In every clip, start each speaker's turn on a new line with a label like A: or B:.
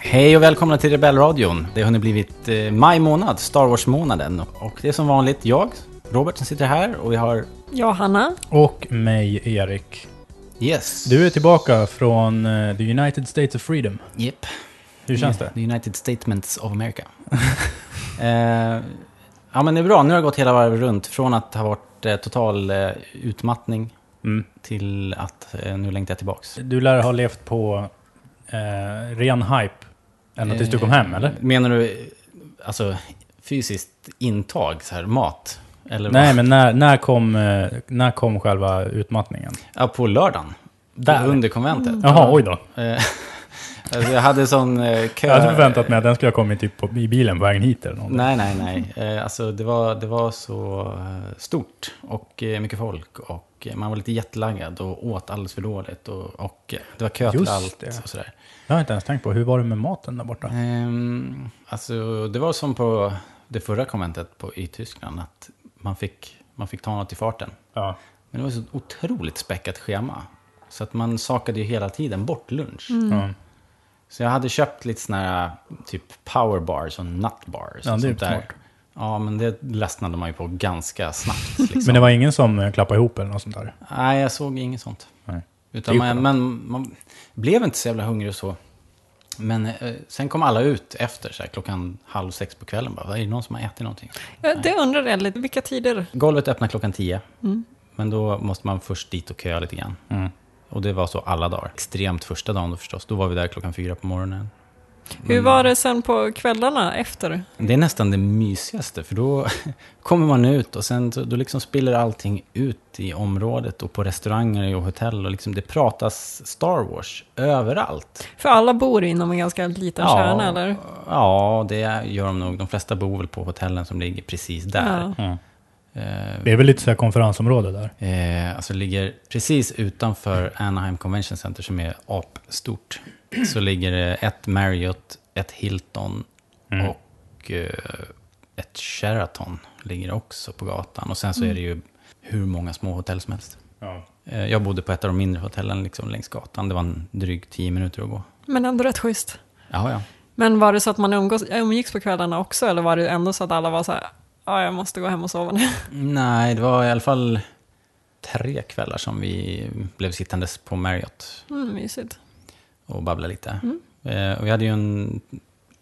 A: Hej och välkomna till Rebellradion. Det har nu blivit eh, maj månad, Star Wars-månaden. Och det är som vanligt jag, Robert, som sitter här och vi har...
B: Ja, Hanna.
C: Och mig, Erik.
A: Yes.
C: Du är tillbaka från eh, the United States of Freedom.
A: Yep.
C: Hur känns det?
A: The United Statements of America. eh, ja, men det är bra. Nu har det gått hela varvet runt. Från att ha varit eh, total eh, utmattning
C: Mm.
A: till att eh, nu längtar jag tillbaks.
C: Du lär ha levt på eh, ren hype ända tills du kom hem, eller?
A: Menar du eh, alltså fysiskt intag, så här, mat? Eller
C: Nej, men när, när, kom, eh, när kom själva utmattningen?
A: Ja, på lördagen.
C: Där.
A: Under konventet.
C: Jaha, oj då.
A: Eh, alltså jag hade sån eh, kö...
C: Jag hade förväntat mig att den skulle ha kommit typ på, i bilen på vägen hit eller något.
A: Nej, nej, nej. Eh, Alltså, det, var, det var så eh, stort och eh, mycket folk och eh, man var lite jetlaggad och åt alldeles för dåligt och, och eh, det var kö till
C: Just
A: allt
C: det.
A: och sådär.
C: Jag har inte ens tänkt på, hur var det med maten där
A: Mm.
C: borta?
A: Ehm, Alltså, det var som på det förra konventet på, i Tyskland att man fick, man fick ta något i farten.
C: Ja.
A: Men det var så ett otroligt späckat schema. Så att man sakade ju hela tiden bort lunch.
C: Ja.
A: Så jag hade köpt lite såna här typ powerbars och nutbars.
C: Ja,
A: och
C: det är
A: sånt där.
C: smart.
A: Ja, men det ledsnade man ju på ganska snabbt. Liksom.
C: Men det var ingen som eh, klappade ihop eller något sånt där?
A: Nej, jag såg inget sånt.
C: Nej.
A: Utan
C: Det är ju
A: man, men man blev inte så jävla hungrig och så. Men eh, sen kom alla ut efter, så här, klockan halv sex på kvällen. Bara, är det någon som har ätit någonting?
B: Ja, Det undrar jag lite, vilka tider?
A: Golvet öppnar klockan tio. Men då måste man först dit och köa lite grann.
C: Mm.
A: Och det var så alla dagar. Extremt första dagen då förstås. Då var vi där klockan fyra på morgonen. Mm.
B: Hur var det sen på kvällarna efter?
A: Det är nästan det mysigaste, för då kommer man ut och sen så- då liksom spiller allting ut i området och på restauranger och hotell och liksom det pratas Star Wars överallt.
B: För alla bor inom en ganska liten kärna, eller?
A: Ja, det gör de nog. De flesta bor väl på hotellen som ligger precis där.
B: Ja.
A: Eh,
C: Mm. Det är väl lite så här konferensområde där?
A: Eh, alltså ligger precis utanför Anaheim Convention Center som är apstort. Så ligger det ett Marriott, ett Hilton
C: Mm.
A: och eh, ett Sheraton ligger också på gatan. Och sen så är det ju hur många små hotell som helst.
C: Ja.
A: Eh, jag bodde på ett av de mindre hotellen liksom längs gatan. Det var en dryg tio minuter att gå.
B: Men ändå rätt schysst.
A: Jaha, ja.
B: Men var det så att man umgås, umgicks på kvällarna också, eller var det ändå så att alla var så här, ja, jag måste gå hem och sova nu?
A: Nej, det var i alla fall tre kvällar som vi blev sittandes på Marriott.
B: Mm, mysigt.
A: och babbla lite. Eh, och vi hade ju en,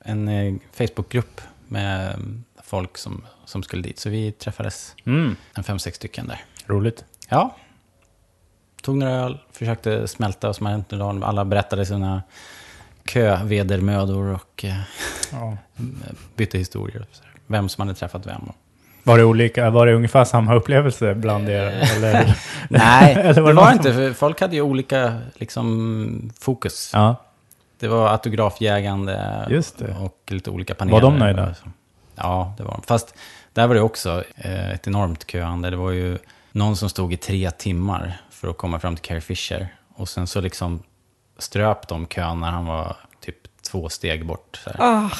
A: en eh, Facebookgrupp med eh, folk som, som skulle dit, så vi träffades
C: Mm.
A: en fem, sex stycken där.
C: Roligt.
A: Ja, tog några öl, försökte smälta vad som hade hänt under dagen. Alla berättade sina kövedermödor och eh,
C: Ja.
A: bytte historier. och så där. Vem som hade träffat vem. och-
C: Var det, olika, var det ungefär samma upplevelse bland er?
B: Eh.
C: Eller?
A: Nej,
C: Eller var
A: det
C: det
A: var,
C: någon
A: det
C: som-
A: inte. För folk hade ju olika liksom, fokus.
C: ja.
A: Det var autografjägande
C: Just det.
A: och lite olika paneler.
C: Var de nöjda?
A: Ja, det var de. Fast där var det också eh, ett enormt köande. Det var ju någon som stod i tre timmar för att komma fram till Carrie Fisher. Och sen så liksom ströp de kön när han var typ två steg bort. Så här.
B: Ah,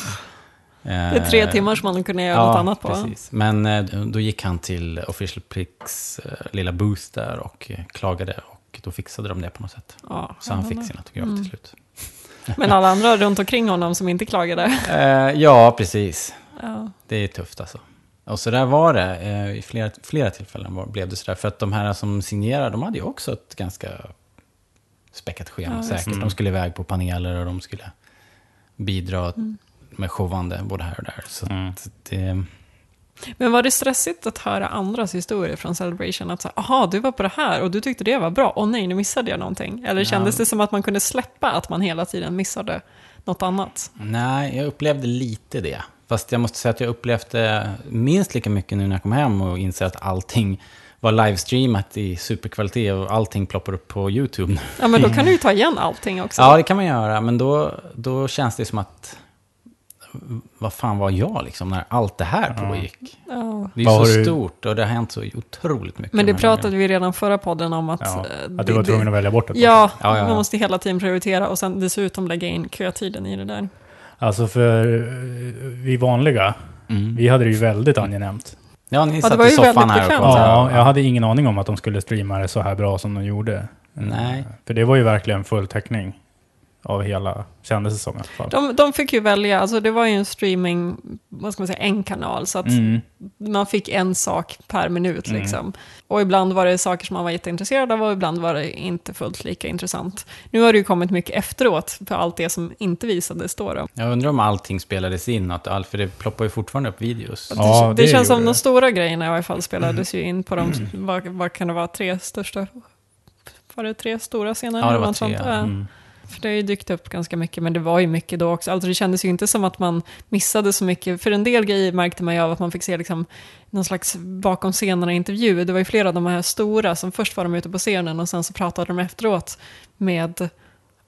B: det är tre
A: Eh,
B: timmar som man kunde göra något annat på.
A: Precis. Men eh, då gick han till Official Pricks eh, lilla booth där och eh, klagade. Och då fixade de det på något sätt.
B: Ja, Mm.
A: Så han fick sin autograf till slut.
B: Men alla andra runt omkring honom som inte klagade.
A: Eh, ja, precis.
B: Ja.
A: Det är tufft alltså. Och så där var det. eh, I flera, flera tillfällen var, blev det så där. För att de här som signerar, de hade ju också ett ganska späckat schema säkert. De skulle iväg på paneler och de skulle bidra med showande både här och där. Så
C: Mm.
A: att det,
B: Men var det stressigt att höra andras historier från Celebration? Att säga, aha, du var på det här och du tyckte det var bra, och nej, nu missade jag någonting. Eller kändes det som att man kunde släppa att man hela tiden missade något annat?
A: nej, jag upplevde lite det. Fast jag måste säga att jag upplevde minst lika mycket nu när jag kom hem och inser att allting var livestreamat i superkvalitet och allting ploppar upp på YouTube nu.
B: Ja, men då kan du ju ta igen allting också.
C: Liksom.
A: Ja, det kan man göra, men då, då känns det som att... Vad fan var jag liksom när allt det här pågick?
B: Ja.
A: Det är
C: Vad
A: ju
C: har
A: så
C: du-
A: stort och det har hänt så otroligt mycket.
B: Men
A: de
B: det
A: här
B: pratade vi redan förra podden om att...
C: Ja,
B: eh,
C: att du var
B: det-
C: tvungen att välja bort ett
B: Ja,
A: Ja, ja, ja.
B: man måste hela tiden prioritera och sen dessutom lägga in kötiden i det där.
C: Alltså för eh, vi vanliga,
A: Mm.
C: vi hade det ju väldigt angenämt.
A: Ja, ni
B: det
A: satt
B: var
A: i
B: ju
A: soffan
B: väldigt
A: här och
B: bekvämt.
A: kollade.
C: Ja, jag hade ingen aning om att de skulle streama det så här bra som de gjorde.
A: Nej.
C: För det var ju verkligen full täckning. av hela, kändes det som i alla fall.
B: De, de fick ju välja, alltså det var ju en streaming, vad ska man säga, en kanal. Så att
C: Mm.
B: man fick en sak per minut
C: Mm.
B: liksom. Och ibland var det saker som man var jätteintresserad av och ibland var det inte fullt lika intressant. Nu har det ju kommit mycket efteråt för allt det som inte visades då. då.
A: Jag undrar om allting spelades in, att all, för det ploppar ju fortfarande upp videos.
C: Ja.
B: det, det
C: det
B: känns som
C: gjorde
B: de
C: det.
B: stora grejerna i alla fall spelades ju in på de, vad, vad kan det vara, tre största, var det tre stora scener?
A: Ja, det var
B: Något
A: tre,
B: sånt,
A: ja.
B: ja.
C: Mm.
B: För det har ju dykt upp ganska mycket, men det var ju mycket då också. Alltså det kändes ju inte som att man missade så mycket. För en del grejer märkte man ju av att man fick se liksom någon slags bakom scenerna-intervju. Det var ju flera av de här stora som först var de ute på scenen och sen så pratade de efteråt med,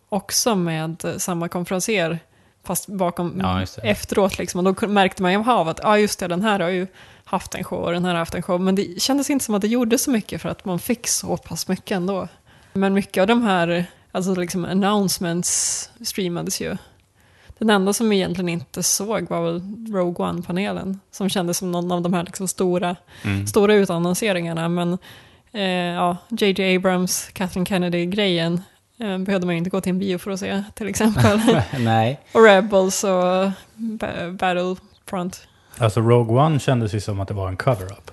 B: också med samma konferenser fast bakom,
A: Ja, just det.
B: efteråt liksom. Och då märkte man ju av att, ja just det, den här har ju haft en show och den här har haft en show. Men det kändes inte som att det gjorde så mycket för att man fick så pass mycket ändå. Men mycket av de här, alltså liksom announcements streamades ju. Den enda som vi egentligen inte såg var väl Rogue One-panelen, som kändes som någon av de här liksom stora, stora utannonseringarna. Men eh, ja, J.J. Abrams, Catherine Kennedy-grejen eh, behövde man ju inte gå till en bio för att se, till exempel.
A: Nej.
B: och Rebels och ba- Battlefront.
C: Alltså Rogue One kändes ju som att det var en cover-up.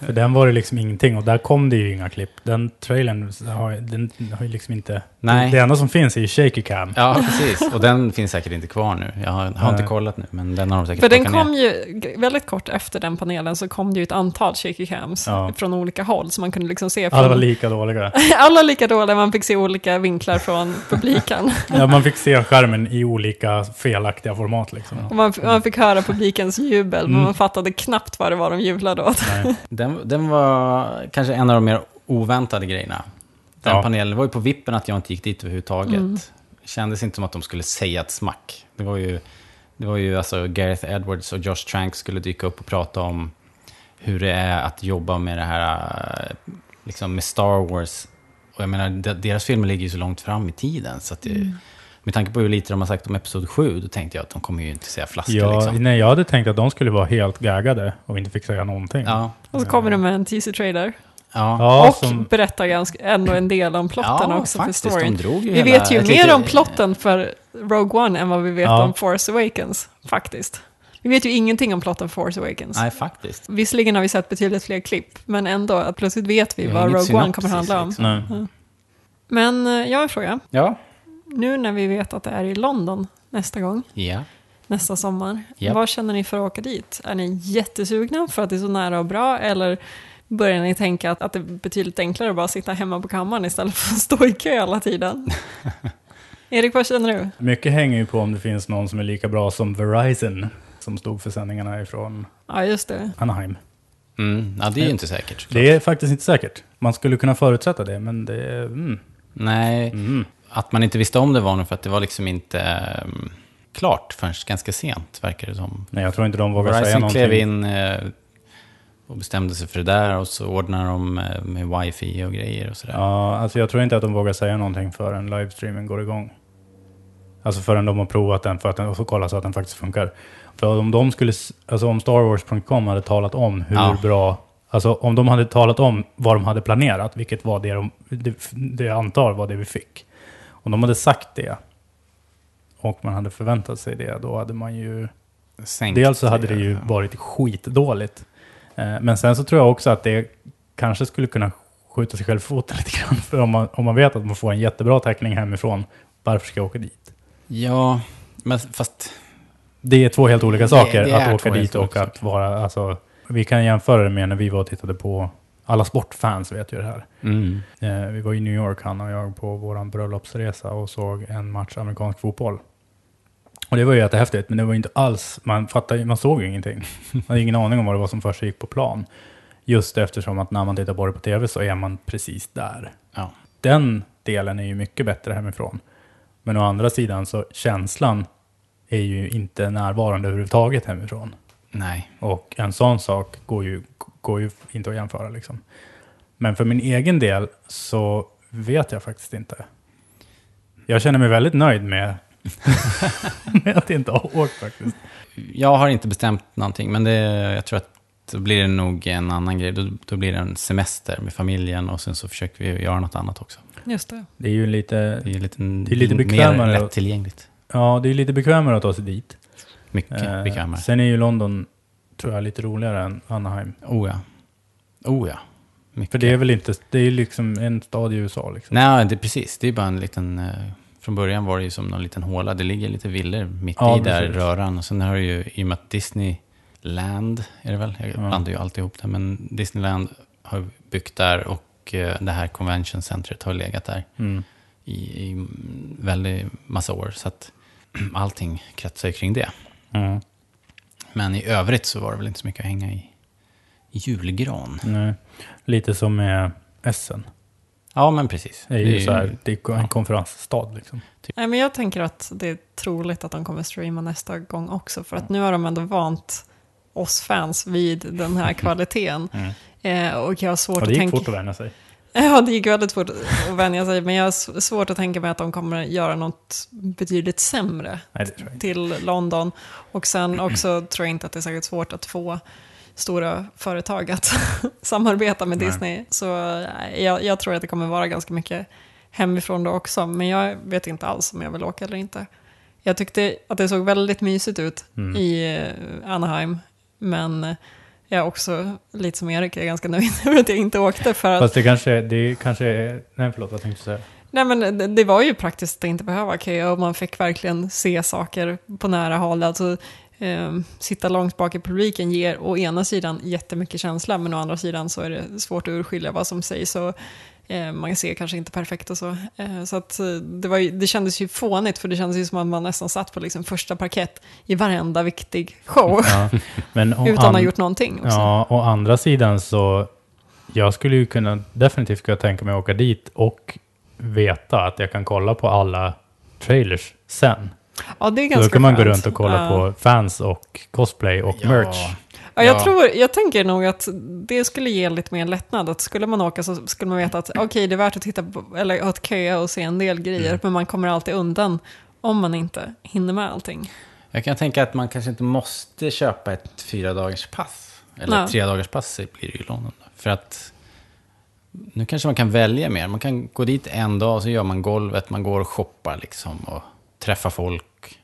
C: För den var det liksom ingenting och där kom det ju inga klipp. Den trailern har, den har ju liksom inte...
A: Nej.
C: Det enda som finns är ju shaky cam.
A: Ja, precis. Och den finns säkert inte kvar nu. Jag har, har inte
C: Nej.
A: kollat nu, men den har de säkert
B: För den
A: plockat ner.
B: kom ju, g- väldigt kort efter den panelen så kom det ju ett antal shaky cams
C: Ja.
B: från olika håll, så man kunde liksom se från...
C: Alla var lika dåliga.
B: Alla lika dåliga, man fick se olika vinklar från publiken.
C: Ja, man fick se skärmen i olika felaktiga format liksom.
B: Och man, man fick höra publikens jubel, men
C: Mm.
B: man fattade knappt vad det var de jublade åt.
C: Nej.
A: Den, den var kanske en av de mer oväntade grejerna. Den
C: Ja.
A: panelen det var ju på vippen att jag inte gick dit överhuvudtaget. Kändes inte som att de skulle säga ett smack. Det var ju, det var ju alltså Gareth Edwards och Josh Trank skulle dyka upp och prata om hur det är att jobba med det här, eh, liksom med Star Wars. Och jag menar, de- deras filmer ligger ju så långt fram i tiden. Så att det, Med tanke på hur lite de har sagt om Episod 7, då tänkte jag att de kommer ju inte säga flaska.
C: Ja,
A: liksom.
C: nej, jag hade tänkt att de skulle vara helt gaggade och inte fick säga någonting.
A: ja,
B: Och så kommer de med en teaser-trailer.
A: ja.
C: Ja,
B: och
C: som,
B: berättar ganska, ändå en del om plotten också för storyn.
A: De drog ju
B: Vi
A: hela-
B: vet ju
A: ett
B: mer
A: lite-
B: om plotten för Rogue One än vad vi vet
C: Ja.
B: om Force Awakens, faktiskt. Vi vet ju ingenting om plotten för Force Awakens.
A: Nej, faktiskt.
B: Visserligen har vi sett betydligt fler klipp, men ändå, att plötsligt vet vi
A: Vi har
B: vad
A: inget
B: Rogue One kommer
A: synopsis,
B: handla om.
A: liksom.
C: nej.
B: Men eh, jag har en fråga.
A: Ja.
B: Nu när vi vet att det är i London nästa gång,
A: Ja.
B: nästa sommar,
A: Japp.
B: vad känner ni för att åka dit? Är ni jättesugna för att det är så nära och bra, eller börjar ni tänka att, att det är betydligt enklare att bara sitta hemma på kammaren istället för att stå i kö hela tiden? Erik, vad känner du?
C: Mycket hänger ju på om det finns någon som är lika bra som Verizon, som stod för sändningarna ifrån
B: Ja, just det.
C: Anaheim.
A: Mm. ja, det är ju inte säkert. såklart.
C: Det är faktiskt inte säkert. Man skulle kunna förutsätta det, men det är... Mm,
A: Nej,
C: mm.
A: att man inte visste om det var nog för att det var liksom inte ehm, klart förrän ganska sent, verkar det som.
C: Nej, jag tror inte de vågar säga
A: Verizon
C: någonting.
A: klev in eh, och bestämde sig för det där och så ordnade de eh, med wifi och grejer och sådär.
C: Ja, alltså jag tror inte att de vågar säga någonting förrän livestreamen går igång. Alltså förrän de har provat den för att den, och så kollat så att den faktiskt funkar. För om de skulle, s- alltså om StarWars.com hade talat om hur
A: Ja.
C: bra, alltså om de hade talat om vad de hade planerat, vilket var det de, det, det jag antar var det vi fick. Om de hade sagt det, och man hade förväntat sig det, då hade man ju
A: Sänkt eh,
C: Dels så hade det ju varit skitdåligt. Eh, Men sen så tror jag också att det kanske skulle kunna skjuta sig själv i foten lite grann. För om man, om man vet att man får en jättebra tackling hemifrån, varför ska jag åka dit?
A: Ja, men fast...
C: Det är två helt olika
A: Det-
C: saker
A: det är
C: att
A: två
C: åka
A: helt
C: dit och
A: olika
C: att vara... Alltså, vi kan jämföra det med när vi var och tittade på... Alla sportfans vet ju det här.
A: Mm.
C: Eh, Vi var i New York, han och jag, på vår bröllopsresa och såg en match amerikansk fotboll. Och det var ju jättehäftigt, men det var ju inte alls, man, fattade, ju- man såg ju ingenting. Man hade ingen aning om vad det var som försiggick på plan. Just eftersom att när man tittar på det på tv så är man precis där.
A: Ja.
C: Den delen är ju mycket bättre hemifrån. Men å andra sidan så känslan är ju inte närvarande överhuvudtaget hemifrån.
A: Nej.
C: Och en sån sak går ju, går ju inte att jämföra. Liksom. Men för min egen del så vet jag faktiskt inte. Jag känner mig väldigt nöjd med, med att inte ha åkt faktiskt.
A: Jag har inte bestämt någonting, men det, jag tror att då blir det nog en annan grej. Då, då blir det en semester med familjen och sen så försöker vi göra något annat också.
B: Just det.
C: Det är ju lite,
A: Det är lite,
C: Det är lite
A: mer
C: bekvämare.
A: lättillgängligt.
C: ja, det är lite bekvämare att ta sig dit.
A: Mycket
C: Eh,
A: bekvämare.
C: Sen är ju London, tror jag, lite roligare än Anaheim.
A: Oh ja. Oh ja. Mycket.
C: För det är väl inte, det är liksom en stad i USA liksom.
A: Nej, det, precis. Det är bara en liten... eh, Från början var det ju som någon liten håla. Det ligger lite villor mitt
C: Ja,
A: i där
C: precis.
A: röran. Och sen har det ju, i och med att Disneyland är det väl? Jag
C: Ja.
A: blandar ju alltid ihop det. Men Disneyland har byggt där och eh, det här convention centret har legat där
C: Mm.
A: i, i väldigt massa år. Så att allting kretsar ju kring det.
C: Ja.
A: Men i övrigt så var det väl inte så mycket att hänga i. i Julgran.
C: Nej. Lite som med Essen.
A: Ja, men precis.
C: Det är ju, så här, det är
A: ja.
C: en konferensstad liksom.
B: Nej, men jag tänker att det är troligt att de kommer streama nästa gång också. För
C: Mm.
B: att nu har de ändå vant oss fans vid den här kvaliteten. Eh, och jag har svårt
C: Och Mm. det
B: att
C: gick
B: tänka...
C: fort att vänja sig.
B: Ja, det gick väldigt fort att vänja sig. Men jag har s- svårt att tänka mig att de kommer göra något betydligt sämre
C: Nej, det tror jag inte.
B: till London. Och sen också tror jag inte att det är särskilt svårt att få stora företag att samarbeta med
C: Nej.
B: Disney. Så eh, jag, jag tror att det kommer vara ganska mycket hemifrån då också. Men jag vet inte alls om jag vill åka eller inte. Jag tyckte att det såg väldigt mysigt ut
C: Mm.
B: i eh, Anaheim. Men jag är också, lite som Erik, jag är ganska nöjd över att jag inte åkte. För att,
C: Fast det kanske, det kanske är, nej förlåt vad tänkte jag säga?
B: nej men det, det var ju praktiskt att inte behöva köa och man fick verkligen se saker på nära håll. Alltså, ehm, sitta långt bak i publiken ger å ena sidan jättemycket känsla men å andra sidan så är det svårt att urskilja vad som sägs. Och, eh, man ser kanske inte perfekt och så. Eh, så att, eh, det, var ju, det kändes ju fånigt för det kändes ju som att man nästan satt på liksom första parkett i varenda viktig show
C: Ja. Men å
B: utan att ha
C: an-
B: gjort någonting. Också.
C: Ja, å andra sidan så, jag skulle ju kunna, definitivt kunna tänka mig att åka dit och veta att jag kan kolla på alla trailers sen.
B: Ja, det är
C: Så
B: ganska
C: då kan man gå
B: skönt.
C: runt och kolla
B: Ja.
C: på fans och cosplay och
A: Ja.
C: merch.
B: Ja, jag,
A: Ja.
B: tror, jag tänker nog att det skulle ge lite mer lättnad. Att skulle man åka så skulle man veta att
A: Mm.
B: okej, det är värt att titta på, eller att köa och se en del grejer, men man kommer alltid undan om man inte hinner med allting.
A: Jag kan tänka att man kanske inte måste köpa ett fyra dagars pass. Eller
B: Nej.
A: ett tre dagars pass blir det ju i London. då. För att nu kanske man kan välja mer. Man kan gå dit en dag och så gör man golvet. Man går och shoppar liksom och träffar folk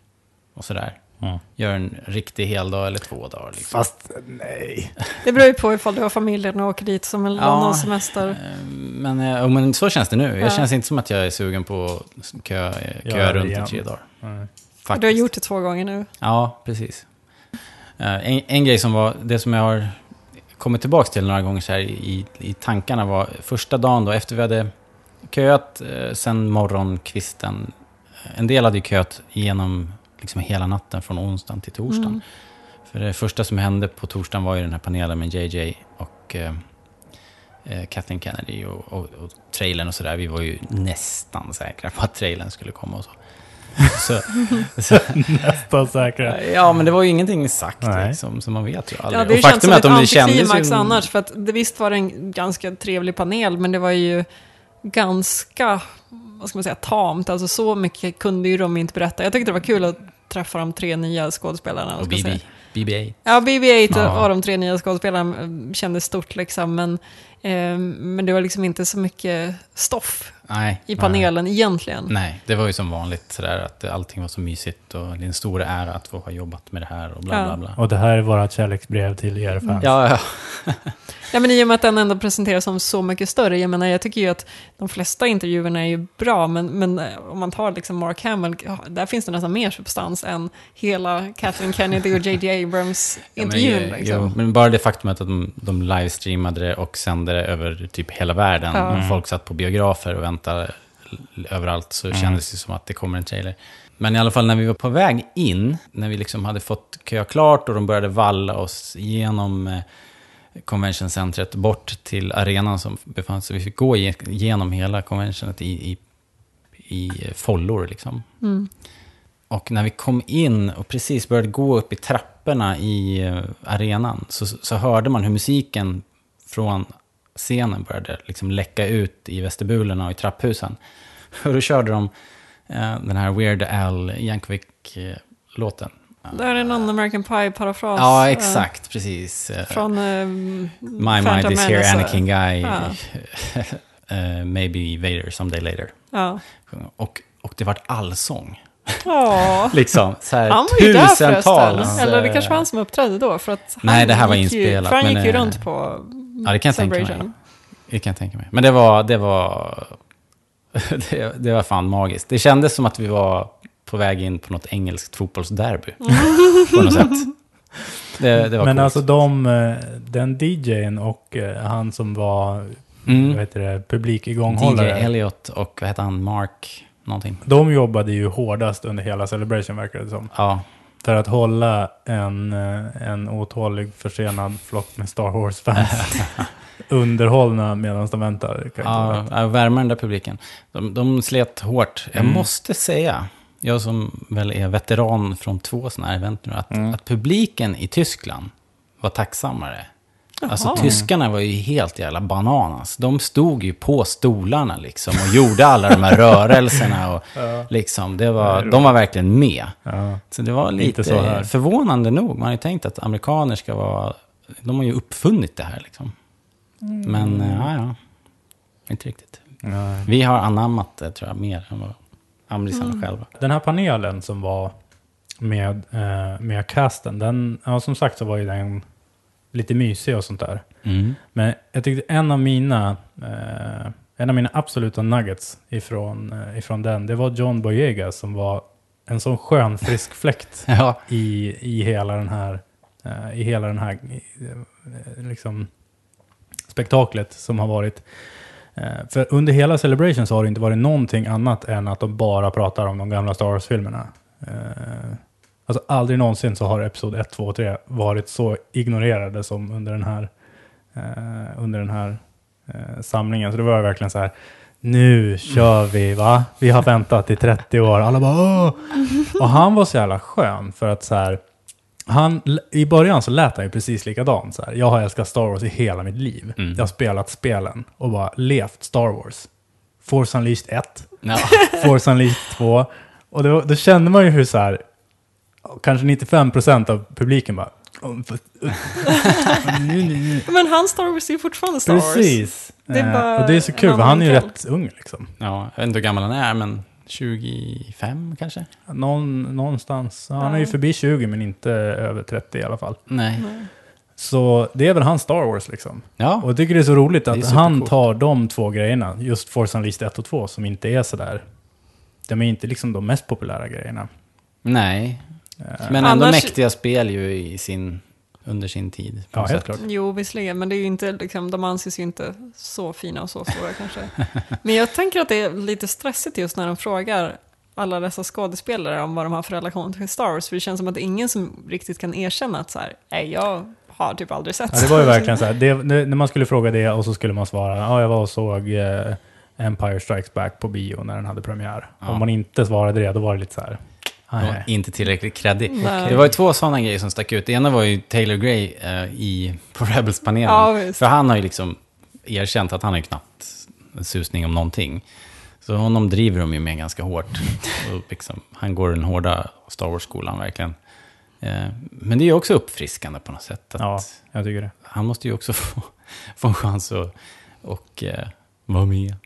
A: och sådär.
C: Ja.
A: Gör en riktig heldag eller två dagar. Liksom.
C: Fast nej.
B: Det beror ju på ifall du har familjen och åker dit som en Londonsemester.
A: eh, Men, eh, jo, men så känns det nu.
B: Ja.
A: Jag känns inte som att jag är sugen på att kö, kö
C: Ja,
A: runt
C: igen.
A: i tre dagar.
C: Nej.
B: Du har
A: Faktiskt.
B: gjort det två gånger nu.
A: Ja, precis. Eh, En, en grej som var, det som jag har kommit tillbaka till några gånger så här i, i tankarna var första dagen då, efter vi hade köat eh, sen morgonkvisten. En del hade ju köat genom liksom hela natten från onsdagen till torsdagen.
B: Mm.
A: För det första som hände på torsdagen var ju den här panelen med JJ och eh, eh, Kathleen Kennedy och, och, och trailern och sådär. Vi var ju nästan säkra på att trailern skulle komma och så. så, så
C: Nästan säkert.
A: Ja, men det var ju ingenting sagt
C: Nej.
A: liksom, så man vet ju aldrig.
B: Ja, det
A: Och
B: känns som
A: är
B: ett
A: kändes
B: antiklimax
A: ju-
B: annars, för att det, visst var det en ganska trevlig panel, men det var ju ganska, vad ska man säga, tamt. Alltså så mycket kunde ju de inte berätta. Jag tyckte det var kul att träffa de tre nya skådespelarna.
A: Och
B: ska jag säga.
A: BB, BB-8.
B: Ja, BB-8
A: Ja.
B: och de tre nya skådespelarna eh, kändes stort liksom, men, eh, men det var liksom inte så mycket stoff
A: Nej. Mm.
B: i panelen egentligen.
A: Nej, det var ju som vanligt sådär att allting var så mysigt och det är en stor ära att få ha jobbat med det här och bla
B: Ja.
A: bla bla.
C: Och det här är vårt kärleksbrev till er
B: Mm.
C: fans.
A: Ja, ja.
B: Ja, men I och med att den ändå presenteras som så mycket större. Jag menar, jag tycker ju att de flesta intervjuerna är ju bra, men, men eh, om man tar liksom Mark Hamill, ja, där finns det nästan mer substans än hela Kathleen Kennedy och J.J. Abrams
A: Ja, men,
B: intervjun.
A: eh,
B: liksom.
A: jo, men bara det faktumet att de, de livestreamade det och sände det över typ hela världen.
B: Ja.
A: Och Folk satt på biografer och väntade l- överallt så
B: Mm.
A: kändes det som att det kommer en trailer. Men i alla fall när vi var på väg in, när vi liksom hade fått köa klart och de började valla oss genom eh, conventioncentret bort till arenan som befann sig. Vi fick gå ge- genom hela conventionet i, i, i eh, follor liksom. Och när vi kom in och precis började gå upp i trapporna i eh, arenan så, så hörde man hur musiken från scenen började liksom läcka ut i vestibulerna och i trapphusen. Och då körde de eh, den här Weird Al Yankovic-låten.
B: Det här är någon American Pie-parafras.
A: Ja,
B: eh,
A: exakt, precis. Eh,
B: Från eh,
A: My
B: Phantom
A: mind is here,
B: Menace.
A: Anakin guy.
B: Ja.
A: Eh, maybe Vader someday later.
B: Ja.
A: Och, och det vart allsång.
B: Ja.
A: Liksom, så här,
B: Han var ju där
A: tusentals.
B: förresten. Eller det
A: eh,
B: kanske var han som uppträdde då. För att han
A: Nej, det här var
B: gick ju-
A: inspelat,
B: För han
A: men,
B: gick ju
A: eh,
B: runt på
A: Ja, det kan jag tänka mig.
B: Celebration.
A: Det kan jag tänka mig. Men det var, det var, det, det var fan magiskt. Det kändes som att vi var på väg in på något engelskt fotbollsderby. på något sätt. Det, det var
C: Men
A: coolt.
C: alltså de, eh, den DJn och eh, han som var
A: Mm.
C: vad heter det,
A: DJ
C: publikigånghållare.
A: Elliot och vad heter han, Mark någonting.
C: de jobbade ju hårdast under hela Celebration verkar det som.
A: Ja,
C: För att hålla en, eh, en otålig försenad flock med Star Wars-fans underhållna medan de väntar. Kan inte
A: ja,
C: vänta.
A: ja värma den där publiken. De, de slet hårt. Jag
C: Mm.
A: måste säga, jag som väl är veteran från två sådana här event nu, att,
C: Mm.
A: att publiken i Tyskland var tacksammare. Alltså
B: Jaha.
A: tyskarna var ju helt jävla bananas. De stod ju på stolarna liksom och gjorde alla de här rörelserna. Och, liksom, det var, de var verkligen med.
C: Ja.
A: Så det var lite
C: så här.
A: förvånande nog. Man har ju tänkt att amerikaner ska vara... De har ju uppfunnit det här liksom. Men eh, ja, ja. Inte riktigt.
C: Nej.
A: Vi har anammat det tror jag mer än vad amerikanerna själva.
C: Den här panelen som var med, eh, med casten, den, ja, som sagt så var ju den lite mysig och sånt där.
A: Mm.
C: Men jag tyckte en av mina, eh, en av mina absoluta nuggets ifrån, eh, ifrån den, det var John Boyega som var en sån skön frisk fläkt
A: Ja.
C: i, i hela den här, eh, i hela den här eh, liksom, spektaklet som har varit. Eh, för under hela Celebration så har det inte varit någonting annat än att de bara pratar om de gamla Star Wars-filmerna. Eh, alltså aldrig någonsin så har Episod 1, 2 och 3 varit så ignorerade som under den här, eh, under den här eh, samlingen. Så det var verkligen så här, nu kör vi va? Vi har väntat i 30 år. Alla bara Åh! Och han var så jävla skön för att så här, han, i början så lät han ju precis likadan. Så här. Jag har älskat Star Wars i hela mitt liv.
A: Mm.
C: Jag har spelat spelen och bara levt Star Wars. Force Unleashed 1,
A: Ja.
C: Force Unleashed 2. Och då, då kände man ju hur så här, kanske 95% av publiken bara... "Åh, fast, uh, nu, nu, nu."
B: Men han Star Wars är ju fortfarande Star Wars.
C: Precis.
B: Det är
C: Eh,
B: bara
C: och det är så
B: en
C: kul, för han är ju
B: annan
C: rätt ung liksom.
A: ja, jag vet inte hur gammal han är, men 25 kanske?
C: Någon, någonstans. Han är ju
B: Ja.
C: förbi 20 men inte över 30 i alla fall.
A: Nej.
B: Mm.
C: Så det är väl hans Star Wars liksom.
A: Ja,
C: Och jag tycker det är så roligt
A: Det
C: att
A: är
C: han
A: supercoolt.
C: tar de två grejerna, just Force Unleashed 1 och 2, som inte är sådär... De är inte liksom de mest populära grejerna. Eh,
A: nej. Eh, Men ändå
B: Annars-
A: mäktiga spel ju i sin, under sin tid. på
C: Ja,
A: något
C: helt
A: sätt.
C: klart.
B: Jo, visserligen, men det är ju inte, liksom, de anses ju inte så fina och så stora kanske. Men jag tänker att det är lite stressigt just när de frågar alla dessa skådespelare om vad de har för relation till Star Wars, för det känns som att det är ingen som riktigt kan erkänna att så här, nej, jag har typ aldrig sett
C: Ja, det var ju verkligen såhär, det, det, när man skulle fråga det och så skulle man svara, ja jag var och såg eh, Empire Strikes Back på bio när den hade premiär.
A: Ja.
C: Om man inte svarade det, då var det lite såhär,
A: Och
C: nej.
A: inte tillräckligt kreddig.
B: Nej.
A: Det var ju två sådana grejer som stack ut. Det ena var ju Taylor Gray eh, i, på Rebels-panelen.
B: Ja, visst.
A: För han har ju liksom erkänt att han har ju knappt en susning om någonting. Så honom driver de ju med ganska hårt. Och liksom, han går den hårda Star Wars-skolan verkligen. Eh, men det är ju också uppfriskande på något sätt. Att
C: Ja, jag tycker det.
A: Han måste ju också få, få en chans att och, eh, vara med.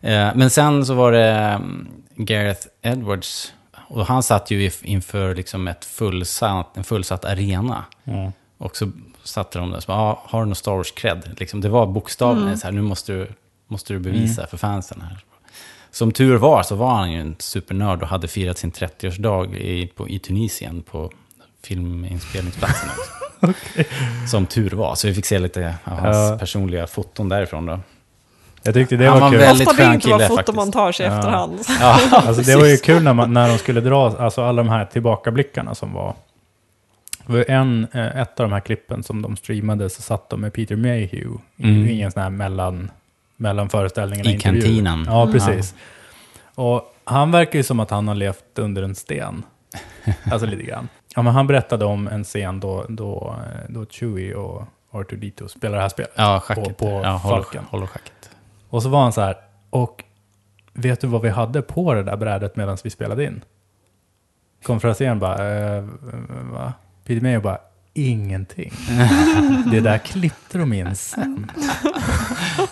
A: Eh, men sen så var det mm, Gareth Edwards. Och han satt ju if- inför liksom ett fullsatt, en fullsatt arena.
C: Mm.
A: Och så satte de där så bara, ah, har du någon Star Wars-cred? Liksom, det var bokstavligen
B: Mm.
A: så här, nu måste du, måste du bevisa
C: Mm.
A: för fansen här. Som tur var så var han ju en supernörd och hade firat sin 30-årsdag i, på, i Tunisien på filminspelningsplatsen också. Som tur var, så vi fick se lite av hans
C: Ja.
A: personliga foton därifrån då.
C: Jag tyckte det
A: Han
C: var
A: var
C: kul.
A: väldigt
B: Ofta det
A: skön
B: inte var
A: kille,
B: fotomontage i
C: faktiskt.
B: efterhand.
C: Alltså, det var ju kul när, man, när de skulle dra alltså, alla de här tillbakablickarna som var. Det var en, eh, ett av de här klippen som de streamade så satt de med Peter Mayhew
A: Mm.
C: i en sån här mellan, mellan föreställningarna.
A: I
C: intervjuer.
A: kantinen.
C: Ja, precis. Och han verkar ju som att han har levt under en sten. Alltså lite grann. Ja, men han berättade om en scen då, då, eh, då Chewie och R2D2 spelar det här spelet.
A: Ja, schacket.
C: På- på
A: ja, håll,
C: Falken.
A: håll och schacket.
C: Och så var han så här, och vet du vad vi hade på det där brädet medan vi spelade in? konferensen bara, eh, va? Peter Mayer bara, ingenting. det där klippte de in sen.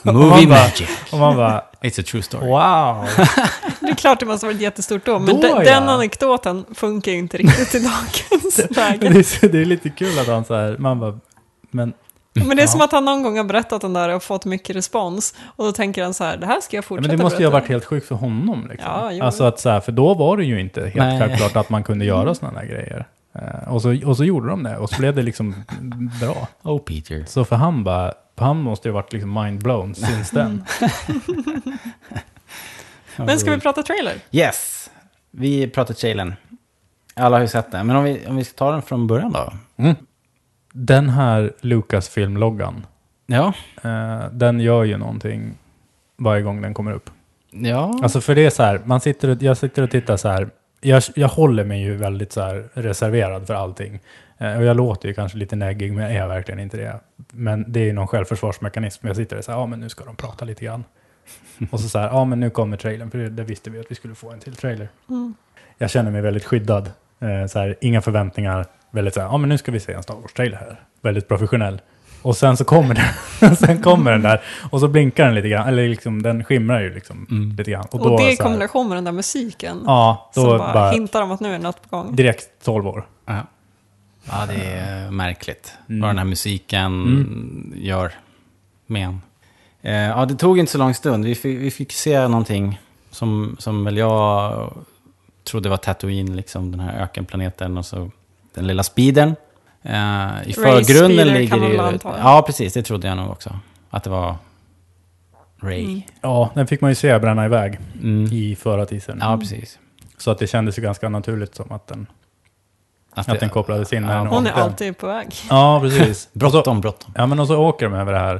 A: Movie
C: man bara-
A: magic.
C: Och man bara,
A: It's a true story.
C: wow.
B: Det är klart det måste ha varit jättestort då, men
C: Då,
B: de,
C: ja.
B: den anekdoten funkar ju inte riktigt i dagens
C: det,
B: läge.
C: är, så- det är lite kul att han så här, man bara, men
B: Men det är
C: Ja.
B: som att han någon gång har berättat den där och fått mycket respons. Och då tänker han så här, det här ska jag
C: Ja,
B: fortsätta
C: men det måste ju
B: berätta.
C: ha varit helt sjukt för honom. Liksom.
B: Ja, jo.
C: alltså att så här, för då var det ju inte helt
A: Nej.
C: självklart att man kunde
B: Mm.
C: göra sådana där grejer. Eh, Och så, och så gjorde de det och så blev det liksom bra.
A: Oh Peter.
C: Så för han bara, för han måste ju ha varit liksom
B: Mm.
C: mindblown since then.
B: Men ska vi prata trailer?
A: Yes, vi pratar Chalen. Alla har ju sett den, men om vi, om vi ska ta den från början då?
C: Mm. Den här Lucasfilm-loggan,
A: Ja.
C: eh, den gör ju någonting varje gång den kommer upp.
A: Ja.
C: Alltså för det är så här, man sitter och, jag sitter och tittar så här, jag, jag håller mig ju väldigt så här reserverad för allting. Eh, och jag låter ju kanske lite näggig, men jag är verkligen inte det. Men det är ju någon självförsvarsmekanism. Jag sitter och så här, ja men nu ska de prata lite grann. och så så här, ja men nu kommer trailern, för det, det visste vi att vi skulle få en till trailer.
B: Mm.
C: Jag känner mig väldigt skyddad. Eh, så här, inga förväntningar, väldigt så här, ja men nu ska vi se en Star Wars-trailer här. Väldigt professionell. Och sen så kommer den, sen kommer den där, och så blinkar den lite grann, eller liksom den skimrar ju liksom
A: Mm.
C: lite grann.
B: Och,
C: då
B: det i
C: så här-
B: kombination med den där musiken.
C: Ja, då
B: som bara,
C: bara,
B: hintar om att nu är något på gång.
C: direkt 12 år.
A: ja. Ja, det är märkligt
C: Mm.
A: vad den här musiken
B: Mm.
A: gör med en. Eh, ja, det tog inte så lång stund. Vi fick, vi fick se någonting som, som väl jag trodde var Tatooine, liksom den här ökenplaneten och så den lilla speedern. Eh, I förgrunden
B: Speeder
A: ligger
B: kan man
A: det
B: väl
A: ju...
B: anta.
A: Ja, precis. Det trodde jag nog också. Att det var Ray.
B: Mm.
C: Ja, den fick man ju se bränna iväg
A: Mm.
C: i förra teasern.
A: Ja, precis.
C: Så att det kändes ju ganska naturligt som att den,
A: Att,
C: att den kopplades in.
A: Ja,
C: när den
B: Hon är
C: åkte.
B: alltid på väg.
C: Ja, precis. Och så,
A: Bråttom, bråttom.
C: ja, men och så åker de över det här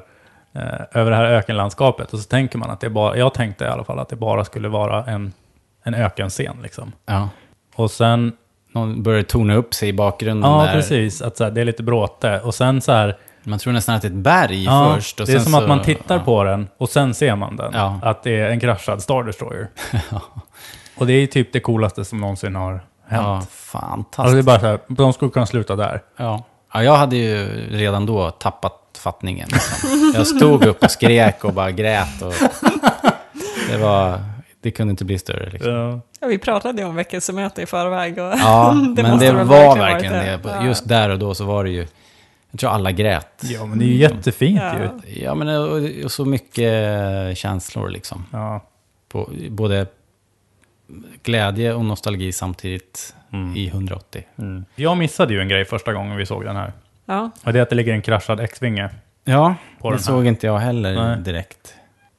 C: eh, över det här ökenlandskapet och så tänker man att det bara, jag tänkte i alla fall att det bara skulle vara en, en ökenscen liksom.
A: Ja.
C: Och sen
A: Någon börjar torna upp sig i bakgrunden
C: Ja,
A: där.
C: precis. Att så här, det är lite bråte. Och sen så här...
A: Man tror nästan att det är ett berg
C: Ja,
A: först. Och
C: det är
A: sen
C: som
A: så-
C: att man tittar
A: ja.
C: på den och sen ser man den.
A: Ja.
C: Att det är en kraschad Star Destroyer. Och det är typ det coolaste som någonsin har hänt.
A: Ja, fantastiskt.
C: Alltså det är bara så här, de skulle kunna sluta där.
A: ja. ja, jag hade ju redan då tappat fattningen. liksom. Jag stod upp och skrek och bara grät. Och... Det, var... det kunde inte bli större. Liksom.
C: Ja.
B: Ja, vi pratade ju om väckelsemöte i förväg. Och
A: Ja,
B: Det
A: men
B: måste
A: det
B: väl
A: var
B: verkligen
A: verkligen det.
B: varit det. Ja.
A: Just där och då så var det ju... Jag tror alla grät.
C: men det är ju jättefint
B: Ja.
C: ju.
A: Ja, men och, och så mycket känslor liksom.
C: Ja.
A: på både glädje och nostalgi samtidigt i 180.
C: Mm. Jag missade ju en grej första gången vi såg den här.
B: ja.
C: Och det är att det ligger en kraschad X-vinge.
A: Ja,
C: På
A: det
C: den här.
A: såg inte jag heller
C: Nej.
A: direkt.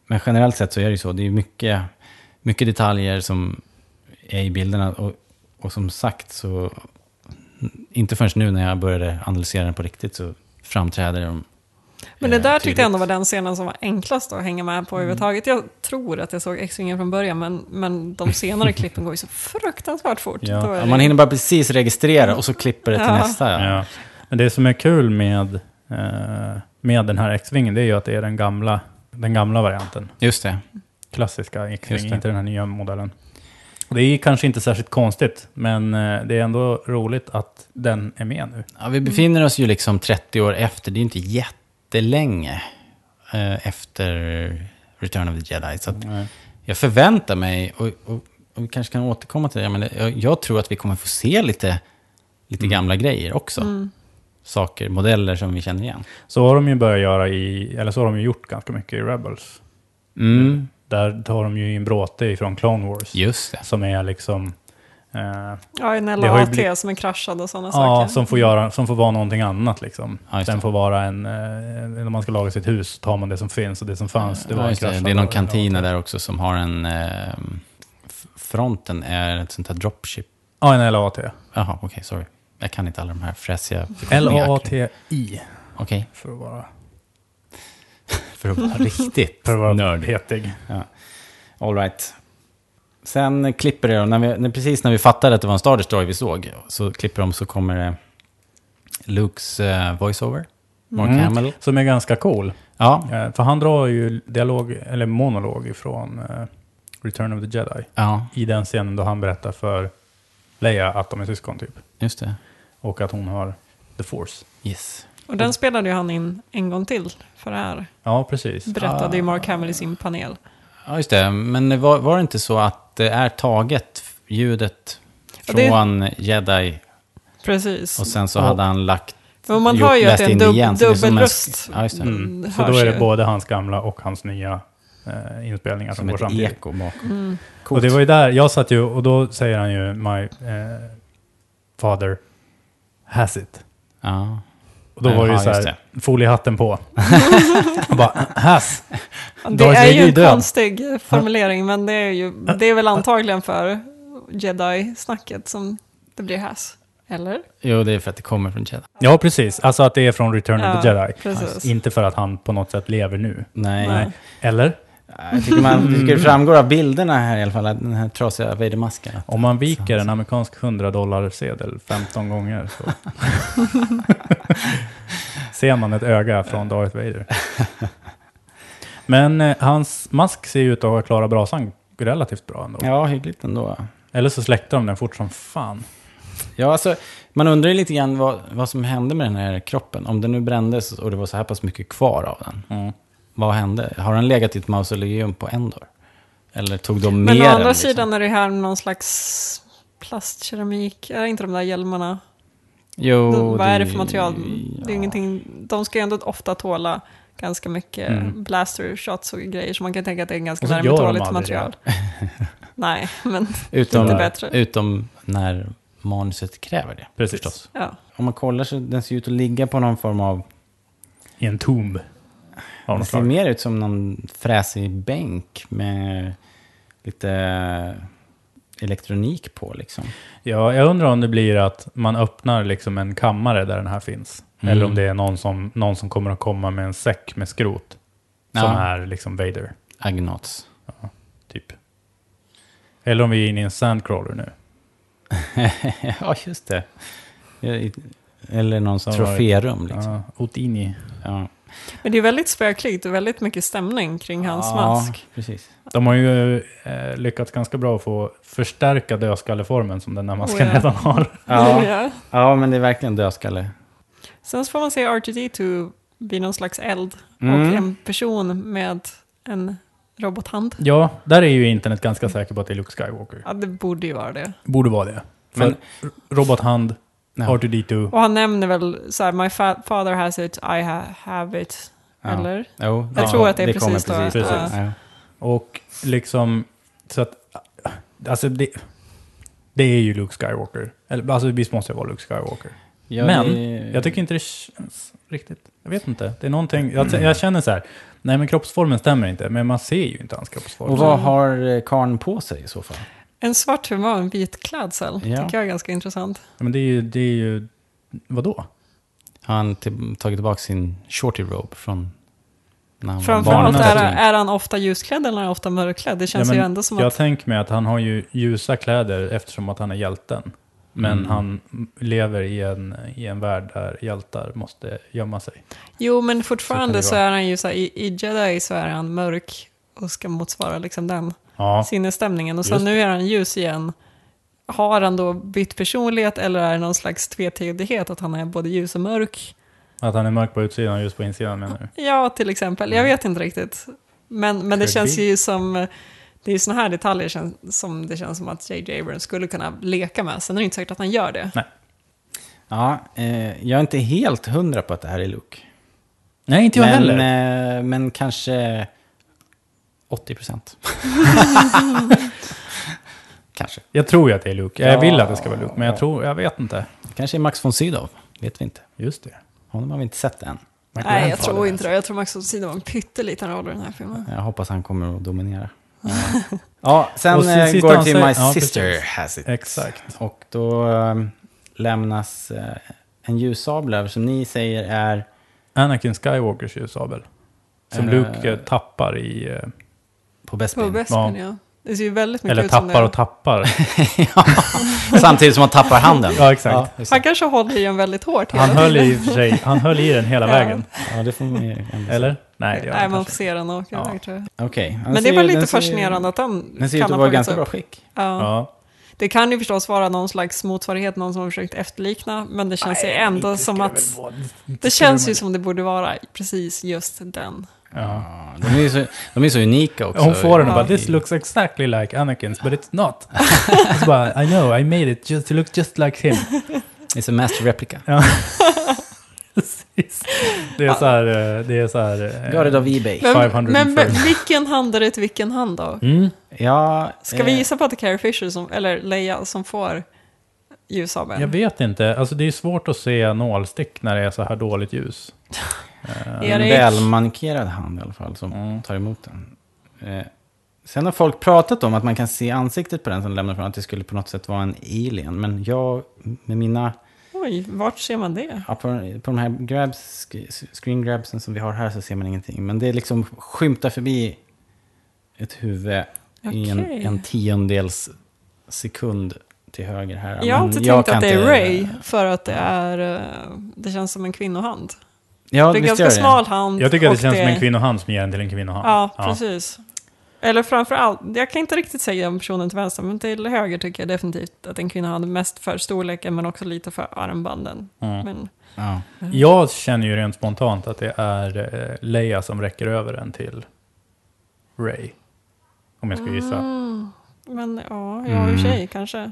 A: Men generellt sett så är det ju så. Det är ju mycket, mycket detaljer som är i bilderna. Och, och som sagt så, inte förrän nu när jag började analysera den på riktigt så framträder de.
B: Men det
A: eh,
B: där tyckte jag ändå
A: tydligt.
B: var den scenen som var enklast att hänga med på
C: Mm.
B: överhuvudtaget. Jag tror att jag såg X-Wingen från början, men, men de senare klippen går ju så fruktansvärt fort.
C: Ja.
B: Då är
A: Ja,
B: det-
A: man hinner bara precis registrera och så klipper det till
B: Ja.
A: nästa. Ja.
C: Ja. Men det som är kul med, eh, med den här X-vingen, det är ju att det är den gamla, den gamla varianten.
A: Just det.
C: klassiska
A: Just
C: X-Wing,
A: det.
C: inte den här nya modellen. Och Det är kanske inte särskilt konstigt, men eh, det är ändå roligt att den är med nu.
A: Ja, vi befinner oss ju liksom 30 år efter. Det är ju inte jättelänge eh, efter Return of the Jedi. Så att jag förväntar mig, och, och, och vi kanske kan återkomma till det, men jag, jag tror att vi kommer få se lite,
C: Mm.
A: lite gamla grejer också. Saker, modeller som vi känner igen.
C: Så har de ju börjat göra i, eller så har de ju gjort ganska mycket i Rebels.
A: Mm.
C: Där tar de ju in bråte ifrån Clone Wars,
A: Just det.
C: som är liksom, eh,
B: Ja, en
C: Det har ju
B: LAT
C: blivit-
B: som är kraschad och sådana
C: ja,
B: saker.
C: som får, göra, som får vara någonting annat liksom.
A: Ja, just
C: den
A: det.
C: får vara en, eh, när man ska laga sitt hus tar man det som finns och det som fanns, det var
A: ja,
C: en
A: just det.
C: kraschad-
A: det är någon kantina där också som har en... Eh, f- fronten är ett sånt här dropship.
C: Ja, en LAT.
A: Jaha, okej, sorry. Jag kan inte alla de här fräsiga... Okej,
C: L-A-T-I, för att vara,
A: för att vara riktigt
C: för att vara
A: nördig.
C: petig.
A: All right. Sen klipper de, när vi, när, precis när vi fattade att det var en Star Destroyer vi såg, så klipper de så kommer det Lukes eh, voiceover. Mark
C: Mm.
A: Hamill.
C: Som är ganska cool.
A: Ja,
C: Eh, För han drar ju dialog, eller monolog ifrån eh, Return of the Jedi.
A: ja,
C: I den scenen då han berättar för Leia att de är syskon typ.
A: Just det.
C: Och att hon har the force.
A: Yes.
B: Och den spelade ju han in en gång till för det här.
C: Ja, precis.
B: Berättade ju
C: Ah.
B: Mark Hamill i sin panel.
A: Ja, just det. Men var, var det inte så att det är taget ljudet
B: Ja, det-
A: från jedi
B: Precis.
A: och sen så
C: Ja.
A: hade han lagt...
B: Men man
A: gjort-
B: hör ju att
A: läst
B: det är en
A: in
B: dub-
A: igen, så det är som en-
B: dubbelröst.
A: Ja, just det.
B: Mm,
C: Så då
B: hörs
C: är det
B: ju.
C: både hans gamla och hans nya eh, inspelningar som
A: Som
C: går
A: ett liksom.
C: samtidigt.
A: eko bakom.
C: Och det var ju där, jag satt ju, och då säger han ju my eh, father has it.
A: Ja.
C: Och då
A: Ja,
C: var det ju
A: ja,
C: så
A: just
C: här, foliehatten på. och bara, has.
B: Det
C: Darth
B: är
C: Vader
B: ju
C: är
B: en
C: död.
B: konstig formulering, men det är, ju, det är väl antagligen för jedi-snacket som det blir häs. Eller?
A: Jo, det är för att det kommer från jedi.
C: Ja, precis. Alltså att det är från Return of the
B: Ja,
C: Jedi.
B: precis.
C: Inte för att han på något sätt lever nu.
A: Nej.
B: Nej.
A: Nej. Mm.
C: Eller?
A: Jag tycker, man, jag tycker det framgår av bilderna här i alla fall, att den här trasiga Vader-masken. att-
C: Om man viker
A: Alltså.
C: en amerikansk 100 dollar sedel 15 gånger så ser man ett öga från Darth Vader. Men eh, hans mask ser ju ut att ha klarat brasan relativt bra ändå.
A: Ja, hyggligt ändå.
C: Eller så släckte de den fort som fan.
A: Ja, alltså, man undrar ju lite grann vad, vad som hände med den här kroppen. Om den nu brändes och det var så här pass mycket kvar av den. Vad hände? Har den legat i ett mausoleum på Endor? Eller tog de
B: Men
A: med
B: å
A: den?
B: andra
A: liksom?
B: sidan är det här någon slags plastkeramik. Är det inte de där hjälmarna?
A: Jo,
B: Vad är det för material? Det är
A: ja.
B: ingenting, de ska ju ändå ofta tåla ganska mycket blaster shots och grejer, så man kan tänka att det är ganska
C: Och så gör de
B: värmetåligt
C: aldrig det.
B: material. Nej, men
A: Utom,
B: Inte bättre.
A: utom när manuset kräver det.
C: Precis.
A: Förstås.
B: ja.
A: Om man kollar så den ser ut att ligga på någon form av...
C: I en tomb. Av
A: Den
C: något
A: ser
C: slag.
A: mer ut som någon fräsig bänk med lite elektronik på liksom.
C: Ja, jag undrar om det blir att man öppnar liksom en kammare där den här finns.
A: Mm.
C: Eller om det är någon som, någon som kommer att komma med en säck med skrot. Som
A: Ja.
C: är liksom Vader.
A: Agnats.
C: Typ. Eller om vi är inne i en sandcrawler nu.
A: ja, just det. I- Eller någon
C: Som
A: troférum liksom.
C: Ja, Houdini.
A: Ja.
B: Men det är väldigt spöklikt och väldigt mycket stämning kring hans
A: ja,
B: mask.
A: precis.
C: De har ju eh, lyckats ganska bra att få förstärka dödskalleformen som den där masken
B: Oh, ja.
C: redan har.
A: Ja, ja, men det är verkligen dödskalle.
B: Sen så får man se R2D2 bli någon slags eld och
A: Mm.
B: en person med en robothand.
C: Ja, där är ju internet ganska säker på att det är Luke Skywalker.
B: Ja, det borde ju vara det.
C: Borde vara det. Men
A: Men-
C: robothand,
A: Ja.
C: R2D2.
B: Och han nämner väl så här, my fa- father has it, I ha- have it.
A: Ja.
B: Eller?
A: Jo,
B: Jag
A: det-
B: tror att det är
A: kommer
B: precis då,
A: precis.
C: att-
A: Ja.
C: Och liksom, så att, alltså det, det är ju Luke Skywalker. Eller, alltså visst måste det vara Luke Skywalker.
A: Ja,
C: men
A: det-
C: jag tycker inte det känns riktigt. Jag vet inte. Det är någonting, jag, jag känner så här, nej men kroppsformen stämmer inte, men man ser ju inte hans kroppsform.
A: Och vad har eh, karln på sig i så fall?
B: En svart humör, en vit klädsel.
A: Ja.
B: Tycker jag är ganska intressant.
C: Men det är ju, det är ju vadå?
A: Har han till, tagit tillbaka sin shorty robe från när han var
B: Framförallt
C: barnen
B: är,
C: där
A: barn?
B: är han ofta ljusklädd eller är han ofta mörkklädd? Det känns
C: Ja, men
B: ju ändå som
C: jag
B: att...
C: tänker mig att han har ju ljusa kläder eftersom att han är hjälten. Men han lever i en, i en värld där hjältar måste gömma sig.
B: Jo, men
C: det
B: fortfarande så,
C: vara.
B: är han ju så här, i, i Jedi så är han mörk och ska motsvara liksom den
C: Ja,
B: sinnesstämningen. Och sen
C: Just
B: nu är han ljus igen. Har han då bytt personlighet eller är det någon slags tvetydighet att han är både ljus och mörk?
C: att han är mörk på utsidan och ljus på insidan menar du?
B: Ja, till exempel. Jag vet inte riktigt. Men, men det
C: Mm. Could
B: känns
C: be.
B: ju som... Det är ju sådana här detaljer kän- som det känns som att J.J. Abrams skulle kunna leka med. Sen är det inte säkert att han gör det.
C: Nej.
A: Ja, eh, jag är inte helt hundra på att det här är Luke.
C: Nej, inte jag
A: Men,
C: heller.
A: eh, men kanske 80 procent. kanske.
C: Jag tror ju att det är Luke. Jag
A: Ja.
C: vill att det ska vara Luke, men jag tror, jag vet inte.
A: Kanske är Max von Sydow. Vet vi inte.
C: Just det.
A: Honom har vi inte sett än.
C: Michael
B: Nej, jag
C: Landfall
B: tror
C: är
B: inte det. Jag tror Max von Sydow har en pytteliten roll i den här filmen.
A: Jag hoppas han kommer att dominera. ja, sen
C: Och sen
A: eh,
C: sista
A: går det
C: han
A: till
C: säger-
A: My
C: ja,
A: Sister
C: precis.
A: Has It.
C: Exakt.
A: Och då eh, lämnas eh, en ljussabel över som ni säger är...
C: Anakin Skywalkers ljussabel. Som
A: Eh,
C: Luke eh, tappar i... eh,
A: På bäst
B: På Bespin, ja. Det ser ju väldigt mycket
C: Eller
B: ut som
C: tappar
B: det.
C: och tappar.
A: Samtidigt som han tappar handen.
C: Ja, exakt.
A: just
B: Han
A: det.
B: kanske håller i en väldigt hårt hela
C: Han höll
B: tiden.
C: i och för sig, han höll i den hela
B: Ja.
C: vägen.
A: ja, det får man ju ändå säga.
C: Eller? Nej, det gör
B: Nej,
C: han
B: man
C: kanske.
B: får se den åka
C: Ja.
B: iväg tror jag.
A: Okej. han
B: Men det
A: ser
B: var
A: ju-
B: lite
A: den ser ju-
B: fascinerande att den
A: Den ser
B: kan
A: ut att
B: ha
A: vara i
B: tagits
A: ganska
B: upp.
A: bra skick.
B: Ja.
C: Ja.
B: Det kan ju förstås vara någon slags motsvarighet, någon som har försökt efterlikna, men det känns ju ändå som att... Det känns ju som det borde vara precis just den.
C: Ja.
A: Ja, de, är ju så, de är så unika också.
C: Hon får den och
A: Ja.
C: bara “This looks exactly like Anakin's, but it's not”. Och så bara “I know, I made it, just, it looks just like him”.
A: It's a master replica.
C: Precis. Det är så här... eh, Det är så här eh,
A: Got it of Ebay.
B: Men,
C: 500
B: men
C: följare.
B: vilken hand är det till vilken hand då?
A: Mm. Ja,
B: Ska vi
A: eh,
B: gissa på att det är Carrie Fisher, som, eller Leia, som får ljussabeln?
C: Jag vet inte, alltså det är svårt att se nålstick när det är så här dåligt ljus. Eh,
A: Det är en välmankerad hand i alla fall som
C: Mm.
A: tar emot den. Eh, sen har folk pratat om att man kan se ansiktet på den som lämnar från att det skulle på något sätt vara en alien. Men jag, med mina,
B: Oj, vart ser man det?
A: ja, på, på de här grabs, sk- screen grabsen som vi har här så ser man ingenting. Men det är liksom skymtar förbi ett huvud i en,
B: Okej.
A: en tiondels sekund till höger här.
B: Jag har
A: Men
B: inte
A: jag
B: tänkt
A: kan
B: att det är
A: inte-
B: Ray, för att det är... eh, Det känns som en kvinnohand.
A: Ja,
B: det är
A: visst
B: ganska
A: gör det.
B: smal hand.
C: Jag tycker att
B: och
C: det känns som en kvinnohand som ger den till en kvinnohand.
B: Ja, precis. Eller framför allt, jag kan inte riktigt säga om personen till vänster, men till höger tycker jag definitivt att en kvinna hade mest för storleken, men också lite för armbanden.
C: Mm.
B: Men,
A: Ja.
C: Jag känner ju rent spontant att det är eh, Leia som räcker över den till Ray. Om jag skulle gissa.
B: Mm, men ja, ja i och
A: Mm.
B: för sig kanske.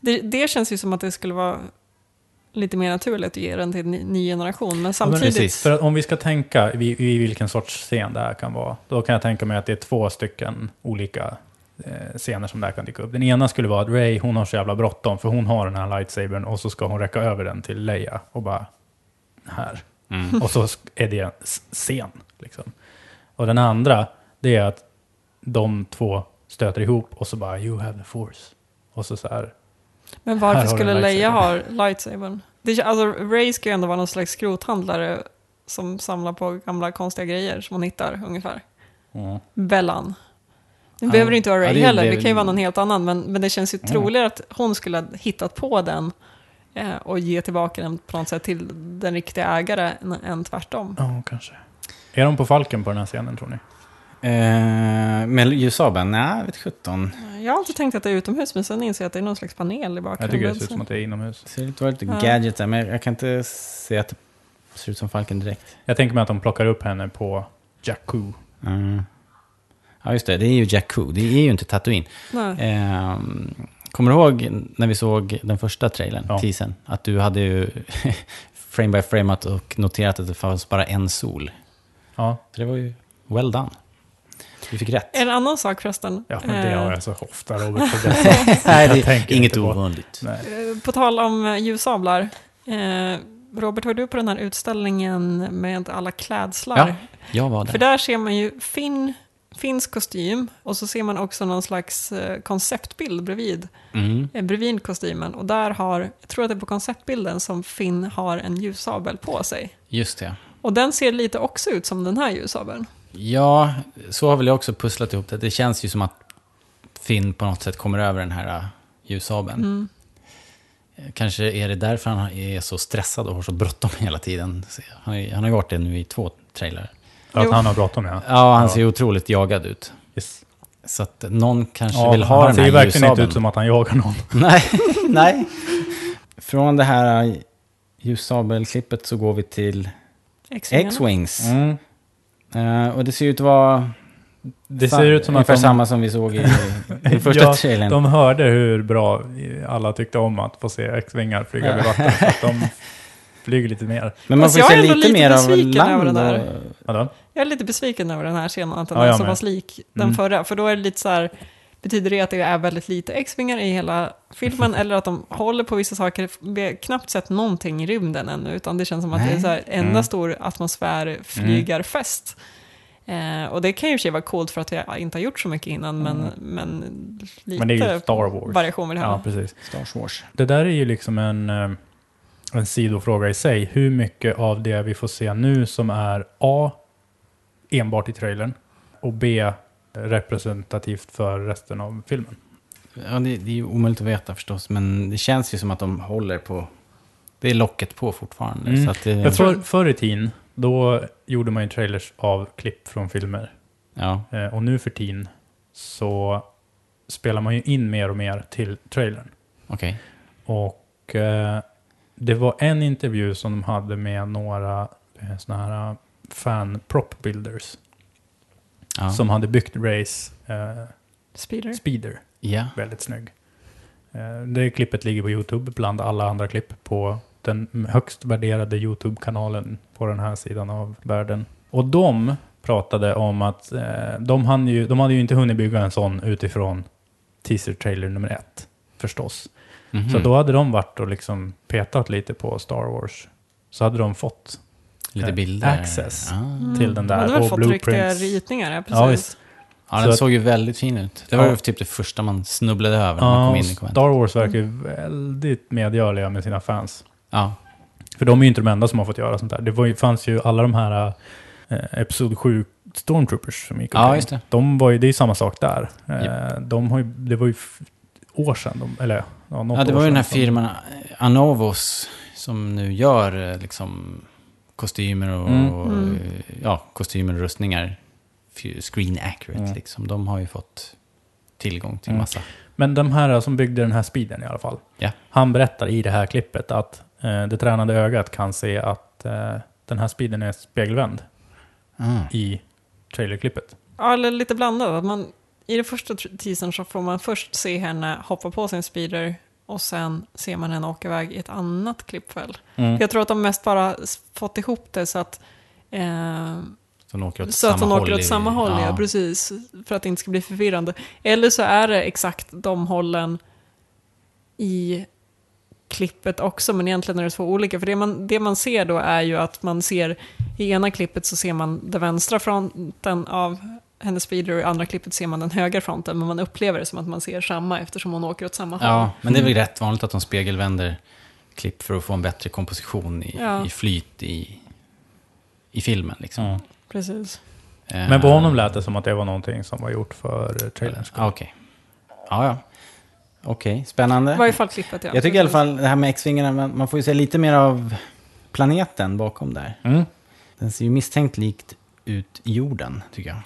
B: Det, det känns ju som att det skulle vara lite mer naturligt att ge den till en ny, ny generation, men samtidigt...
A: precis.
C: För att om vi ska tänka i, i vilken sorts scen det här kan vara, då kan jag tänka mig att det är två stycken olika eh, scener som det här kan dyka upp. Den ena skulle vara att Ray, hon har så jävla bråttom, för hon har den här lightsabern och så ska hon räcka över den till Leia och bara här.
A: Mm.
C: Och så sk- är det en s- scen. Liksom. Och den andra, det är att de två stöter ihop och så bara you have the force. Och så så här,
B: Men
C: Här
B: varför
C: har du
B: skulle
C: en
B: Leia ha
C: lightsaber.
B: lightsabern? Det, alltså, Ray ska ju ändå vara någon slags skrothandlare som samlar på gamla konstiga grejer som hon hittar ungefär.
C: Mm.
B: Bellan. Nu
A: Ja.
B: behöver det inte vara Ray
A: Ja, det är-
B: heller,
A: det är-
B: det kan ju vara någon helt annan, men, men det känns ju
C: Mm.
B: troligare att hon skulle ha hittat på den eh, och ge tillbaka den på något sätt till den riktiga ägaren än tvärtom.
C: ja kanske. Är de på Falken på den här scenen tror ni?
A: Eh, med ljussabeln? Nej, vet sjutton.
B: Jag har alltid tänkt att det är utomhus, men sen inser jag att det är någon slags panel i
C: Jag
B: bakgrunden.
C: tycker det ser ut som att det är inomhus.
A: Det ser ut att vara lite
B: Ja.
A: gadget där, men jag kan inte se att det ser ut som Falken direkt.
C: Jag tänker mig att de plockar upp henne på Jakku.
A: Mm. Ja, just det. Det är ju Jakku. Det är ju inte Tatooine.
B: Nej.
A: Ehm, kommer du ihåg när vi såg den första trailern,
C: Ja.
A: teasern? Att du hade ju frame by frameat och noterat att det fanns bara en sol.
C: Ja,
A: Så det var ju well done. Du fick rätt.
B: En annan sak förresten.
C: ja men det
B: eh,
C: har jag så ofta Robert. så det är så-
A: Nej,
C: jag
A: det är
C: tänker
A: inget
C: inte på-
A: ovanligt.
C: Nej.
B: Eh, På tal om eh, ljussablar. Eh, Robert, var du på den här utställningen med alla klädslar?
A: Ja, jag var
B: För
A: där.
B: där ser man ju fin, finsk kostym och så ser man också någon slags eh, konceptbild bredvid,
A: Mm.
B: eh, bredvid kostymen. Och där har, jag tror att det är på konceptbilden som Finn har en ljussabel på sig.
A: Just det.
B: Och den ser lite också ut som den här ljussabeln.
A: Ja, så har väl jag också pusslat ihop det. Det känns ju som att Finn på något sätt kommer över den här äh, ljussabeln. Eh, Kanske är det därför han är så stressad och har så bråttom hela tiden. Så Han, är, han har ju varit det nu i två trailrar.
C: För att
B: Jo.
C: han har bråttom ja.
A: Ja, han ser ju otroligt jagad ut.
C: Yes.
A: Så att någon kanske
C: ja
A: vill ha
C: han
A: den
C: ser
A: här
C: ju
A: ljussabeln.
C: verkligen inte ut som att han jagar någon.
A: Nej, nej. Från det här äh, ljussabelklippet så går vi till
B: X-vingarna.
A: X-Wings. Eh, och det ser ut att vara
C: Det
A: sa-
C: ser ut som att
A: ungefär
C: de,
A: samma som vi såg i, i första
C: Ja,
A: trailern.
C: de hörde hur bra alla tyckte om att få se X-vingar flyga över vatten. Så att de flyger lite mer.
A: Men man får ju
B: Fast Alltså, jag
A: se
B: är ändå
A: lite,
B: lite
A: mer av
B: besviken över
A: land.
B: det där.
A: och-
C: Vadå?
B: Jag är lite besviken över den här scenen, att den
C: Ja,
B: är
C: jag
B: så
C: med.
B: pass lik den
C: Mm.
B: förra. För då är det lite så här, betyder det att det är väldigt lite X-vingar i hela filmen eller att de håller på vissa saker? Vi har knappt sett någonting i rymden ännu, utan det känns som att det är så här enda
C: Mm.
B: stor atmosfärflygarfest. Eh, och det kan ju i och för sig vara coolt för att jag inte har gjort så mycket innan, men, men lite
C: Mm. Men det är ju Star Wars.
B: variation vill jag ha.
C: Ja, precis.
A: Star Wars.
C: Det där är ju liksom en, eh, en sidofråga i sig. Hur mycket av det vi får se nu som är A, enbart i trailern, och B, representativt för resten av filmen.
A: Ja, det, det är ju omöjligt att veta förstås, men det känns ju som att de håller på... Det är locket på fortfarande.
C: Mm.
A: Så att det,
C: Men För, förr i tiden, då gjorde man ju trailers av klipp från filmer.
A: ja.
C: Eh, Och nu för tiden så spelar man ju in mer och mer till trailern.
A: Okej.
C: Och eh, det var en intervju som de hade med några eh, sådana här fan prop builders
A: Ja.
C: som hade byggt Race eh,
B: Speeder.
C: Speeder.
A: ja.
C: Väldigt snygg. Eh, Det klippet ligger på YouTube bland alla andra klipp på den högst värderade YouTube-kanalen på den här sidan av världen. Och de pratade om att eh, de, hann ju, de hade ju inte hunnit bygga en sån utifrån teaser-trailer nummer ett, förstås.
A: Mhm.
C: Så då hade de varit och liksom petat lite på Star Wars. Så hade de fått
A: Lite
C: eh,
A: bilder.
C: access.
A: Ah.
C: till den där,
B: Hade väl
C: och
B: fått
C: blueprints.
B: riktiga ritningar, ja,
C: Ja,
B: precis.
C: visst.
A: Ja,
C: Så
A: den
C: att-
A: såg ju väldigt fin ut. Det var
C: Ja.
A: typ det första man snubblade över när man
C: Ja,
A: kom
C: och
A: in i konventet.
C: Star Wars verkar ju väldigt medgörliga med sina fans.
A: Ja.
C: För de är ju inte de enda som har fått göra sånt där. Det var, ju- fanns ju alla de här eh, Episod 7 Stormtroopers som gick
A: ja, just det.
C: de var ju, Det är ju samma sak där. Eh, de har ju, det var ju f- år sedan, de, eller ja, något
A: Ja, det
C: år
A: var ju den här
C: sedan.
A: firman eh, Anovos som nu gör eh, liksom kostymer och,
C: Mm.
A: och,
B: Mm.
A: eh, ja, kostymer och rustningar. F- Screen accurate
C: Mm.
A: liksom. De har ju fått tillgång till
C: Mm.
A: massa.
C: Men de här eh, som byggde den här speeden i alla fall.
A: Ja.
C: Han berättar i det här klippet att eh, det tränade ögat kan se att eh, den här speeden är spegelvänd
A: Ah.
C: i trailerklippet.
B: Ja, eller lite blandat. Att Man, I den första tr- teasern så får man först se henne hoppa på sin speeder och sen ser man henne åka iväg i ett annat klipp väl.
C: Mm.
B: Jag tror att de mest bara s- fått ihop det så att eh,
A: Så de åker åt
B: så att
A: samma
B: de åker
A: håll
B: åt
A: i-
B: samma håll, ja. precis. För att det inte ska bli förvirrande. Eller så är det exakt de hållen i klippet också, men egentligen är det två olika. För det man, det man ser då är ju att man ser, i ena klippet så ser man den vänstra fronten av hennes speeder och i andra klippet ser man den högra fronten, men man upplever det som att man ser samma eftersom hon åker åt samma håll.
A: Ja, men det är väl rätt vanligt att de spegelvänder klipp för att få en bättre komposition i,
B: Ja.
A: i flyt i, i filmen. Liksom.
C: Mm.
B: Precis.
A: Eh,
C: Men på honom lät det som att det var någonting som var gjort för eh, trailern.
A: Ah, Okej. Ja, ja. Okej, spännande.
B: I varje fall klippet, ja.
A: Jag tycker i alla fall det här med X-vingarna, man, man får ju se lite mer av planeten bakom där.
C: Mm.
A: Den ser ju misstänkt likt ut i jorden, tycker jag.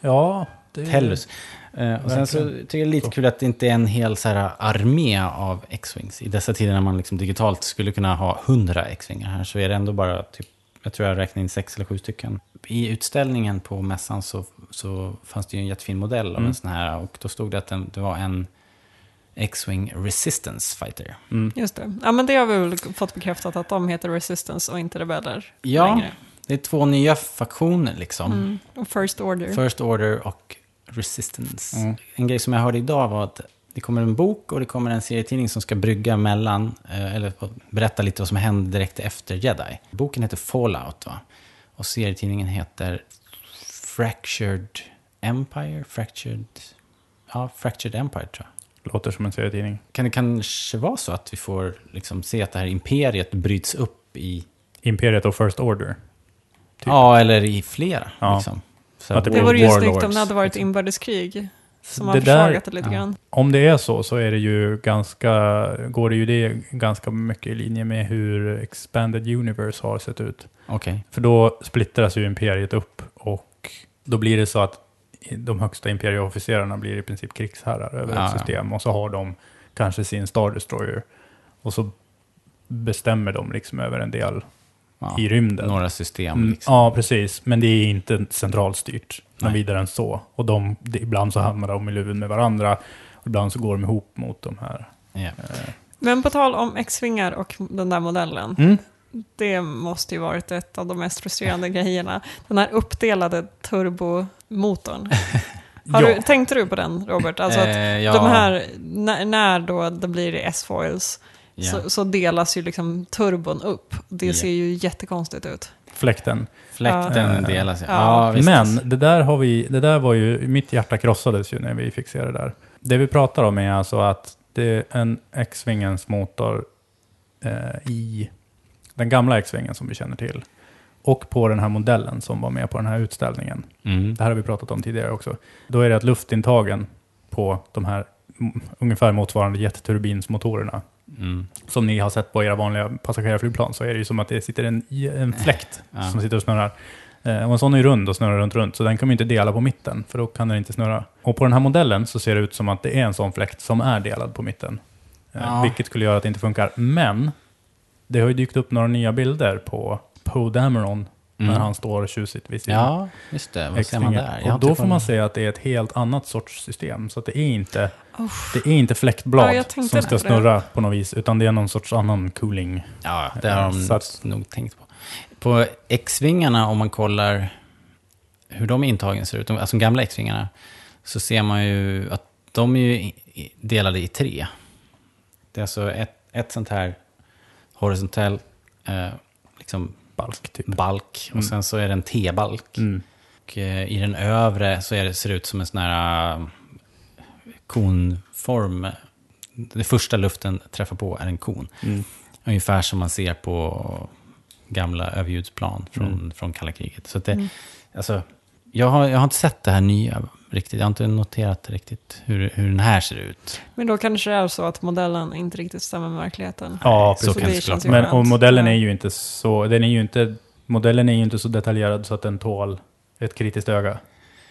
C: Ja, det
A: Tellus. Eh, och sen så
C: verkligen.
A: tycker jag det är lite kul att det inte är en hel så här, armé av X-wings. I dessa tider när man liksom digitalt skulle kunna ha hundra X-wingar här så är det ändå bara typ, jag tror jag räknade in sex eller sju stycken. I utställningen på mässan så, så fanns det ju en jättefin modell av en sån här och då stod det att den, det var en X-wing resistance fighter.
C: Mm.
B: Just det. Ja, men det har vi väl fått bekräftat att de heter Resistance och inte Rebeller
A: Ja,
B: längre.
A: det är två nya faktioner liksom.
B: Mm. Och First Order.
A: First Order och Resistance.
C: Mm.
A: En grej som jag hörde idag var att det kommer en bok och det kommer en serietidning som ska brygga mellan, eh, eller berätta lite vad som hände direkt efter Jedi. Boken heter Fallout va? Och serietidningen heter Fractured Empire? Fractured... Ja, Fractured Empire tror jag.
C: låter som en serietidning.
A: Kan det kanske vara så att vi får liksom se att det här imperiet bryts upp i...
C: Typ. Imperiet och First Order. Typ.
A: Ja, eller i flera.
C: Ja.
A: Liksom. Så
C: Att det
B: Det
C: blir-
A: vår-
B: vore ju
C: Warlords,
B: snyggt om det hade varit
C: liksom.
B: inbördeskrig som har
C: Det där-
B: försvagat det lite
A: ja.
B: grann.
C: Om det är så, så är det ju ganska, går det ju det ganska mycket i linje med hur Expanded Universe har sett ut.
A: Okej.
C: För då splittras ju imperiet upp och då blir det så att de högsta imperieofficerarna blir i princip krigsherrar över
A: Ja,
C: ett
A: ja.
C: system och så har de kanske sin Star Destroyer och så bestämmer de liksom över en del
A: Ja.
C: i rymden.
A: Några system
C: Mm,
A: liksom.
C: Ja, precis. Men det är inte centralstyrt någon
A: Nej. Mm.
C: vidare än så. Och de, det, ibland så hamnar de i luven med varandra. Och ibland så går de ihop mot de här.
A: Ja.
B: Men på tal om X-vingar och den där modellen.
C: Mm.
B: Det måste ju varit ett av de mest frustrerande grejerna. Den här uppdelade turbomotorn. Har
C: ja.
B: du, tänkte du på den, Robert? Alltså att
A: Eh, ja.
B: de här, när, när då det blir S-foils
A: Ja.
B: så, så delas ju liksom turbon upp. Det
A: Ja.
B: ser ju jättekonstigt ut.
C: Fläkten.
A: Fläkten
C: Ja.
A: delas. Ja,
B: Ja.
A: ja visst.
C: Men det där, har vi, det där var ju, mitt hjärta krossades ju när vi fick se det där. Det vi pratar om är alltså att det är en X-Wingens motor eh, i den gamla X-Wingen som vi känner till. Och på den här modellen som var med på den här utställningen.
A: Mm.
C: det här har vi pratat om tidigare också, då är det att luftintagen på de här mm, ungefär motsvarande jetturbinsmotorerna,
A: Mm.
C: som ni har sett på era vanliga passagerarflygplan, så är det ju som att det sitter en, en fläkt
A: Ja.
C: som sitter och snurrar. Eh, och en sån är ju rund och snurrar runt, runt, så den kan man ju inte dela på mitten, för då kan den inte snurra. Och på den här modellen så ser det ut som att det är en sån fläkt som är delad på mitten. Eh,
A: Ja.
C: Vilket skulle göra att det inte funkar. Men det har ju dykt upp några nya bilder på Poe Dameron när
A: Mm.
C: han står tjusigt vid sidan.
A: Ja, just det. Vad ser man
C: X-stringen.
A: där? Jag har
C: Och
A: inte
C: då får man
A: kollat.
C: se att det är ett helt annat sorts system. Så att det är inte,
B: Uff.
C: det är inte fläktblad
B: Ja, jag tänkte
C: som ska
B: det.
C: snurra på något vis, utan det är någon sorts annan cooling.
A: Ja, det har de
C: Så att-
A: nog tänkt på. På X-vingarna, om man kollar hur de intagen ser ut, de- alltså de gamla X-vingarna, så ser man ju att de är ju i- i- delade i tre. Det är alltså ett, ett sånt här horisontell eh, liksom
C: balk typ.
A: balk och
C: Mm.
A: sen så är det en T-balk.
C: Mm.
A: Och eh, i den övre så är det, ser det ut som en sån här eh, konform. Det första luften träffar på är en kon.
C: Mm.
A: Ungefär som man ser på gamla överljudsplan från, från kalla kriget. Så att det, alltså, jag, har, jag har inte sett det här nya riktigt. Jag har inte noterat riktigt hur, hur den här ser ut.
B: Men då kanske det är så att modellen inte riktigt stämmer med verkligheten.
C: Ja,
A: Så
C: precis.
A: kan det
B: känns
A: såklart
B: ju
C: Men,
B: skönt.
C: och modellen
B: Ja.
C: är ju inte så, den är ju inte, modellen är ju inte så detaljerad så att den tål ett kritiskt öga.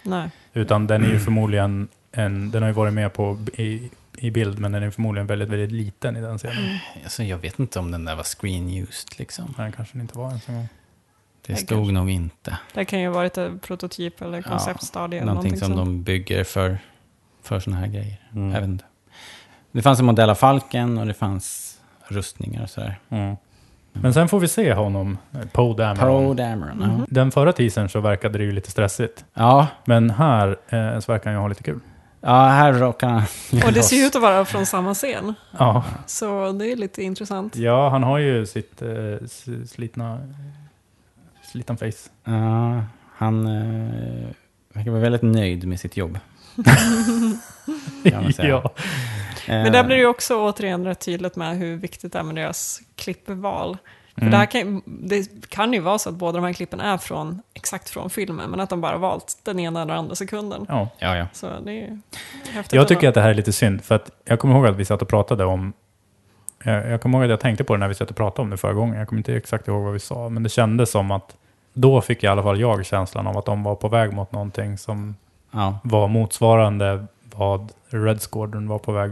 B: Nej.
C: Utan den är
A: Mm.
C: ju förmodligen, en, den har ju varit med på i, i bild, men den är förmodligen väldigt, väldigt liten i den
B: Mm.
C: scenen.
A: Alltså, jag vet inte om den där var screen used. Liksom.
C: Den kanske den inte var ens en gång.
A: Det
B: Nej,
A: stod
B: kanske.
A: nog inte.
B: Det kan ju ha varit en prototyp eller
A: Ja,
B: konceptstadie. eller
A: Någonting som
B: sånt.
A: de bygger för, för sådana här grejer.
C: Mm.
A: Jag vet inte. Det fanns en modell av Falken och det fanns rustningar och sådär.
C: Mm. Men sen får vi se honom, eh, Poe Dameron.
A: Pro Dameron. ja.
B: Mhm.
C: Den förra teasern så verkade det ju lite stressigt.
A: Ja.
C: Men här eh, så verkar han ju ha lite kul.
A: ja, här råkar han
B: Och det ser ju ut att vara från samma scen.
C: Ja,
B: Så det är lite intressant.
C: ja han har ju sitt eh, s- slitna... Slitna face.
A: Ja, han eh, verkar vara väldigt nöjd med sitt jobb. Kan man säga.
C: ja.
B: Men där blir det ju också återigen rätt tydligt med hur viktigt det är med deras klippval. För
C: Mm.
B: det, här kan, det kan ju vara så att båda de här klippen är från, exakt från filmen, men att de bara valt den ena eller andra sekunden.
C: ja.
A: Eh, Ja, ja.
B: Så det är ju häftigt.
C: Jag tycker
B: ändå.
C: att det här är lite synd, för att jag kommer ihåg att vi satt och pratade om... Jag, jag kommer ihåg att jag tänkte på det när vi satt och pratade om det förra gången. Jag kommer inte exakt ihåg vad vi sa, men det kändes som att då fick i alla fall jag känslan av att de var på väg mot någonting som
A: ja.
C: var motsvarande vad Red Squadron var på väg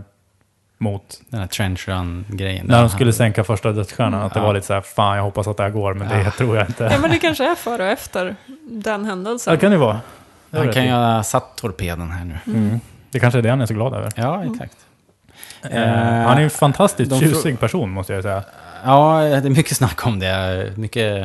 C: mot
A: Den här trench run-grejen. där
C: När de
A: han-
C: skulle sänka första dödsstjärnan, att det
A: Mm. Ja.
C: var lite så här, fan jag hoppas att det här går, men det
A: Ja.
C: tror jag
B: Ja,
C: inte.
B: men det kanske är före och efter den
C: Så
B: händelsen.
C: det kan det vara. Det har
A: Han
C: rätt
A: kan
C: i.
A: ju ha satt torpeden här nu. Mm.
C: Mm. Det kanske är det han är så glad över.
A: Ja, exakt.
C: Eh, han är ju en fantastiskt
A: de
C: tjusig person, måste jag säga.
A: Ja, det är mycket snack om det. Mycket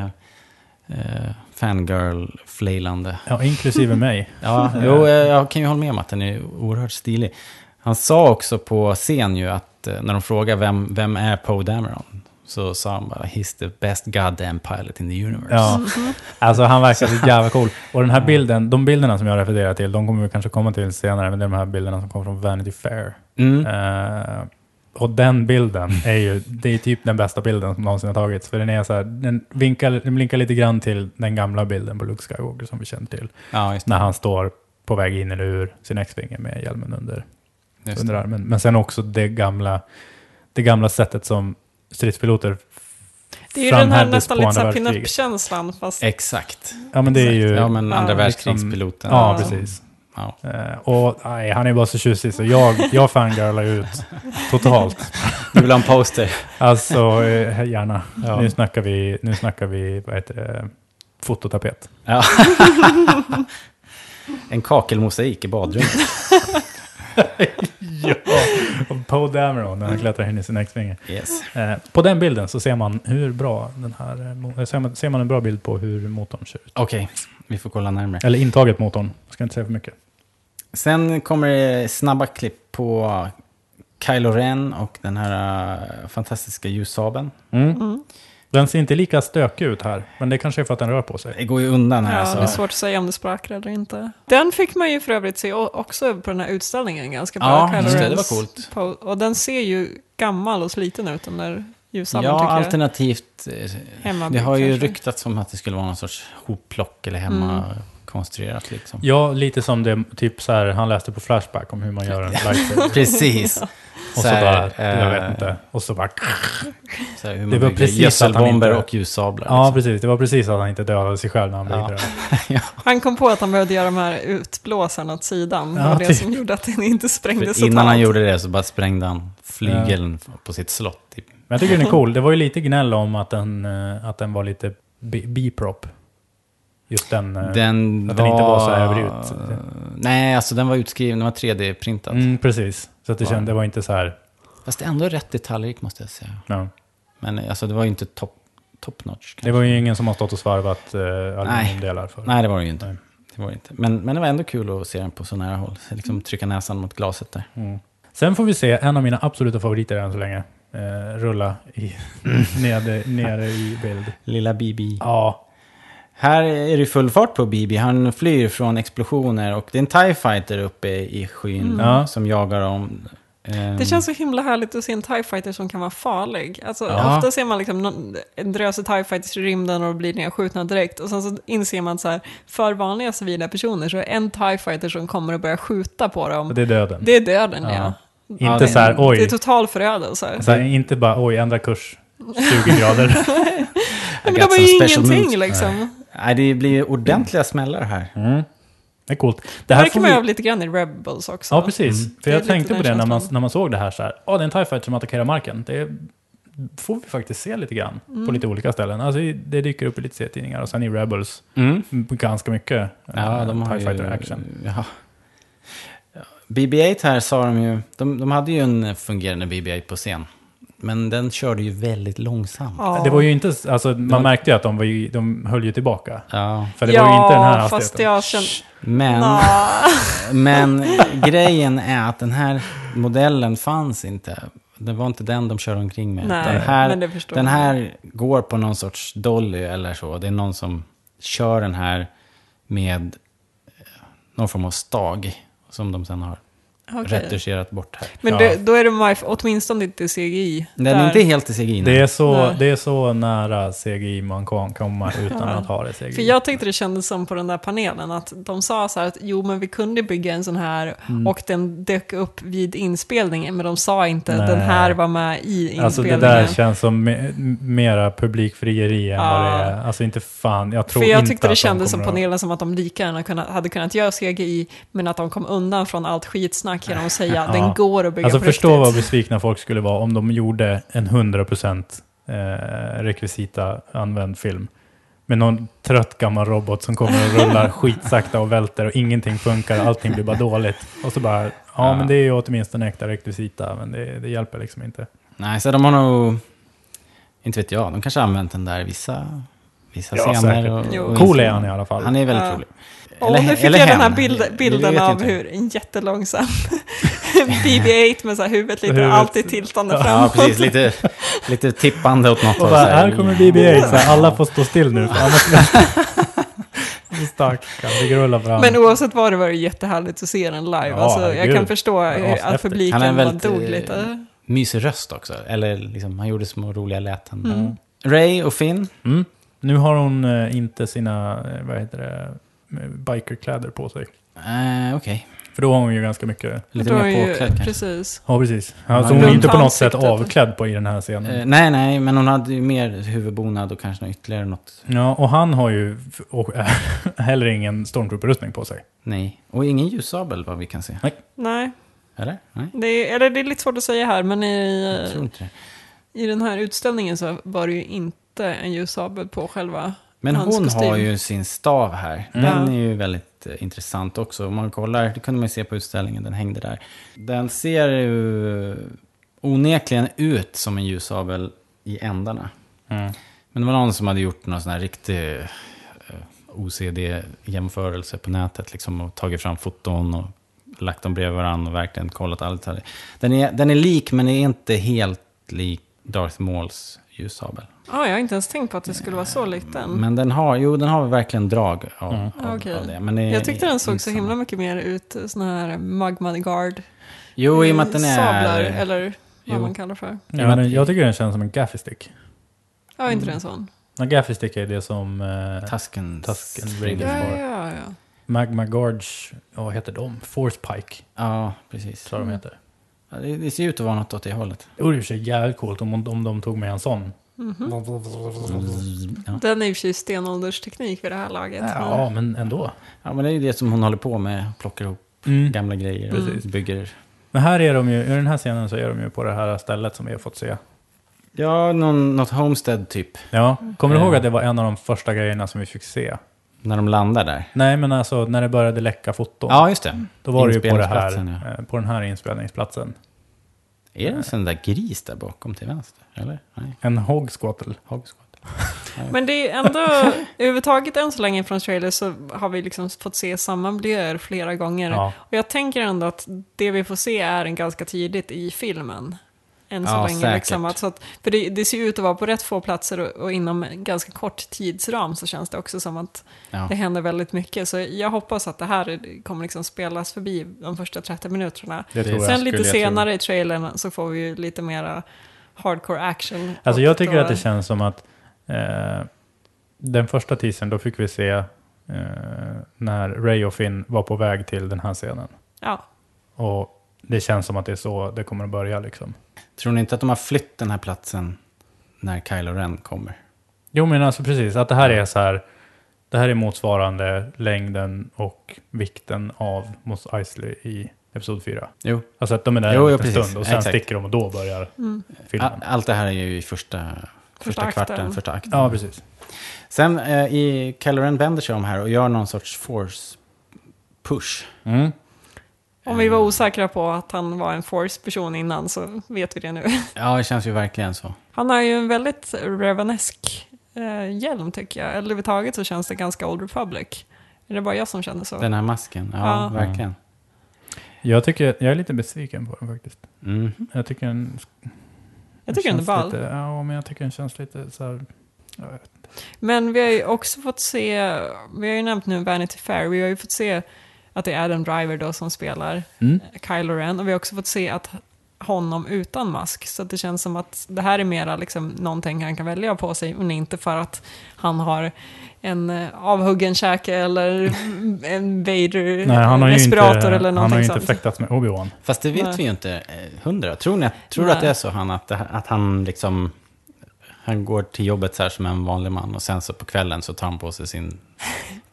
A: eh, fangirl-flailande.
C: Ja, inklusive mig.
A: Ja, jo, eh, jag kan ju hålla med om att den är oerhört stilig. Han sa också på scen ju att eh, när de frågar vem, vem är Poe Dameron? Så sa han bara, he's the best goddamn pilot in the universe.
C: Ja.
B: Mm-hmm.
C: Alltså han verkar så jävla cool. Och den här bilden, de bilderna som jag refererar till, de kommer vi kanske komma till senare, men det är de här bilderna som kommer från Vanity Fair.
A: Mm.
C: Eh, och den bilden är ju, det är typ den bästa bilden som någonsin har tagits. För den är så här, den, vinkar, den blinkar lite grann till den gamla bilden på Luke Skywalker som vi känner till.
A: ja, just det.
C: när han står på väg in eller ur sin X-vinge med hjälmen under,
A: Just
C: under
A: det.
C: armen. Men sen också det gamla, det gamla sättet som stridspiloter
B: det är ju den här
C: framhävdes
B: nästan
C: på
B: lite
C: andra
B: såhär
C: världskriget.
B: pinup-känslan, fast
A: Exakt.
C: Ja, men det är ju... liksom-
A: Ja, men andra
B: Ja,
A: världskrigspiloten.
C: Ja,
B: Ja.
C: precis.
A: Ja.
C: Eh, och nej, han är bara så tjusig så jag, jag fangirlar ut totalt.
A: Du vill ha en poster?
C: Alltså, eh, gärna.
A: Ja.
C: Nu snackar vi, nu snackar vi vad heter det, fototapet.
A: Ja. en kakelmosaik i badrummet.
C: Ja, och Poe Dameron när han klättrar in i sin X-vinge.
A: Yes.
C: Eh, på den bilden så ser man hur bra den här, eh, mo- eh, ser man, ser man en bra bild på hur motorn ser ut.
A: Okej, vi får kolla närmare.
C: Eller intaget motorn, jag ska inte säga för mycket.
A: Sen kommer det snabba klipp på Kylo Ren och den här eh, fantastiska ljussabeln.
C: Den ser inte lika stökig ut här, men det kanske är för att den rör på sig.
A: Det går ju undan här.
B: ja,
A: alltså.
B: det är svårt att säga om det sprakar eller inte. Den fick man ju för övrigt se o- också på den här utställningen ganska bra.
A: Ja,
B: Kylo
A: just det, det
B: Rens
A: var coolt.
B: po- och den ser ju gammal och sliten ut, den där ljussabeln
A: Ja,
B: tycker jag.
A: alternativt. eh,
B: Hemmabyggd
A: Det har ju
B: kanske. Mm.
A: ryktats om att det skulle vara någon sorts hopplock eller hemma konstruerat liksom.
C: Ja, lite som det, typ så här, han läste på Flashback om hur man gör en lightsaber.
A: Precis.
C: Och så
A: här,
C: bara, jag
A: eh,
C: vet inte. Och så bara...
A: Så här, hur
C: Det
A: man
C: var
A: bygger
C: precis att han
A: gödselbomber
C: inte-
A: och ljussablar.
C: Ja,
A: Liksom.
C: precis. Det var precis att han inte dödade sig själv när han
A: Ja.
C: byggde den.
B: Han kom på att han behövde göra de här utblåsarna åt sidan. Det
C: Ja,
B: var det
C: typ.
B: som gjorde att den inte sprängdes
A: För innan
B: totalt.
A: han gjorde det så bara sprängde han flygeln på sitt slott. Typ.
C: Men jag tycker den är cool. Det var ju lite gnäll om att den, eh, att den var lite bi- B-prop. Just den. eh,
A: Den
C: att
A: var...
C: den inte var så här överut.
A: Nej, alltså den var utskriven, den var 3D-printad.
C: Mm, precis. Så att det
A: Ja.
C: kändes, det var inte så här...
A: Fast ändå rätt detaljrik måste jag säga.
C: Ja.
A: Men eh, alltså det var ju inte top, top notch.
C: Det
A: kanske.
C: var ju ingen som har stått och svarvat eh, aluminiumdelar för.
A: Nej, det var det ju inte.
C: Nej.
A: Det var det inte. Men, men det var ändå kul att se den på så nära håll. Så Liksom trycka näsan mot glaset där.
C: Mm. Sen får vi se en av mina absoluta favoriter än så länge. Eh, rulla i, nere, nere i bild.
A: Lilla Bibi.
C: Ja,
A: Här är det full fart på Bibi. Han flyr från explosioner och det är en TIE fighter uppe i skyn
C: Mm. Ja.
A: som jagar dem. Ehm,
C: Mm.
B: Det känns så himla härligt att se en TIE fighter som kan vara farlig. Alltså,
A: Ja.
B: Ofta ser man liksom någon, en drös TIE fighters i rymden och blir nedskjutna direkt. Och sen så inser man så här, för vanliga civila personer så är en TIE fighter som kommer och börjar skjuta på dem,
C: och
B: det,
C: det är döden.
B: är döden ja.
A: Ja.
C: Inte
A: Ja, det-
C: så här,
B: Det är
C: oj, Alltså,
B: total förödelse.
C: så här, inte bara oj, ändra kurs 20 grader.
B: Men
A: I
B: det
A: got
B: var
A: some
B: ju
A: special
B: ingenting
A: moves.
B: liksom.
A: Nej, det blir ju ordentliga smällar här.
C: Mm. Det är coolt. Det
B: Det
C: här
B: här
C: får
B: kommer över
C: vi...
B: lite grann i Rebels också.
C: Ja, precis. För
B: mm. Det är
C: jag
B: lite
C: tänkte på
B: den
C: det när man,
B: känslan.
C: när man såg det här så här. Ja, det är en TIE fighter som attackerar marken. Det får vi faktiskt se lite grann
B: Mm.
C: på lite olika ställen. Alltså, det dyker upp i lite serietidningar och sen i Rebels m- ganska mycket
A: Ja,
C: eh,
A: de har
C: Mm. TIE
A: ju...
C: fighter action.
A: Ja. BB-8 här sa de ju... De, de hade ju en fungerande BB-8 på scen. Men den körde ju väldigt långsamt. Ja.
B: Ja.
C: Det var ju inte, alltså, man
A: var-
C: märkte ju att de, var ju, de höll ju tillbaka. För det
B: ja,
C: var ju inte den här
B: fast
C: hastigheten.
B: jag känner...
A: Men,
B: Nå.
A: men grejen är att den här modellen fanns inte. Det var inte den de körde omkring med.
B: Nej,
A: den här,
B: men det förstår
A: den
B: man.
A: här går på någon sorts dolly eller så. Det är någon som kör den här med eh, någon form av stag. Som de sen har
B: Okej.
A: retuscherat bort här.
B: Men
C: Ja.
B: det, då är det Mif, åtminstone inte CGI.
A: Den är inte helt i CGI.
C: Det är, så,
B: Nej.
C: det är så nära CGI man kan komma utan
B: Ja.
C: att ha det CGI.
B: För jag tyckte det kändes som på den där panelen att de sa så här att jo men vi kunde bygga en sån här
C: Mm.
B: och den dök upp vid inspelningen men de sa inte
C: Nej.
B: den här var med i inspelningen.
C: Alltså det där känns som me- mera publikfrieri än vad
B: Ja.
C: det är. Alltså inte fan, jag tror
B: För jag
C: inte
B: tyckte
C: att de
B: det kändes som
C: kommer att-
B: panelen som att de lika gärna kunnat, hade kunnat göra CGI men att de kom undan från allt skitsnack genom att säga att
C: Ja.
B: den går att bygga
C: Alltså
B: på
C: förstå vad
B: riktigt.
C: besvikna folk skulle vara om de gjorde en 100% eh, rekvisita använd film. Med någon trött gammal robot som kommer och rullar skitsakta och välter och ingenting funkar och allting blir bara dåligt. Och så bara, ja,
A: Ja.
C: men det är ju åtminstone äkta rekvisita men det, det hjälper liksom inte.
A: Nej, så de har nog... Inte vet jag, de kanske har använt den där i vissa, vissa
C: Ja,
A: scener.
C: säkert.
A: Och,
B: Jo.
A: och
C: Cool är han i alla fall.
A: Han är väldigt
B: Ja.
A: rolig.
B: Och nu fick jag den här bild,
A: Det- det
B: bilden
A: vet jag
B: av
A: inte.
B: hur en jättelångsam BB-8 med så här huvudet lite
C: Huvudet.
B: alltid tiltande
A: Ja,
B: framåt.
A: precis. Lite, lite tippande åt något
C: Och
A: håll,
C: bara,
A: så
C: här kommer BB-8, så här, alla får stå still nu. För annars... Så Stackarn, fick rulla fram.
B: Men oavsett vad det var det jättehärligt att se den live.
C: Ja,
B: alltså, jag
C: herregud.
B: kan förstå hur,
C: ashäftigt.
B: att publiken
A: Han är en
B: var
A: väldigt,
B: dog
A: eh,
B: lite.
A: Mysig röst också. Eller liksom, han gjorde små roliga läten.
B: Mm.
A: Ray och Finn.
C: Mm. Nu har hon eh, inte sina, eh, vad heter det, eh, bikerkläder på sig.
A: Eh, Okej.
C: För då har hon ju ganska mycket...
A: Lite
B: Då är
A: mer
B: ju-
A: påklädd kanske.
B: Precis.
C: Ja, precis.
A: Ja,
C: Alltså, hon
A: runt
C: är inte på något sätt
B: ansiktet.
C: avklädd på i den här scenen.
A: Eh, nej, nej, men hon hade ju mer huvudbonad och kanske något ytterligare något.
C: Ja, och han har ju f- och, heller ingen stormtrooper-rustning på sig.
A: Nej. Och ingen ljussabel vad vi kan se.
B: Nej,
A: Eller? Nej,
B: det är, eller det är lite svårt att säga här, men
A: jag tror
B: i,
A: inte det.
B: i den här utställningen så var det ju inte en ljussabel på själva
A: Men
B: hans
A: hon
B: kostym.
A: har ju sin stav här. Den är
B: Ja.
A: ju väldigt eh, intressant också. Om man kollar, det kunde man ju se på utställningen, den hängde där. Den ser ju onekligen ut som en ljussabel i ändarna. Men det var någon som hade gjort någon sån här riktig eh, OCD-jämförelse på nätet. Liksom, och tagit fram foton och lagt dem bredvid varandra och verkligen kollat allt. här. Den är, den är lik, men är inte helt lik Darth Mauls ljussabel.
B: Ja, jag har inte ens tänkt på att det skulle vara så liten.
A: Men den har, jo, den har verkligen drag av,
C: Mm.
A: av,
B: Okej.
A: av det. Men det är
B: jag tyckte den såg
A: inte
B: så
A: samma.
B: himla mycket mer ut, eh, sån här magma guard.
A: Jo, i och med att den är...
B: Mm, Sablar, eller vad
A: Jo.
B: man kallar för.
C: Ja, men jag tycker den känns som en gaffystick.
A: Mm.
B: Ja, inte den sån?
C: Ja, Gaffistick är det som eh,
A: Tusken.
C: Tusken
B: Ja,
C: Raiders
B: ja,
C: var.
B: ja. ja.
C: Magma Gorge, ja, vad heter de? Force Pike
A: Ja, precis.
C: tror jag de
B: Mm.
C: heter.
A: Ja, det, det ser ju ut att vara något åt det hållet.
C: Det vore i och för sig jävligt coolt om, om de tog med en sån.
B: Mhm.
C: Mm.
A: Ja.
B: Den är i och för sig stenåldersteknik vid det här laget. men-
C: Ja, men ändå.
A: ja, men det är ju det som hon håller på med. Plockar ihop
C: Mm.
A: gamla grejer och
B: Precis.
A: bygger.
C: Men här är de ju, i den här scenen så är de ju på det här stället som vi har fått se.
A: Ja, någon, något homestead typ.
C: Ja, kommer du
A: Mm.
C: ihåg att det var en av de första grejerna som vi fick se?
A: När de landar där.
C: Nej, men alltså när det började läcka foton.
A: Ja, just det.
C: då var det ju på, det här,
A: inspelningsplatsen, ja.
C: eh, på den här inspelningsplatsen.
A: Är det en sån där gris där bakom till vänster? Eller? Nej.
C: En hogsquattle.
A: Hogskott.
B: Men det är ändå, överhuvudtaget än så länge från trailers så har vi liksom fått se samma miljöer flera gånger.
C: Ja.
B: Och jag tänker ändå att det vi får se är en ganska tidigt i filmen. Än så
A: Ja,
B: länge
A: säkert.
B: liksom. Att, så att, för det, det ser ju ut att vara på rätt få platser och, och inom en ganska kort tidsram så känns det också som att
A: Ja.
B: det händer väldigt mycket. Så jag hoppas att det här kommer liksom spelas förbi de första 30 minuterna.
C: Det tror jag.
B: Sen
C: skulle
B: lite
C: jag tro.
B: senare i trailern så får vi ju lite mera hardcore action.
C: Alltså
B: Och
C: jag tycker
B: då-
C: att det känns som att eh, den första teasern, då fick vi se eh, när Ray och Finn var på väg till den här scenen.
B: Ja,
C: Och det känns som att det är så det kommer att börja liksom.
A: Tror ni inte att de har flytt den här platsen när Kylo Ren kommer?
C: Jo men alltså precis, att det här är så här, det här är motsvarande längden och vikten av Mos Eisley i Episod 4.
A: Jo.
C: Alltså att de är där
A: Jo,
C: en
A: jo,
C: liten
A: precis.
C: stund och sen
A: Exakt. Ah,
C: sticker de och då börjar filmen.
A: A- Allt det här är ju i första, första,
B: mm, Första
A: kvarten,
B: akten.
A: första akten.
C: Ja, precis.
A: Sen eh, i Kylo Ren vänder sig om här och gör någon sorts force push.
C: Mm.
B: Om vi var osäkra på att han var en force-person innan så vet vi det nu.
A: Ja, det känns ju verkligen så.
B: Han har ju en väldigt revanesk eh, hjälm tycker jag. Eller överhuvudtaget så känns det ganska Old Republic. Är det bara jag som känner så?
A: Den här masken, ja,
B: Ja.
A: verkligen.
C: Jag, tycker, jag är lite besviken på den faktiskt.
A: Mm.
C: Jag tycker den
B: jag tycker den är
C: känns
B: ball.
C: lite, Ja, men jag tycker den känns lite så här... jag vet.
B: Men vi har ju också fått se, vi har ju nämnt nu Vanity Fair, vi har ju fått se att det är Adam Driver då som spelar Kylo Ren. Och vi har också fått se att honom utan mask. Så att det känns som att det här är mera liksom någonting han kan välja på sig, men inte för att han har en eh, avhuggen käke eller en Vader
C: Nej, han har ju inte,
B: respirator eller
C: han har
B: någonting
C: ju inte
B: sånt.
C: fäktats med Obi-Wan.
A: Fast det vet
B: Nej.
A: vi ju inte eh, hundra. tror ni tror du
B: Nej.
A: att det är så, han att, det- att han liksom... Han går till jobbet så här som en vanlig man och sen så på kvällen så tar han på sig sin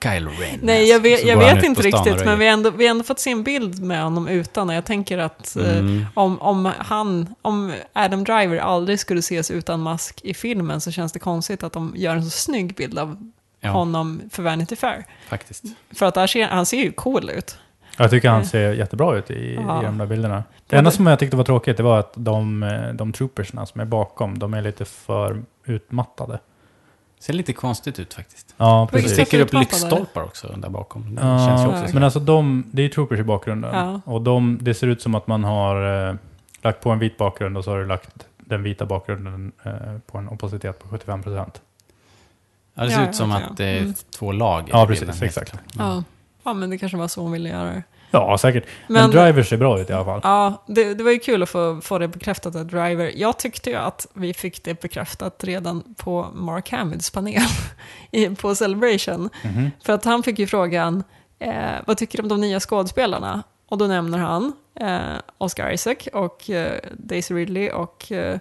A: Kylo Ren.
B: Nej, jag vet,
A: Så
B: jag
A: går han
B: vet
A: ut
B: inte
A: på stan och
B: riktigt, men
A: röjer.
B: vi har, ändå, vi har ändå fått se en bild med honom utan och jag tänker att eh,
A: Mm.
B: om, om, han, om Adam Driver aldrig skulle ses utan mask i filmen så känns det konstigt att de gör en så snygg bild av
A: Ja.
B: honom för Vanity Fair.
A: Faktiskt.
B: För att där ser, han ser ju cool ut.
C: Jag tycker han ser jättebra ut i,
B: Ja.
C: i de där bilderna. Det
B: Ja,
C: enda
B: det-
C: som jag tyckte var tråkigt det var att de, eh, de troopersna som är bakom, de är lite för utmattade.
A: Ser lite konstigt ut faktiskt.
C: Ja,
A: Det
B: Vilket
C: precis.
B: sätt?
A: sticker upp
B: utmattade.
A: lyktstolpar också där bakom. Det känns ju
C: Ja,
A: också
B: så.
C: men alltså de, det är troopers i bakgrunden.
B: Ja.
C: Och de, det ser ut som att man har eh, lagt på en vit bakgrund och så har du lagt den vita bakgrunden eh, på en opacititet på 75 procent.
A: Ja, det ser
B: Ja,
A: ut som
B: jag vet,
A: att det är
B: ja. Mm.
A: två lag. i
C: Ja,
A: bilden, liksom.
C: precis,
A: helt
C: exakt.
A: klart.
B: Ja. ja, men det kanske var så hon ville göra det.
C: Ja, säkert. Men,
B: Men-
C: Driver ser bra ut i alla fall.
B: Ja, det, det var ju kul att få, få det bekräftat av Driver. Jag tyckte ju att vi fick det bekräftat redan på Mark Hamills panel i, på Celebration.
C: Mhm.
B: För att han fick ju frågan, eh, vad tycker du om de nya skådespelarna? Och då nämner han eh, Oscar Isaac och eh, Daisy Ridley och eh,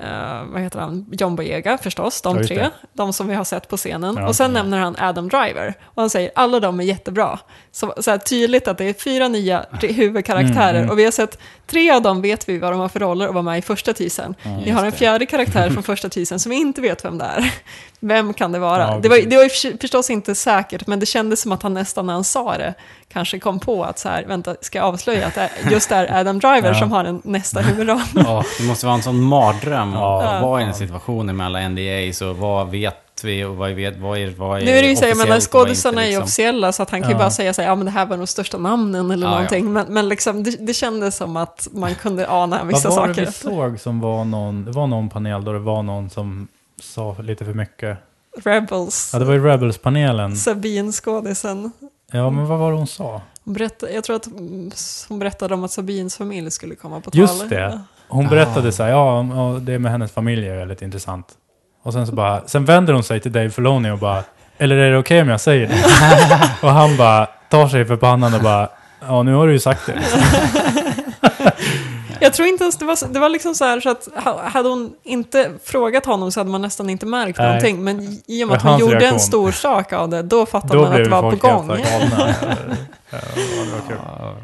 B: eh, vad heter han? John Boyega förstås,
C: Ja,
B: de
C: just
B: tre.
C: det.
B: De som vi har sett på scenen.
C: Ja,
B: och sen
C: ja.
B: nämner han Adam Driver. Och han säger alla de är jättebra. Så, så här tydligt att det är fyra nya tre- huvudkaraktärer.
C: Mm, mm.
B: Och vi har sett tre av dem vet vi vad de har för roller och var med i första teasern.
A: Mm.
B: vi har en
A: just det.
B: fjärde karaktär från första teasern som vi inte vet vem det är. Vem kan det vara?
C: Ja,
B: det, var,
C: precis.
B: det var ju förs- förstås inte säkert, men det kändes som att han nästan när han sa det kanske kom på att så här, vänta, ska jag avslöja att det är- just det är Adam Driver
C: Ja.
B: som har den nästa huvudroll?
A: Ja, det måste vara en sån mardröm
C: Ja.
A: att vara i den situationen med alla NDAs och vad vet vi och vad, vet, vad, är, vad är
B: Nu är det ju så, jag menar,
A: officiellt och vad
B: skådisarna
A: inte,
B: är ju
A: liksom.
B: officiella så att han kan ju
C: Ja.
B: bara säga så här, ja men det här var de största namnen eller
A: Ja,
B: någonting. Men, men liksom, det, det kändes som att man kunde ana
C: Vad
B: vissa
C: var det
B: saker.
C: vi såg som var någon, det var någon panel då det var någon som sa lite för mycket.
B: Rebels,
C: Ja, Mm. det var ju Rebels-panelen.
B: Sabine skådisen.
C: Ja, men vad var det hon sa?
B: Hon berättade, jag tror att mm, hon berättade om att Sabines familj skulle komma på tal.
C: Just det. Hon
A: Ah.
C: berättade så här, ja, om- ja, det med hennes familj är väldigt intressant. Och Och sen så bara, sen vänder hon sig till Dave Filoni och bara, eller är det okej om jag säger det? och han bara tar sig för pannan och bara, ja nu har du ju sagt det.
B: Jag tror inte ens det var, det var liksom så här så att ha- hade hon inte frågat honom så hade man nästan inte märkt
C: Nej.
B: någonting. Men i och med att hon
C: Men hans
B: gjorde en
C: reaktion.
B: stor sak av det, då fattade
C: Då
B: man att
C: blev
B: det var på
C: folk
B: gång.
C: helt så här galna. Ja, det var kul.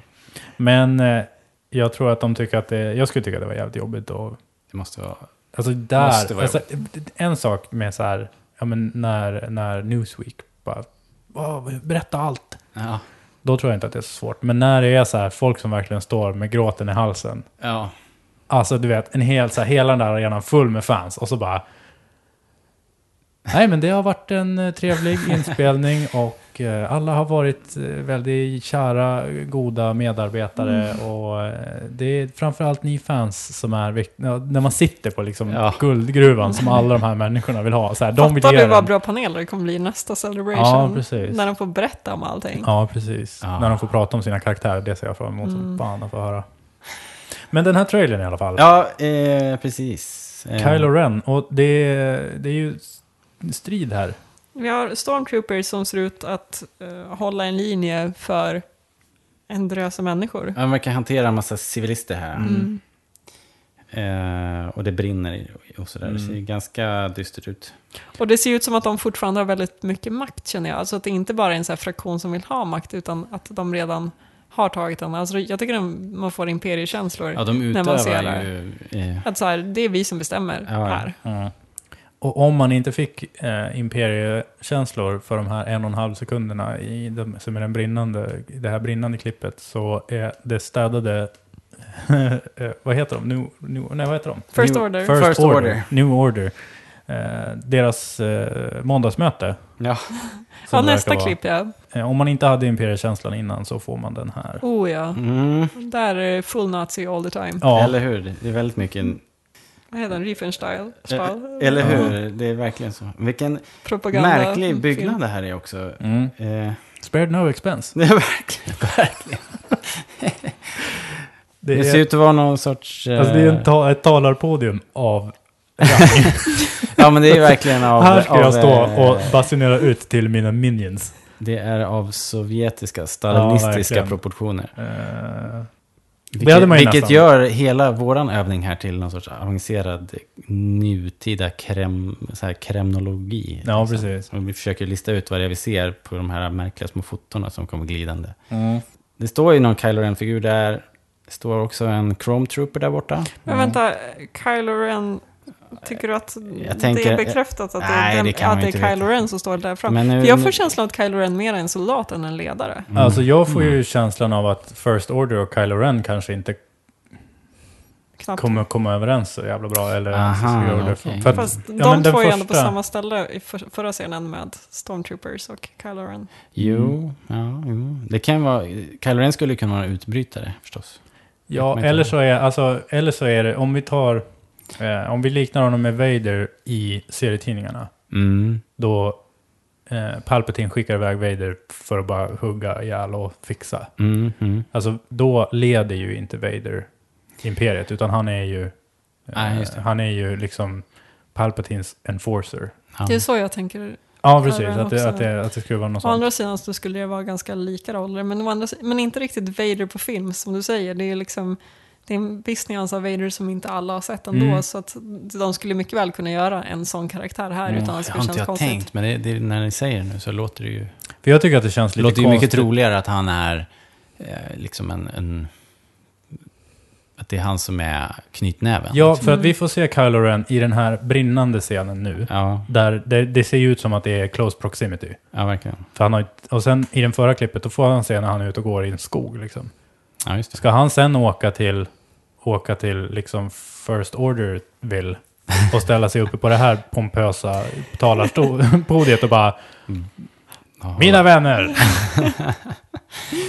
C: Men eh, jag tror att de tycker att det, jag skulle tycka att det var jävligt jobbigt och
A: Det måste vara...
C: Alltså där,
A: Måste vara
C: alltså, en sak med så här, ja men när, när Newsweek bara, "Åh, berätta allt.
A: Ja.
C: Då tror jag inte att det är så svårt. Men när det är så här, folk som verkligen står med gråten i halsen.
A: ja.
C: Alltså du vet, en hel, så här, hela den där arenan full med fans och så bara, nej men det har varit en eh, trevlig inspelning och eh, alla har varit eh, väldigt kära, goda medarbetare
B: Mm.
C: och eh, det är framförallt ni fans som är viktiga. Ja, när man sitter på liksom
A: Ja.
C: guldgruvan som alla de här människorna vill ha. Så här, de vill
B: Fattar
C: ge
B: du vad
C: den.
B: bra panel det kommer bli i nästa celebration?
C: Ja, precis.
B: När de får berätta om allting.
C: Ja, precis.
A: Ah.
C: När de får prata om sina karaktärer, det ser jag fram emot som fan att få höra. Men den här trailern i alla fall.
A: Ja, eh, precis. Eh,
C: Kylo Ren, och det, det är ju strid här.
B: Vi har stormtroopers som ser ut att eh, hålla en linje för en drös av människor.
A: Han verkar hantera en massa civilister här.
C: Mm.
B: Mm.
A: Eh, och det brinner i- och sådär. Det ser
C: Mm.
A: ganska dystert ut.
B: Och det ser ju ut som att de fortfarande har väldigt mycket makt känner jag. Alltså att det inte bara är en sån här fraktion som vill ha makt utan att de redan har tagit den. Alltså jag tycker den, man får imperiekänslor.
A: Ja, de
B: När man ser
A: utövar ju... Eh,
B: Att så här, det är vi som bestämmer
A: Ja, ja.
B: här.
C: Och om man inte fick eh, imperiekänslor för de här en och en halv sekunderna i de, som är den brinnande, i det här brinnande klippet så är det städade, eh, vad heter de? New, new, nej, vad heter de?
B: First
A: New-
B: order.
A: First Order.
C: New Order. Eh, deras eh, måndagsmöte.
A: ja.
C: som
B: Ja,
C: det verkar
B: nästa
C: vara.
B: klipp ja.
C: Eh, om man inte hade imperiekänslan innan så får man den här.
B: Oh ja.
A: Mm.
B: Där är det full nazi all the time.
C: Ja,
A: Eller hur? Det är väldigt mycket...
B: Vad heter den? Riefenstahl?
A: Eh,
B: Stahl?
A: eller hur? Det är verkligen så. Vilken
B: Propaganda.
A: märklig byggnad det här är också.
C: mm.
A: Eh,
C: spared no expense.
A: det är verkligen...
C: Det
A: Det,
C: är,
A: ser ut att vara någon sorts... eh,
C: alltså, det är en ta- ett talarpodium av
A: Ja, men det är ju verkligen av...
C: Här ska
A: av,
C: jag stå
A: eh,
C: och basunera ut till mina minions.
A: Det är av sovjetiska, stalinistiska
C: verkligen.
A: proportioner.
C: Eh,
A: Vilket,
C: hade man ju
A: vilket
C: nästan.
A: gör hela våran övning här till någon sorts avancerad nutida krem, så här, kremnologi.
C: ja,
A: liksom.
C: precis.
A: Och vi försöker lista ut vad det är vi ser på de här märkliga små fotona som kommer glidande. Det står ju någon Kylo Ren-figur där. Det står också en Chrome Trooper där borta.
B: Men vänta, Kylo Ren, tycker du att det
A: tänker- eh,
B: är bekräftat att det
A: Nej,
B: är, den,
A: det kan man
B: att det är
A: inte veta.
B: Kylo Ren som står där fram?
A: Men nu-
B: För jag
A: nu-
B: får känslan att Kylo Ren mer är en soldat än en ledare.
A: Mm.
C: Alltså jag får ju känslan av att First Order och Kylo Ren kanske inte
B: Knappt.
C: kommer komma överens så jävla bra. Eller
A: Aha,
C: så gör
A: okej.
C: för att,
B: Fast de
C: ja, men
B: två
C: den
B: är ändå på
C: första-
B: samma ställe i för, förra scenen med Stormtroopers och Kylo Ren.
A: Jo, ja, jo. Det kan vara... Kylo Ren skulle kunna vara utbrytare förstås.
C: Ja,
A: Men-
C: eller så, är, alltså, eller så är det, om vi tar, eh, om vi liknar honom med Vader i serietidningarna,
A: Mm.
C: då eh, Palpatine skickar iväg Vader för att bara hugga ihjäl och fixa.
A: Mm, mm.
C: Alltså då leder ju inte Vader imperiet, utan han är ju, eh,
A: Nej, just det.
C: han är ju liksom Palpatins enforcer.
A: Ja.
B: Det är så jag tänker.
C: Ja,
B: Ja,
C: precis.
B: men
C: Att det,
B: också-
C: att, det, att det skulle vara något
B: Å
C: sånt.
B: andra sidan så skulle det vara ganska lika roller, men, å andra, si- men inte riktigt Vader på film som du säger. Det är liksom det är en viss nyans av Vader som inte alla har sett ändå,
C: Mm.
B: så att de skulle mycket väl kunna göra en sån karaktär här utan att det
A: det
B: skulle
A: Mm. har inte
B: kännas
A: jag
B: konstigt.
A: tänkt, men det, det, när ni säger det nu så låter det ju...
C: För jag tycker att det känns
A: Det
C: lite
A: låter ju mycket
C: konstigt.
A: troligare att han är eh, liksom en, en... Att det är han som är knytnäven.
C: Ja,
A: liksom.
C: för att vi får se Kylo Ren i den här brinnande scenen nu.
A: ja,
C: Där det, det ser ju ut som att det är close proximity.
A: ja, verkligen.
C: För han har, ju- och sen i den förra klippet, då får han se när han är ute och går i en skog. Liksom.
A: Ja, just det.
C: Ska han sen åka till, åka till liksom First Order vill och ställa sig uppe på det här pompösa talarpodiet och bara
A: Ja.
C: ”Mina vänner!”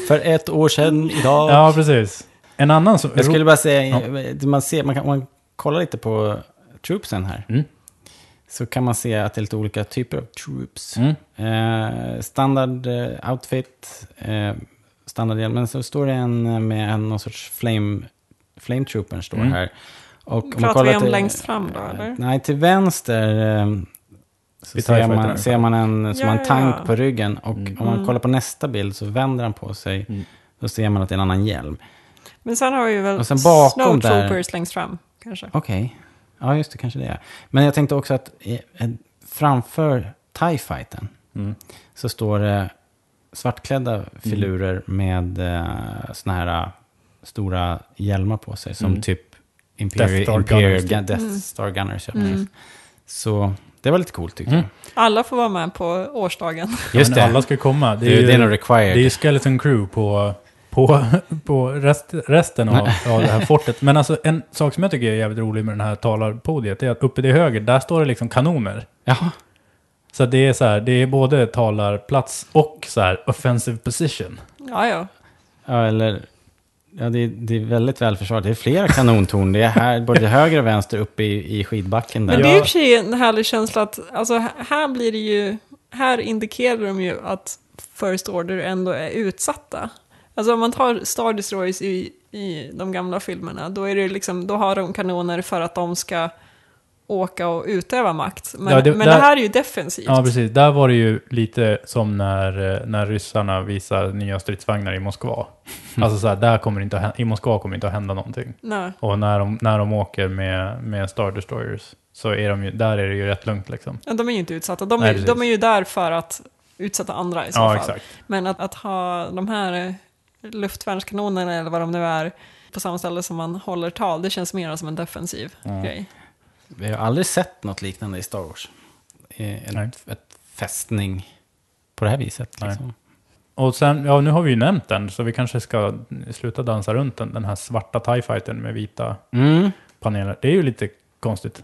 A: För ett år sedan idag.
C: Ja, precis. En annan som...
A: jag skulle bara säga, eh, man, ser, man, kan, man kollar lite på troopsen här.
C: Mm.
A: Så kan man se att det är lite olika typer av troops.
C: Mm.
A: Eh, standard eh, outfit, eh, standardhjälm. Men så står det en med en, någon sorts flame, flame trooper står
C: Mm.
A: här. Och man
B: Pratar
A: kollar
B: vi om
A: till-
B: längst fram då, eller?
A: Nej, till vänster eh, så
C: Vi tar
A: ser
C: fighten
A: man,
C: nu.
A: ser man en, som
B: Ja,
A: en tank
B: ja.
A: på ryggen. Och
C: Mm.
A: om man kollar på nästa bild så vänder han på sig.
C: Mm.
A: Då ser man att det är en annan hjälm.
B: Men sen har vi väl
A: Och sen bakom där-
B: Snowtroopers längst fram, kanske.
A: Okej. Ja, just det. Kanske det är. Men jag tänkte också att eh, eh, framför TIE fighten
C: Mm.
A: så står det svartklädda filurer med eh, såna här stora hjälmar på sig. Som
C: Mm.
A: typ Imperial Death Star Gunners. Death Star Gunners ja, precis. Så det var lite coolt tyckte
C: Mm.
B: Alla får vara med på årsdagen.
A: jag. Just
C: Men
A: det.
C: Alla ska komma.
A: Det är,
C: ju-
A: det är nog required.
C: Det är ju Skeleton Crew på, på, på rest, resten av, av det här fortet. Men alltså en sak som jag tycker är jävligt rolig med den här talarpodiet är att uppe till höger, där står det liksom kanoner.
A: Jaha.
C: Så det är så här, det är både talarplats och så här offensive position.
B: Ja, ja.
A: Ja, eller... Ja, det, är- det är väldigt väl försvarat. Det är flera kanontorn. Det är här, både höger och vänster uppe i, i skidbacken där.
B: Men det är i
C: Ja.
B: och för sig en härlig känsla att, alltså h- här blir det ju, här indikerar de ju att First Order ändå är utsatta. Alltså om man tar Star Destroyers i, i de gamla filmerna, då, är det liksom, då har de kanoner för att de ska åka och utöva makt. Men,
C: Ja, det-
B: men det
C: där-
B: här är ju defensivt.
C: Ja, precis. Där var det ju lite som när, eh, när ryssarna visar nya stridsvagnar i Moskva. Alltså så här, där kommer det inte att, hä- i Moskva kommer det inte att hända någonting.
B: Nej.
C: Och när de, när de åker med, med Star Destroyers så är de ju, där är det ju rätt lugnt liksom.
B: Ja, De är ju inte utsatta, de
C: Nej,
B: är,
C: precis.
B: de är ju där för att utsätta andra i så
C: Ja,
B: fall.
C: exakt.
B: Men att, att ha de här eh, luftvärnskanonerna eller vad de nu är på samma ställe som man håller tal, det känns mer som en defensiv grej.
A: Vi har aldrig sett något liknande i Star Wars. Eh,
C: Nej.
A: Ett, ett fästning på det här viset.
C: Nej.
A: Liksom.
C: Och sen, ja nu har vi ju nämnt den, så vi kanske ska sluta dansa runt den, den här svarta TIE fighten med vita
A: Mm.
C: paneler. Det är ju lite konstigt.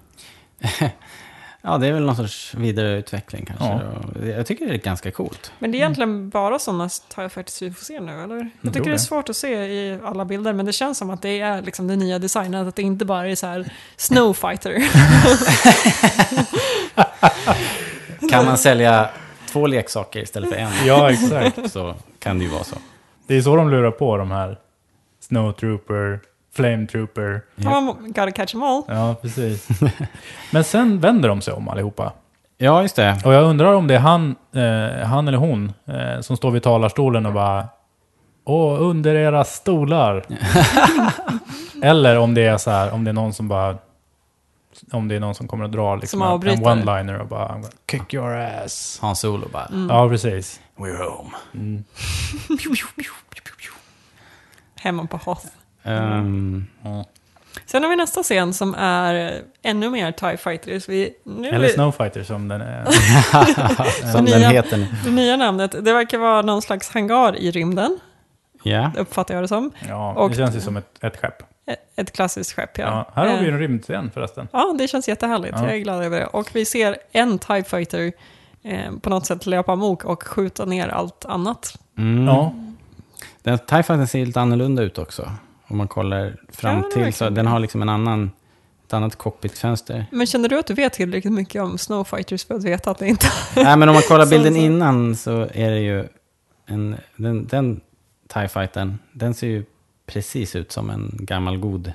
A: Ja, det är väl någon sorts vidareutveckling kanske.
C: Ja.
A: då. Jag tycker det är ganska coolt.
B: Men det är egentligen bara sådana TIE Fighters vi får se nu, eller? Jag tycker
C: tror
B: det är
C: det.
B: svårt att se i alla bilder, men det känns som att det är liksom den nya designen, att det inte bara är så här Snowfighter.
A: Kan man sälja två leksaker istället för en
C: Ja, exakt.
A: så kan det ju vara så.
C: Det är så de lurar på de här Snowtrooper, Flametrooper.
B: Ja. Gotta catch them all.
C: Ja, precis. Men sen vänder de sig om allihopa.
A: Ja, just det.
C: Och jag undrar om det är han, eh, han eller hon eh, som står vid talarstolen och bara Åh, under era stolar. eller om det är så här, om det är någon som bara om det är någon som kommer att dra liksom
B: Som
C: en- en
B: avbryter.
C: one-liner och bara I'm gonna kick your ass.
A: Hans Solo bara,
B: Mm.
C: Ja, precis.
A: we're home.
B: Hemma på Hoth.
C: Mm.
A: Ehm,
B: Sen har vi nästa scen som är eh, ännu mer TIE Fighters. Vi, nu är
C: Eller
B: vi-
C: Snowfighter som den är.
A: som
B: nya-
A: den heter nu.
B: Det nya namnet, det verkar vara någon slags hangar i rymden,
A: Ja.
B: uppfattar jag det som.
C: Ja,
B: Och-
C: det känns ju som ett, ett skepp.
B: E- Ett klassiskt skepp, ja.
C: Ja. här har vi
B: Eh,
C: en rymdscen förresten.
B: Ja, det känns jättehärligt.
C: Ja.
B: Jag är glad över det. Och vi ser en TIE Fighter eh, på något sätt löpa amok och skjuta ner allt annat.
A: Mm.
C: Ja,
A: Den TIE Fighter ser lite annorlunda ut också. Om man kollar fram
B: Ja, det
A: till så
B: verkligen.
A: den har liksom en annan, ett annat cockpitfönster.
B: Men känner du att du vet tillräckligt mycket om Snowfighters för att veta att det inte...
A: Nej, men om man kollar
B: Så-
A: bilden
B: så-
A: innan så är det ju en, den, den TIE Fightern, den ser ju precis ut som en gammal god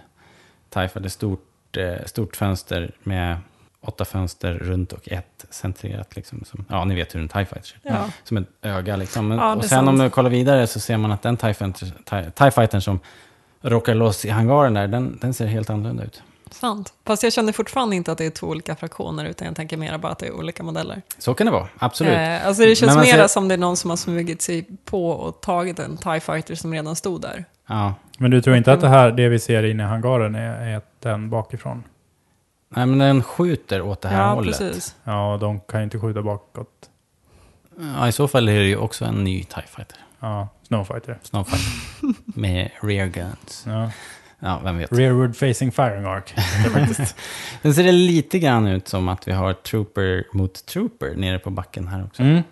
A: TIE Fighter. Stort, eh, stort fönster med åtta fönster runt och ett centrerat liksom. Som, ja, ni vet hur en TIE Fighter ser ut.
B: Ja.
A: Som ett öga liksom. Men,
B: Ja, det
A: och
B: är
A: sen om
B: sant.
A: du kollar vidare så ser man att den TIE Fighter, TIE, TIE Fightern som råkar loss i hangaren där, den, den ser helt annorlunda ut.
B: Sant. Fast jag känner fortfarande inte att det är två olika fraktioner, utan jag tänker mera bara att det är olika modeller.
A: Så kan det vara, absolut.
B: Eh, alltså det känns
A: Men man
B: mera
A: ser-
B: som det är någon som har smugit sig på och tagit en TIE Fighter som redan stod där.
A: Ja.
C: men du tror inte att det här, det vi ser inne i hangaren är, är den bakifrån?
A: Nej, men den skjuter åt det här
B: ja,
A: hållet.
B: precis.
C: Ja, de kan ju inte skjuta bakåt.
A: Ja, i så fall är det ju också en ny TIE Fighter.
C: Ja, Snowfighter.
A: Snowfighter. med rear guns.
C: Ja.
A: Ja, vem vet.
C: Rearward facing firing arc.
A: Sen ser det lite grann ut som att vi har trooper mot trooper nere på backen här också.
C: Mm.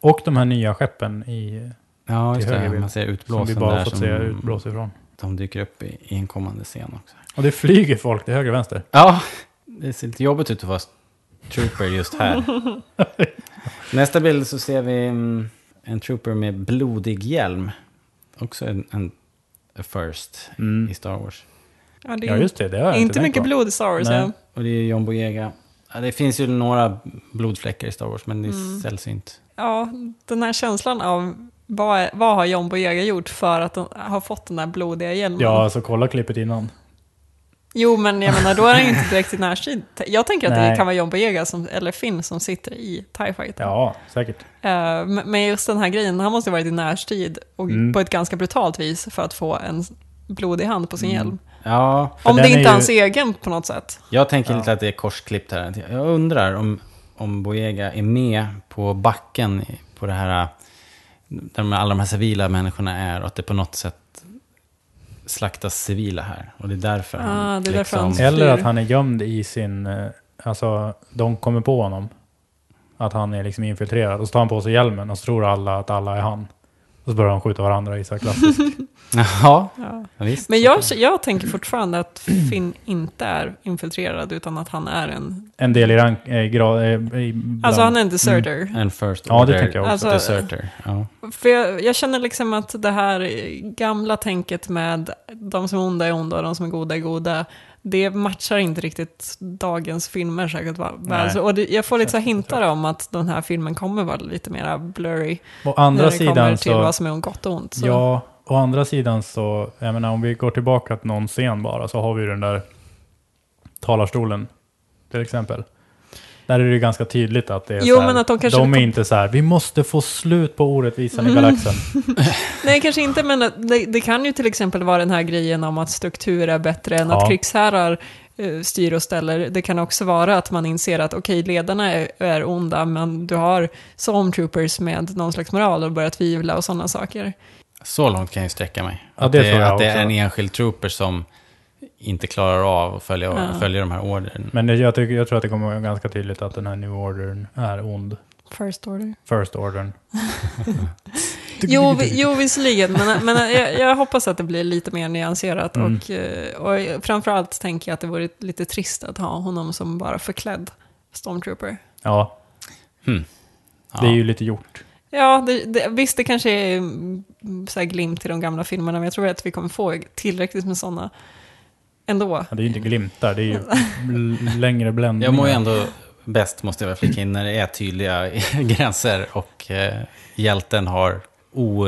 C: Och de här nya skeppen i,
A: Ja, just
C: Till höger
A: det.
C: bild.
A: Man ser
C: som
A: utblåsen
C: vi bara
A: där
C: fått
A: som mm.
C: se utblås ifrån.
A: de dyker upp i, i en kommande scen också.
C: Och det flyger folk till höger och vänster.
A: Ja, det ser lite jobbigt ut att vara trooper just här. Nästa bild så ser vi mm, en trooper med blodig hjälm. Också en, en a first
C: Mm.
A: i Star Wars.
B: Ja, det är
C: Ja, just det. Det har jag
B: inte,
C: inte tänkt
B: mycket
C: på.
B: blod i Star Wars.
A: Nej,
B: ja.
A: och det är John Boyega. Ja, det finns ju några blodfläckar i Star Wars, men det är
B: Mm.
A: sällsynt.
B: Ja, den här känslan av vad, är- vad har John Boyega gjort för att den, ha fått den där blodiga hjälmen?
C: Ja, alltså kolla klippet innan.
B: Jo, men jag menar, då är den ju inte direkt i närstrid. Jag tänker att det
C: Nej.
B: kan vara John Boyega som, eller Finn som sitter i TIE Fighter.
C: Ja, säkert.
B: Eh, men- men just den här grejen, han måste ha varit i närstrid och
C: Mm.
B: på ett ganska brutalt vis för att få en blodig hand på sin hjälm.
A: Ja,
C: Mm. För
B: Om det
C: den
B: inte
C: är
B: är
C: ju-
B: hans egen på något sätt.
A: jag tänker
C: Ja.
A: lite att det är korsklippt här. Jag undrar om, om Boyega är med på backen i- på det här, där de- alla de här civila människorna är och att det på något sätt slaktas civila här. Och det är därför
B: Ah,
A: han liksom-
B: det är därför
A: Mm.
B: han-
C: Eller
B: Flyr.
C: att han är gömd i sin... eh, Alltså, de kommer på honom. Att han är liksom infiltrerad. Och så tar han på sig hjälmen och så tror alla att alla är han. Och så börjar de skjuta varandra i så här klassiskt.
A: Ja,
B: Ja.
A: ja, visst.
B: Men jag, jag tänker fortfarande att Finn inte är infiltrerad utan att han är en...
C: En del i rank... Eh, grad, eh, i bland- Mm.
B: Alltså han är en deserter.
A: En first
C: Ja, det
A: order
C: tänker jag också.
B: Alltså-
A: deserter. Ja.
B: För jag, jag känner liksom att det här gamla tänket med de som är onda är onda och de som är goda är goda, det matchar inte riktigt dagens filmer särskilt va- väl.
C: Nej.
B: Så- Och det, jag får lite så här hintar om att den här filmen kommer vara lite mer blurry
C: Å
B: när
C: andra
B: det kommer
C: sidan
B: till
C: så...
B: vad som är gott och ont. Så.
C: Ja, å andra sidan så... Jag menar, om vi går tillbaka till någon scen bara så har vi ju den där talarstolen. Till exempel. Där är det ju ganska tydligt att det är
B: Jo,
C: så här,
B: men att de kanske- Mm.
C: är inte så här, vi måste få slut på orättvisan i galaxen.
B: Nej, kanske inte, men eh, det, det kan ju till exempel vara den här grejen om att struktur är bättre än att
C: Ja.
B: krigsherrar eh, styr och ställer. Det kan också vara att man inser att okej, ledarna är, är onda, men du har stormtroopers med någon slags moral och börjar tvivla och sådana saker.
A: Så långt kan jag ju sträcka mig.
C: Ja,
A: att
C: det
A: det,
C: tror jag
A: att det är en
C: också.
A: enskild trooper som inte klarar av att följa,
B: Ja.
A: följa de här ordern.
C: Men det- jag, tycker, jag tror att det kommer att vara ganska tydligt att den här New Ordern är ond.
B: First order.
C: First Ordern.
B: Jo, vi- jo visserligen, men, men jag, jag hoppas att det blir lite mer nyanserat
C: Mm.
B: och, eh, och framförallt tänker jag att det vore lite trist att ha honom som bara förklädd stormtrooper.
C: Ja,
A: Ja.
C: det är ju lite gjort.
B: Ja, det, det, visst det kanske är mm, så här glimt i de gamla filmerna, men jag tror att vi kommer få tillräckligt med sådana ändå.
C: Ja, Det är ju inte glimtar, det är ju l- längre bländningar.
A: Jag mår ju ändå bäst, måste jag väl flika in, när det är tydliga gränser och eh, hjälten har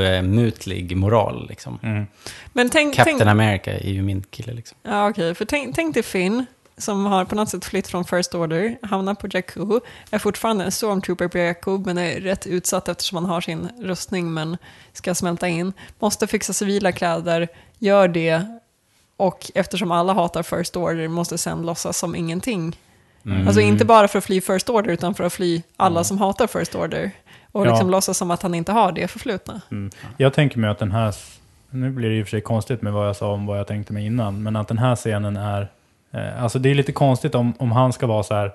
A: omutlig moral. Liksom.
C: Mm.
B: Men tänk, tänk,
A: Captain America är ju min kille. Liksom.
B: ja, okej, för tänk, tänk till Finn, som har på något sätt flytt från First Order, hamnar på Jakku, är fortfarande en stormtrooper på Jakku, men är rätt utsatt eftersom han har sin rustning, men ska smälta in. Måste fixa civila kläder, gör det, och eftersom alla hatar First Order måste sen låtsas som ingenting.
C: Mm.
B: Alltså inte bara för att fly First Order utan för att fly alla som hatar First Order. Och
C: Ja.
B: liksom låtsas som att han inte har det förflutna.
C: Mm. Jag tänker mig att den här, nu blir det i och för sig konstigt med vad jag sa om vad jag tänkte mig innan, men att den här scenen är, eh, alltså det är lite konstigt om, om han ska vara så här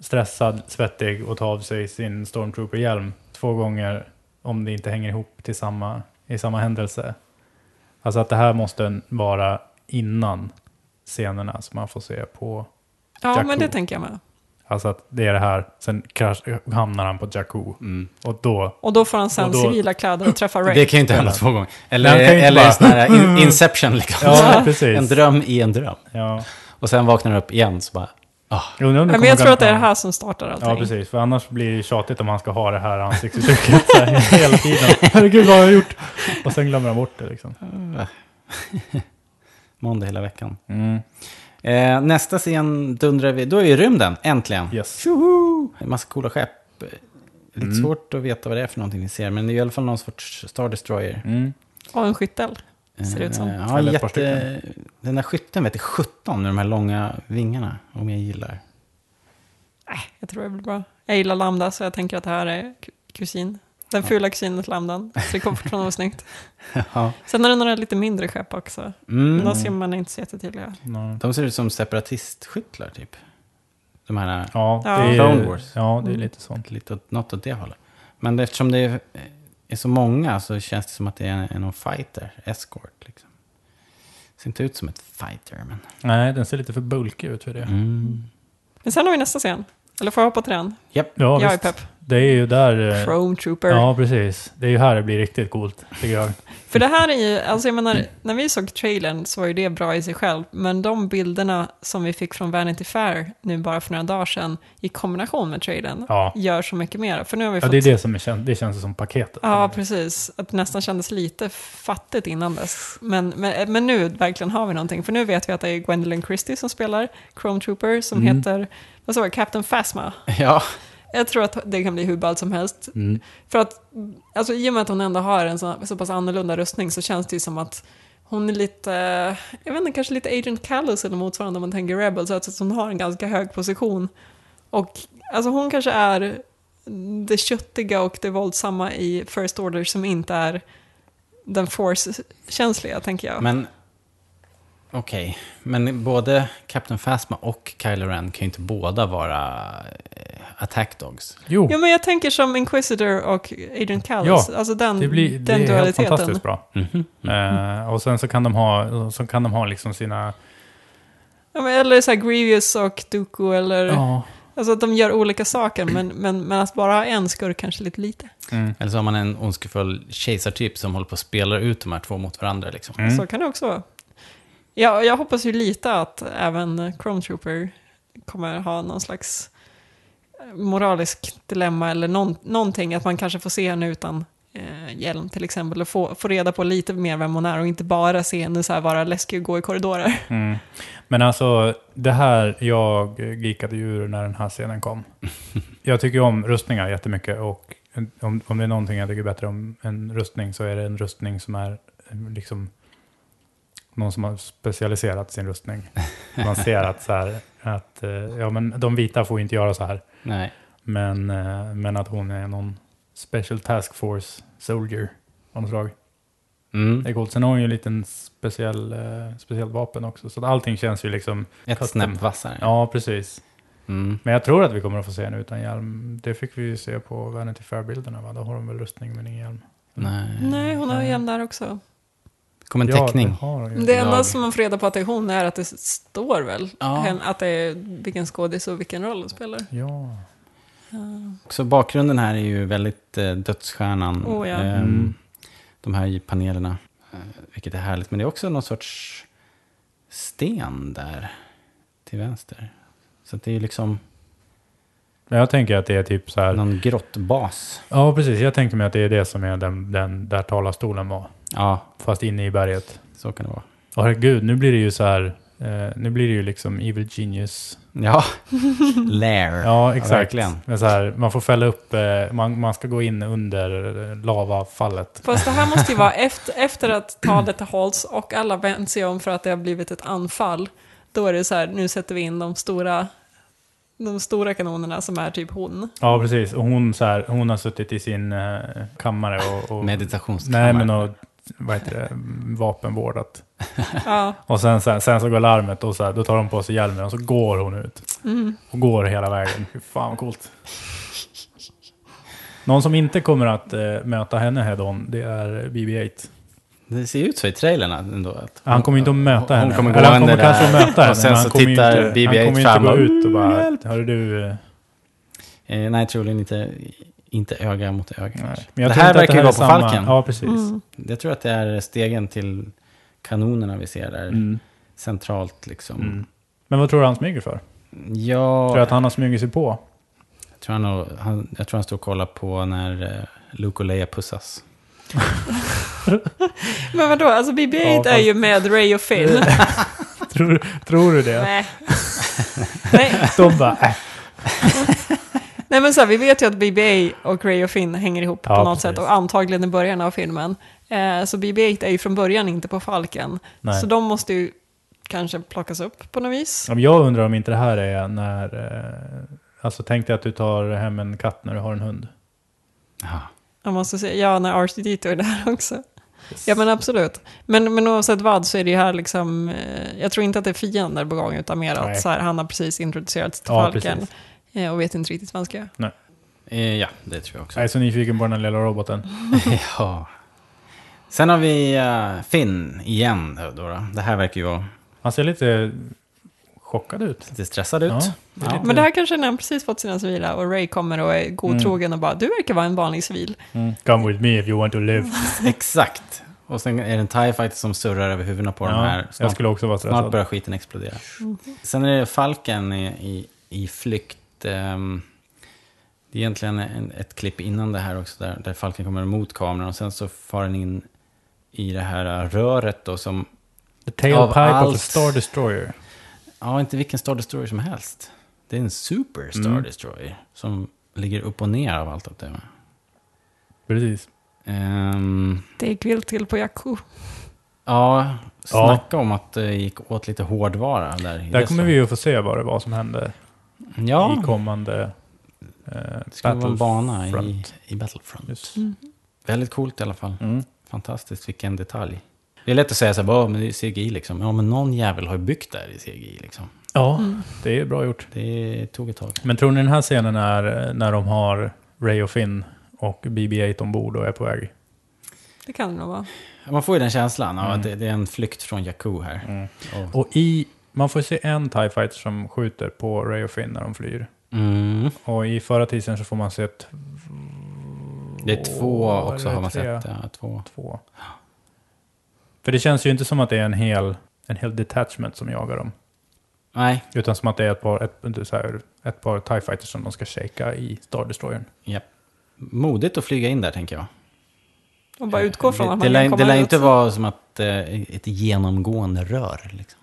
C: stressad, svettig och ta av sig sin stormtrooper-hjälm två gånger om det inte hänger ihop till samma, i samma händelse. Alltså att det här måste vara innan scenerna som man får se på,
B: Ja,
C: Jakku.
B: men det tänker jag med.
C: alltså att det är det här, sen krasch, hamnar han på Jakku och då
B: Och då får han sen
C: Och då-
B: civila kläder och träffa Ray.
A: Mm. Det kan ju inte hända två gånger. Eller,
C: Nej, han kan ju inte
A: eller
C: bara-
A: sån här in, Inception, liksom.
C: Ja,
A: en
C: precis.
A: dröm i en dröm.
C: Ja.
A: Och sen vaknar han upp igen, så bara... ah.
C: Jag undrar om det
B: Men
C: kommer
B: jag tror att det är
C: gamla-
B: det här som startar allting.
C: Ja, precis. För annars blir det tjatigt om han ska ha det här ansiktsuttrycket så här hela tiden. Herregud, vad har jag gjort? Och sen glömmer han bort det liksom.
A: Måndag hela veckan.
C: Mm.
A: Eh, nästa scen dundrar vi, då är vi i rymden, äntligen.
C: Yes. Mm.
A: Tjoho! En massa coola skepp. Eh, Lite svårt att veta vad det är för någonting ni ser, men det är i alla fall någon sorts Star Destroyer.
C: Mm.
B: Och en skyttel, ser det ut som.
A: Eh, ja,
C: Eller ett par
A: jätte... Den där skytten vet jag, 17 med de här långa vingarna, om jag gillar.
B: Jag tror det blir bra. Jag gillar Lambda, så jag tänker att det här är ku- kusin. Den fula kusinen till Lambdan. Så det kommer fortfarande vara snyggt.
A: Ja.
B: Sen är det några lite mindre skepp också. Men
A: Mm.
B: De ser man inte så jättetydliga.
C: No.
A: De ser ut som separatistskyttlar, typ. De här,
C: Ja, det
B: Ja.
C: är,
A: Clone Wars.
C: ja, det är lite sånt.
A: lite, något åt det hållet. Men eftersom det är, är så många så känns det som att det är, en- är någon fighter, escort, liksom. Ser inte ut som ett fighter, men...
C: Nej, den ser lite för bulkig ut för det.
A: Mm.
B: Men sen har vi nästa scen. Eller får jag hoppa till den?
A: Japp.
C: Ja,
B: jag är
C: visst.
B: pepp.
C: Det är ju där... eh,
B: Chrome Trooper.
C: Ja, precis. Det är ju här det blir riktigt coolt, tycker jag.
B: För det här är ju, alltså jag menar, när vi såg trailern så var ju det bra i sig själv, men de bilderna som vi fick från Vanity Fair nu bara för några dagar sedan i kombination med trailern
C: Ja.
B: gör så mycket mer. För nu har vi
C: Ja,
B: fått...
C: det är det som är känt, det känns som paketet.
B: Ja, precis. Att det nästan kändes lite fattigt innan dess. Men, men, men nu verkligen har vi någonting, för nu vet vi att det är Gwendolyn Christie som spelar Chrome Trooper som
C: Mm.
B: heter, vad sa jag, Captain Phasma.
A: Ja.
B: Jag tror att det kan bli hur ballt som helst.
A: Mm.
B: För att, alltså i och med att hon ändå har en så, så pass annorlunda röstning så känns det ju som att hon är lite, eh, jag vet inte, kanske lite Agent Callus eller motsvarande om man tänker Rebel, så att att hon har en ganska hög position. Och alltså hon kanske är det köttiga och det våldsamma i First Order som inte är den force-känsliga, tänker jag.
A: Men, okej. Men både Captain Phasma och Kylo Ren kan ju inte båda vara eh, attack dogs.
C: Jo,
B: Ja, men jag tänker som Inquisitor och Agent Callus,
C: Ja,
B: alltså den,
C: det blir det
B: den
C: är helt
B: dualiteten.
C: fantastiskt bra.
A: Mm.
C: Eh, och sen så kan de ha, så kan de ha liksom sina...
B: Ja, men, eller så här Grievous och Dooku eller...
C: Ja.
B: Alltså att de gör olika saker, men, men, men att bara ha en skurk kanske lite lite.
C: Mm.
A: Eller så har man en ondskefull kejsartyp som håller på att spela ut de här två mot varandra. Liksom.
C: Mm.
B: Så kan det också vara. Jag, jag hoppas ju lite att även Chrome Trooper kommer ha någon slags eh, moralisk dilemma eller någon, någonting, att man kanske får se henne utan eh, hjälm till exempel och få, få reda på lite mer vem hon är och inte bara se henne så här vara läskig och gå i korridorer.
C: Mm. Men alltså, det här, jag geekade ju ur när den här scenen kom. Jag tycker om rustningar jättemycket och en- om, om det är någonting jag tycker bättre om en rustning så är det en rustning som är eh, liksom någon som har specialiserat sin rustning. Man ser att så här, att eh, ja men de vita får ju inte göra så här,
A: Nej.
C: men, eh, men att hon är någon special task force soldier av något slag.
A: Mm.
C: Det är coolt. Sen har hon ju en liten speciell, eh, speciellt vapen också, så att allting känns ju liksom
A: Ett
C: Custom.
A: snäpp vassare.
C: Ja, precis.
A: Mm.
C: Men jag tror att vi kommer att få se henne utan hjälm. Det fick vi ju se på Vanity Fair-bilderna, va? Då har de väl rustning men ingen hjälm.
A: Nej.
B: Nej, hon har hjälm där också.
A: kom en
C: ja,
A: teckning.
C: det har de ju.
B: Det enda
A: Jag-
B: som man får reda på att det är hon är att det står väl
A: Ja.
B: hen- att det är vilken skådis och vilken roll hon spelar.
C: Ja.
A: Så bakgrunden här är ju väldigt eh, dödsstjärnan.
B: Oh, ja.
A: Ehm,
C: Mm.
A: De här i panelerna, eh, vilket är härligt. Men det är också någon sorts sten där till vänster. Så att det är ju liksom
C: Men jag tänker att det är typ så här.
A: någon grottbas.
C: Ja, precis. Jag tänker mig att det är det som är den, den där talarstolen var.
A: Ja,
C: Fast inne i berget.
A: så kan det vara.
C: Och herregud, nu blir det ju så här. Eh, nu blir det ju liksom Evil Genius.
A: Ja, lair.
C: Ja, exakt.
A: verkligen.
C: Men så här, man får fälla upp, eh, man, man ska gå in under eh, lavafallet.
B: Fast det här måste ju vara efter, efter att talet hålls och alla vänt sig om för att det har blivit ett anfall. Då är det så här, nu sätter vi in de stora, de stora kanonerna som är typ hon.
C: Ja, precis. Och hon, så här, hon har suttit i sin eh, kammare och... och
A: Meditationskammare.
C: Nej, men och, vad heter det, vapenvårdat.
B: Ja,
C: Och sen, sen, sen så går larmet och så här, då tar de på sig hjälmen och så går hon ut.
B: Mm,
C: Och går hela vägen. Fy fan vad coolt. Någon som inte kommer att eh, möta henne head on, det är BB-8.
A: Det ser ju ut så i trailern ändå. Att
C: Han kommer inte att möta
A: hon
C: henne.
A: kommer
C: Eller han
A: gående
C: kommer kanske
A: där.
C: att möta henne.
A: Och sen
C: men han
A: så
C: kommer ju
A: tittar
C: inte-
A: BB-8
C: Han kommer ju inte
A: fram
C: gå
A: och,
C: ut och bara,
A: "Hjälp!"
C: hörru du. eh,
A: Eh, nej, troligen inte, inte öga mot öga.
C: Nej.
A: kanske.
C: Men jag
A: det
C: tror
A: här
C: inte att
A: verkar ju
C: är
A: vara på
C: samma-
A: Falken. Mm.
C: Ja, precis.
B: mm.
A: Jag tror att det är stegen till kanonerna vi ser där.
C: Mm.
A: Centralt liksom.
C: Mm. Men vad tror du han smyger för?
A: Ja,
C: Tror du att han har smugit sig på?
A: jag, tror han, nog- han, jag tror han står och kollar på när eh, Luke och Leia pussas.
B: men vadå, alltså BB-8
C: Ja, fast-
B: är ju med Ray och Phil.
C: Tror, tror du det?
B: Nej. Nej.
C: De bara, äh.
B: Nej men så här, vi vet ju att BBA och Ray och Finn hänger ihop
C: Ja,
B: på något
C: precis.
B: sätt och antagligen i början av filmen. Eh, så BB-8 är ju från början inte på Falken.
C: Nej.
B: Så de måste ju kanske plockas upp på något vis.
C: Ja, men Jag undrar om inte det här är när... eh, Alltså tänk dig att du tar hem en katt när du har en hund.
A: Ja.
B: Jag måste säga, ja när R2D2 är där också. Ja men absolut. Men, men oavsett vad så är det ju här liksom, eh, jag tror inte att det är fiender på gång utan mer
C: Nej.
B: att så här, han har precis introducerats till
C: Ja,
B: Falken.
C: precis.
B: eh, Och vet inte riktigt vad han ska göra.
A: Eh, ja, det tror jag också.
C: Jag är så nyfiken på den här lilla roboten.
A: ja. Sen har vi eh, Finn igen. Då, då. Det här verkar ju vara...
C: Han ser lite chockad ut.
A: Lite stressad ut.
C: Ja,
A: Ja.
C: lite-
B: Men det här kanske är när han precis fått sina civila och Ray kommer och är godtrogen och bara du verkar vara en vanlig civil.
A: Mm.
C: Come with me if you want to live.
A: Exakt. Och sen är det en TIE fighter som surrar över huvudena på de
C: Ja,
A: här.
C: jag
A: Snart,
C: skulle också vara
A: snart
C: stressad.
A: börjar skiten explodera. Sen är det Falken i, i, i flykt. ehm, det är egentligen en, ett klipp innan det här också där, där Falken kommer mot kameran och sen så far den in i det här eh, röret då som,
C: The
A: Av
C: tailpipe of a
A: allt.
C: Star Destroyer.
A: ja inte vilken Star Destroyer som helst. Det är en Super Star
C: Mm.
A: Destroyer som ligger upp och ner av allt att döma.
C: Precis.
A: Ehm,
B: Det gick vilt till på Jakku.
A: ja,
C: Ja.
A: snacka om att det gick åt lite hårdvara där. i
C: Där
A: det
C: kommer
A: som-
C: vi ju få se bara vad som hände
A: ja.
C: i kommande eh,
A: Det skulle vara en bana i,
C: Battlefront.
A: i Battlefront.
C: Just.
B: Mm.
A: Väldigt coolt i alla fall.
C: Mm.
A: Fantastiskt, vilken detalj. Det är lätt att säga så här, bara, "Ja, men det är ju CGI liksom. Ja, men någon jävel har ju byggt där i CGI liksom.
C: Ja,
B: Mm.
C: det är bra gjort.
A: Det tog ett tag.
C: Men tror ni den här scenen är eh, när de har Ray och Finn och BB-8 ombord och är på väg?
B: Det kan det nog vara.
A: Man får ju den känslan av
C: Mm.
A: att det, det är en flykt från Jakku här. Och,
C: Och i, man får se en TIE fighter som skjuter på Ray och Finn när de flyr.
A: mm.
C: Och i förra teasern så får man se ett,
A: Det är två
C: Åh,
A: också
C: är det
A: har man
C: tre?
A: sett. Ja, två.
C: två. För det känns ju inte som att det är en hel, en hel detachment som jagar dem.
A: Nej,
C: Utan som att det är ett par, ett, så här, ett par TIE fighters som de ska shaka i Star Destroyern.
A: ja. Modigt att flyga in där tänker jag.
B: Och bara utgå från
A: det,
B: att
A: det
B: man
A: lär,
B: kan komma
A: det lär
B: ut.
A: inte vara som att eh, ett genomgående rör. Liksom.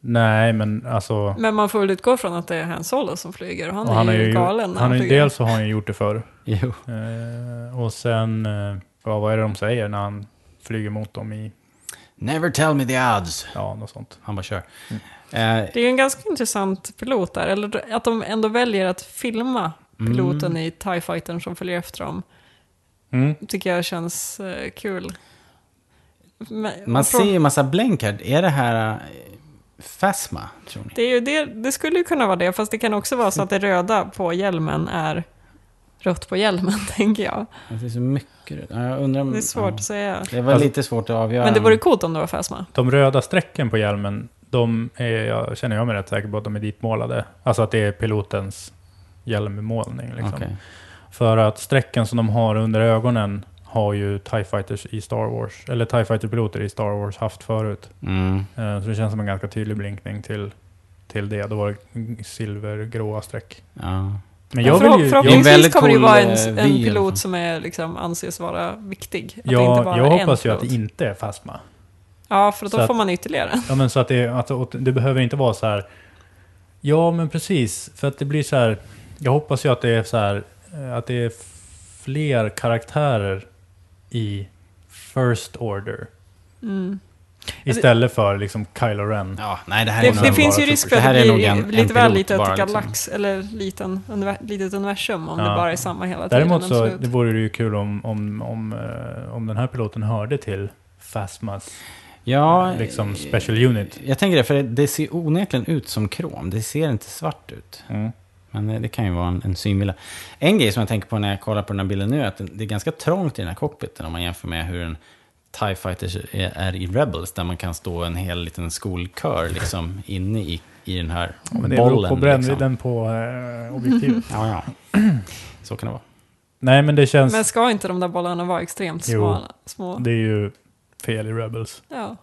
C: Nej, men alltså...
B: Men man får väl utgå från att det är Han Solo som flyger och han,
C: och han
B: är ju galen
C: Han
B: när
C: har
B: han,
C: ju-
B: flyger.
C: dels så har han ju gjort det förr.
A: Jo.
C: Eh, och sen, eh, ja, vad är det de säger när han flyger mot dem i,
A: Never tell me the odds.
C: ja, något sånt.
A: Han bara kör. Eh,
B: Det är ju en ganska intressant pilot där, eller att de ändå väljer att filma
A: Mm.
B: piloten i TIE Fightern som följer efter dem.
C: Mm.
B: tycker jag känns eh, kul. Men-
A: Man
B: från-
A: ser ju en massa blänk här. Är det här eh, Fasma, tror ni?
B: Det, är ju det, det skulle ju kunna vara det, fast det kan också vara så att det röda på hjälmen är rött på hjälmen, tänker jag.
A: Det finns så mycket. Ja, Jag undrar om,
B: Det är svårt att
A: Ja.
B: säga.
A: Det var
C: Alltså-
A: lite svårt att avgöra.
B: Men det vore coolt om det var Fasma.
C: De röda strecken på hjälmen, de är, jag, känner jag mig rätt säker på att de är ditmålade. Alltså att det är pilotens hjälmmålning. Liksom.
A: Okej.
C: För att strecken som de har under ögonen har ju TIE Fighters i Star Wars, eller TIE Fighter-piloter i Star Wars haft förut.
A: Mm.
C: Eh, Så det känns som en ganska tydlig blinkning till, till det. Då var det silvergråa streck.
A: Ja.
C: Men
B: Förhopp-
C: jag vill ju...
A: Det är
C: Jag,
A: en
B: Förhoppningsvis
A: väldigt
B: kommer det ju
A: cool,
B: vara
A: eh,
B: en,
A: vy i alla
B: en
A: fall.
B: pilot som är, liksom, anses vara viktig. Att det inte
C: jag,
B: bara
C: jag
B: är en
C: hoppas ju att det
B: pilot.
C: inte är Fasma.
B: Ja, för
C: så
B: då
C: att-
B: får man ytterligare.
C: Ja, men så att det, att, åt- det behöver inte vara så här... Ja, men precis. För att det blir så här... Jag hoppas ju att det är så här... eh, Att det är fler karaktärer i First Order.
B: Mm.
C: Istället för liksom Kylo Ren.
A: ja, nej det här
B: Det,
A: är nog...
B: det
C: en
B: finns ju
C: bara
B: risk
A: super-
B: för att
A: det
B: det
A: här är nog
B: blir
A: en- en
B: lite väl
A: pilot
B: litet
A: bara, liksom.
B: galax eller liten, univer, litet universum om
C: Ja.
B: det bara är samma hela tiden.
C: Däremot så
B: absolut.
C: det vore det ju kul om, om, om, eh, om den här piloten hörde till Phasmas
A: Ja,
C: liksom
A: eh,
C: special unit.
A: Jag tänker det, för det ser onekligen ut som krom. Det ser inte svart ut.
C: mm,
A: Men eh, det kan ju vara en, en synvilla. En grej som jag tänker på när jag kollar på den här bilden nu är att den- det är ganska trångt i den här cockpiten om man jämför med hur en TIE Fighters är, är i Rebels, där man kan stå en hel liten skolkör liksom inne i, i den här
C: Men det beror
A: bollen.
C: på
A: liksom.
C: brännvidden på eh, objektivet.
A: ja, ja. Så kan det vara.
C: Nej, men det känns...
B: Men ska inte de där bollarna vara extremt
C: Jo.
B: smala? små?
C: Det är ju fel i Rebels.
B: Ja.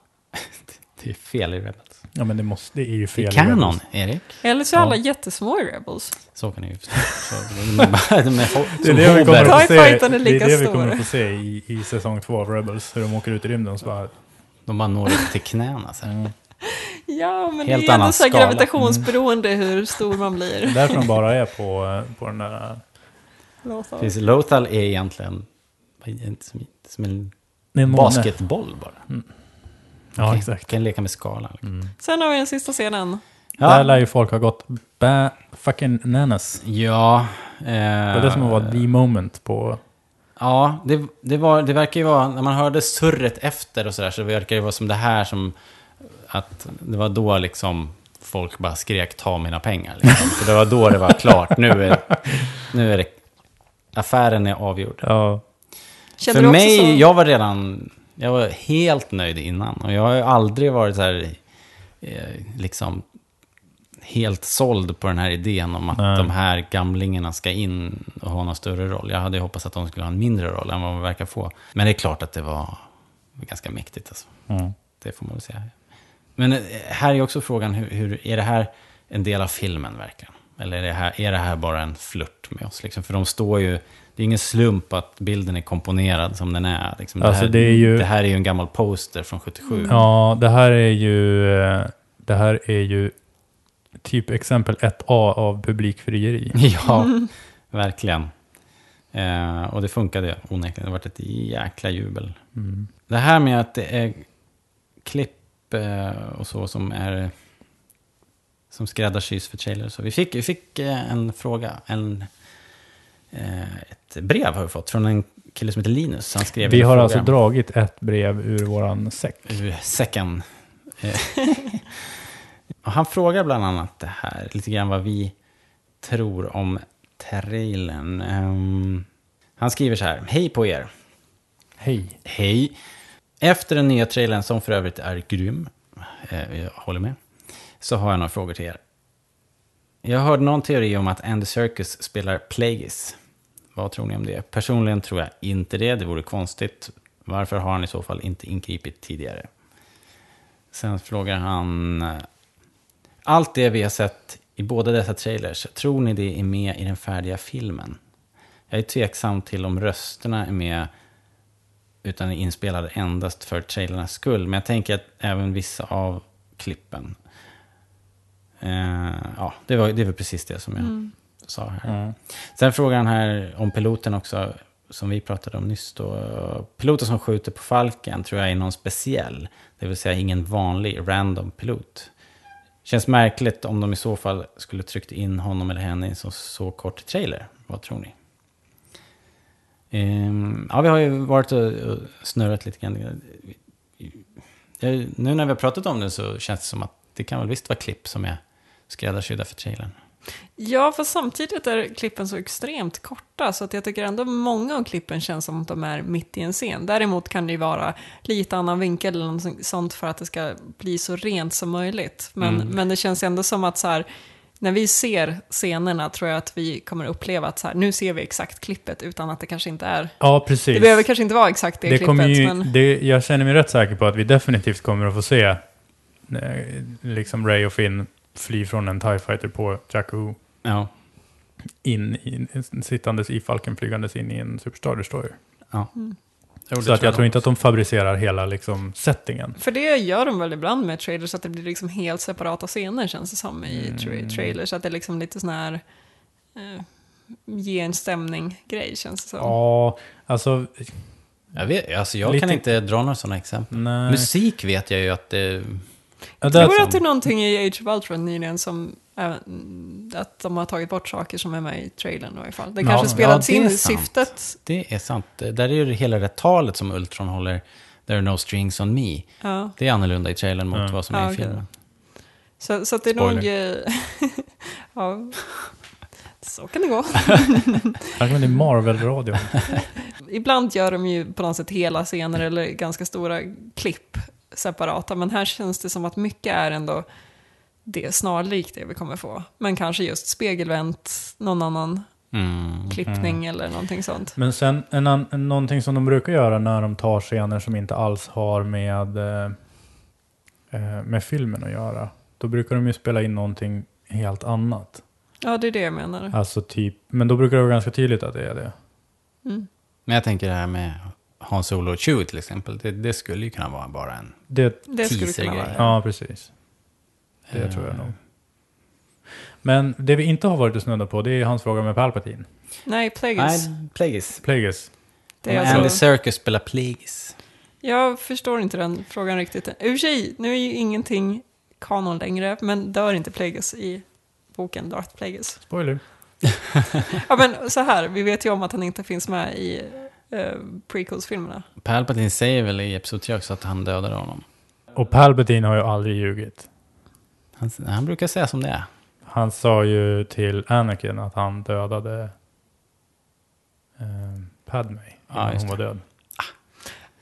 A: Det är fel i Rebels.
C: Ja, men det, måste, det är ju
A: I
C: fel
A: kanon,
C: Rebels.
A: Erik.
B: Eller så är
C: Ja.
B: alla jättesmå i Rebels.
A: Så kan det ju så, de är bara- de är ho-
C: Det är
A: som
C: det vi kommer
A: hober.
C: att
B: Tie
C: få se,
B: Fighter är lika
C: det är det vi
B: stor.
C: kommer att få se i, i säsong två av Rebels. Hur de åker ut i rymden och så bara...
A: De bara når upp till knäna. Så här.
C: Mm.
B: Ja,
A: Helt
B: men det är ändå
A: annan
B: så här
A: skala. Mm.
B: gravitationsberoende hur stor man
C: Det är
B: blir.
C: därför de bara är på, eh, på den där...
B: Låt oss.
A: Precis, Lothal är egentligen som, som en
C: Det är en måne.
A: basketboll bara.
C: Ja,
A: Kan-
C: exakt.
A: Kan leka med skala. Liksom.
B: Sen har vi den sista scenen.
C: Där
A: Ja,
C: lär ju folk ha gått ba, fucking nanas.
A: ja, eh,
C: Det var det som var the moment på...
A: ja det, det, var, det verkar ju vara, när man hörde surret efter och sådär, så verkar det vara som det här som, att det var då liksom folk bara skrek ta mina pengar. Liksom. För det var då det var klart, nu är, nu är det, affären är avgjord.
C: Ja.
B: Känner du
A: För
B: också
A: mig,
B: så?
A: jag var redan, jag var helt nöjd innan. Och jag har ju aldrig varit så här, eh, liksom, helt såld på den här idén om att
C: Nej.
A: de här gamlingarna ska in och ha någon större roll. Jag hade ju hoppats att de skulle ha en mindre roll än vad de verkar få. Men det är klart att det var ganska mäktigt. Alltså.
C: Mm.
A: Det får man väl säga. Men eh, här är också frågan, hur, hur, är det här en del av filmen verkligen? Eller är det här, är det här bara en flört med oss? Liksom? För de står ju, det är ingen slump att bilden är komponerad som den är. Liksom. Det,
C: Alltså,
A: här,
C: det är ju- Mm.
A: det här är ju en gammal poster från 77.
C: Ja, det här är ju, eh, det här är ju typ exempel 1A av publikfrieri.
A: Ja,
C: Mm.
A: verkligen. Eh, och det funkade onekligen. Det har varit ett jäkla jubel.
C: Mm.
A: Det här med att det är klipp eh, och så som är som skräddarsys för trailers. Så vi fick, vi fick eh, en fråga, en, eh, ett brev har vi fått från en kille som heter Linus. Han skrev
C: Vi
A: en
C: har
A: fråga
C: alltså dragit ett brev ur våran säck.
A: ur säcken. Eh, och han frågar bland annat det här, lite grann vad vi tror om trailern. Ehm, han skriver så här, hej på er.
C: Hej.
A: Hej. Efter den nya trailern, som för övrigt är grym, eh, jag håller med, så har jag några frågor till er. Jag hörde någon teori om att Andy Serkis spelar Plagueis. Vad tror ni om det? Personligen tror jag inte det, det vore konstigt. Varför har han i så fall inte ingripit tidigare? Sen frågar han... eh, Allt det vi har sett i båda dessa trailers, tror ni det är med i den färdiga filmen? Jag är tveksam till om rösterna är med utan är inspelad endast för trailernas skull. Men jag tänker att även vissa av klippen. Eh, ja, det var, det var precis det som jag sa här.
C: Mm.
A: Sen frågar han här om piloten också, som vi pratade om nyss då. Piloten som skjuter på Falken tror jag är någon speciell, det vill säga ingen vanlig random pilot. Känns märkligt om de i så fall skulle tryckt in honom eller henne i en så, så kort trailer. Vad tror ni? Ehm, ja, vi har ju varit och, och snurrat lite grann. Jag, nu när vi har pratat om det så känns det som att det kan väl visst vara klipp som är skräddarsydda för trailern.
B: Ja, för samtidigt är klippen så extremt korta så att jag tycker ändå många av klippen känns som att de är mitt i en scen. Däremot kan det ju vara lite annan vinkel eller något sånt för att det ska bli så rent som möjligt. Men,
C: Mm.
B: men det känns ändå som att så här, när vi ser scenerna tror jag att vi kommer uppleva att så här, nu ser vi exakt klippet utan att det kanske inte är...
C: Ja, precis.
B: Det behöver kanske inte vara exakt det,
C: det
B: klippet,
C: kommer ju,
B: men...
C: det, jag känner mig rätt säker på att vi definitivt kommer att få se eh, liksom Ray och Finn fly från en TIE fighter på Jakku
A: Ja,
C: in, i- sittandes i Falken flygandes in i en Superstar Destroyer.
A: ja.
B: Mm.
C: Så att jag tror inte att de fabricerar hela liksom, settingen.
B: För det gör de väl ibland med trailers, att det blir liksom helt separata scener känns det som i tra- trailers. Att det är liksom lite sån här eh, ge en stämning-grej känns det som.
C: Ja, alltså,
A: Jag, vet, alltså jag
C: Lite-
A: kan inte dra några sådana exempel.
C: nej.
A: Musik vet jag ju att det...
C: Ja,
B: Jag
C: där,
B: tror att det är någonting i Age of Ultron nyligen som eh, att de har tagit bort saker som är med i trailern i alla fall. Det
C: Ja,
B: kanske
C: ja,
B: spelats
A: det är
B: in i
A: sant.
B: syftet.
A: Det är sant. Där är ju hela det talet som Ultron håller, There are no strings on me.
B: Ja.
A: Det är annorlunda i trailern mot
C: Ja.
A: vad som är
B: Ja,
A: i
B: okej.
A: filmen.
B: Så, så att det är nog... eh, ja. Så kan det gå.
C: det är Marvel-radio.
B: Ibland gör de ju på något sätt hela scener eller ganska stora klipp separata, men här känns det som att mycket är ändå det snarlikt det vi kommer få. Men kanske just spegelvänt, någon annan
A: Mm.
B: klippning eller någonting sånt.
C: Men sen en an, någonting som de brukar göra när de tar scener som inte alls har med, eh, eh, med filmen att göra. Då brukar de ju spela in någonting helt annat.
B: Ja, det är det jag menar.
C: Alltså typ, men då brukar det vara ganska tydligt att det är det.
B: Mm.
A: Men jag tänker det här med Hans Solo och Chewie till exempel. Det, det skulle ju kunna vara bara en...
C: det
B: Det skulle
A: Teaser-grej.
B: kunna vara.
C: ja, precis. Det
A: Eh,
C: tror jag nog. Men det vi inte har varit och snuddat på, det är hans fråga med Palpatine.
B: Nej, Plagueis.
A: Nej, Plagueis.
C: Plagueis.
B: Det är
A: Om Andy
B: alltså,
A: Serkis spelar Plagueis.
B: jag förstår inte den frågan riktigt. I och för sig, nu är ju ingenting kanon längre, men dör inte Plagueis i boken Darth Plagueis?
C: Spoiler.
B: Ja, men så här, vi vet ju om att han inte finns med i eh, prequels-filmerna.
A: Palpatine säger väl i Episod 3 också att han dödade honom.
C: Och Palpatine har ju aldrig ljugit.
A: Han, han brukar säga som det är.
C: Han sa ju till Anakin att han dödade eh, Padme.
A: Ja,
C: innan
A: just
C: hon var död.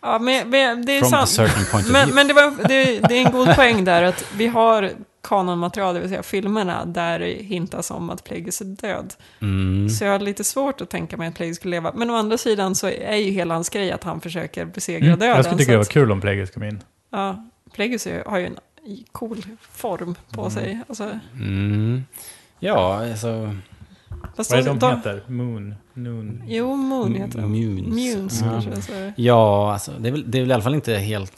B: Ja, men, men det är
A: From a
B: sant.
A: certain point of view.
B: Men, men det, var, det, det är en god poäng där att vi har kanonmaterial, det vill säga filmerna, där det hintas om att Plagueis är död.
A: Mm.
B: Så jag har lite svårt att tänka mig att Plagueis skulle leva. Men å andra sidan så är ju hela hans grej att han försöker besegra
C: Mm.
B: döden.
C: Jag skulle tycka
B: så
C: det var
B: att-
C: kul om Plagueis kom in.
B: Ja, Plagueis är ju- har ju en cool form på sig. Alltså,
A: Mm. Ja, alltså...
B: fast
C: Vad är det de heter? Moon? Noon?
B: Jo, Moon heter de.
A: Munes.
B: Munes
A: Ja.
B: kanske. Så.
A: Ja, alltså, det, är väl, det är väl i alla fall inte helt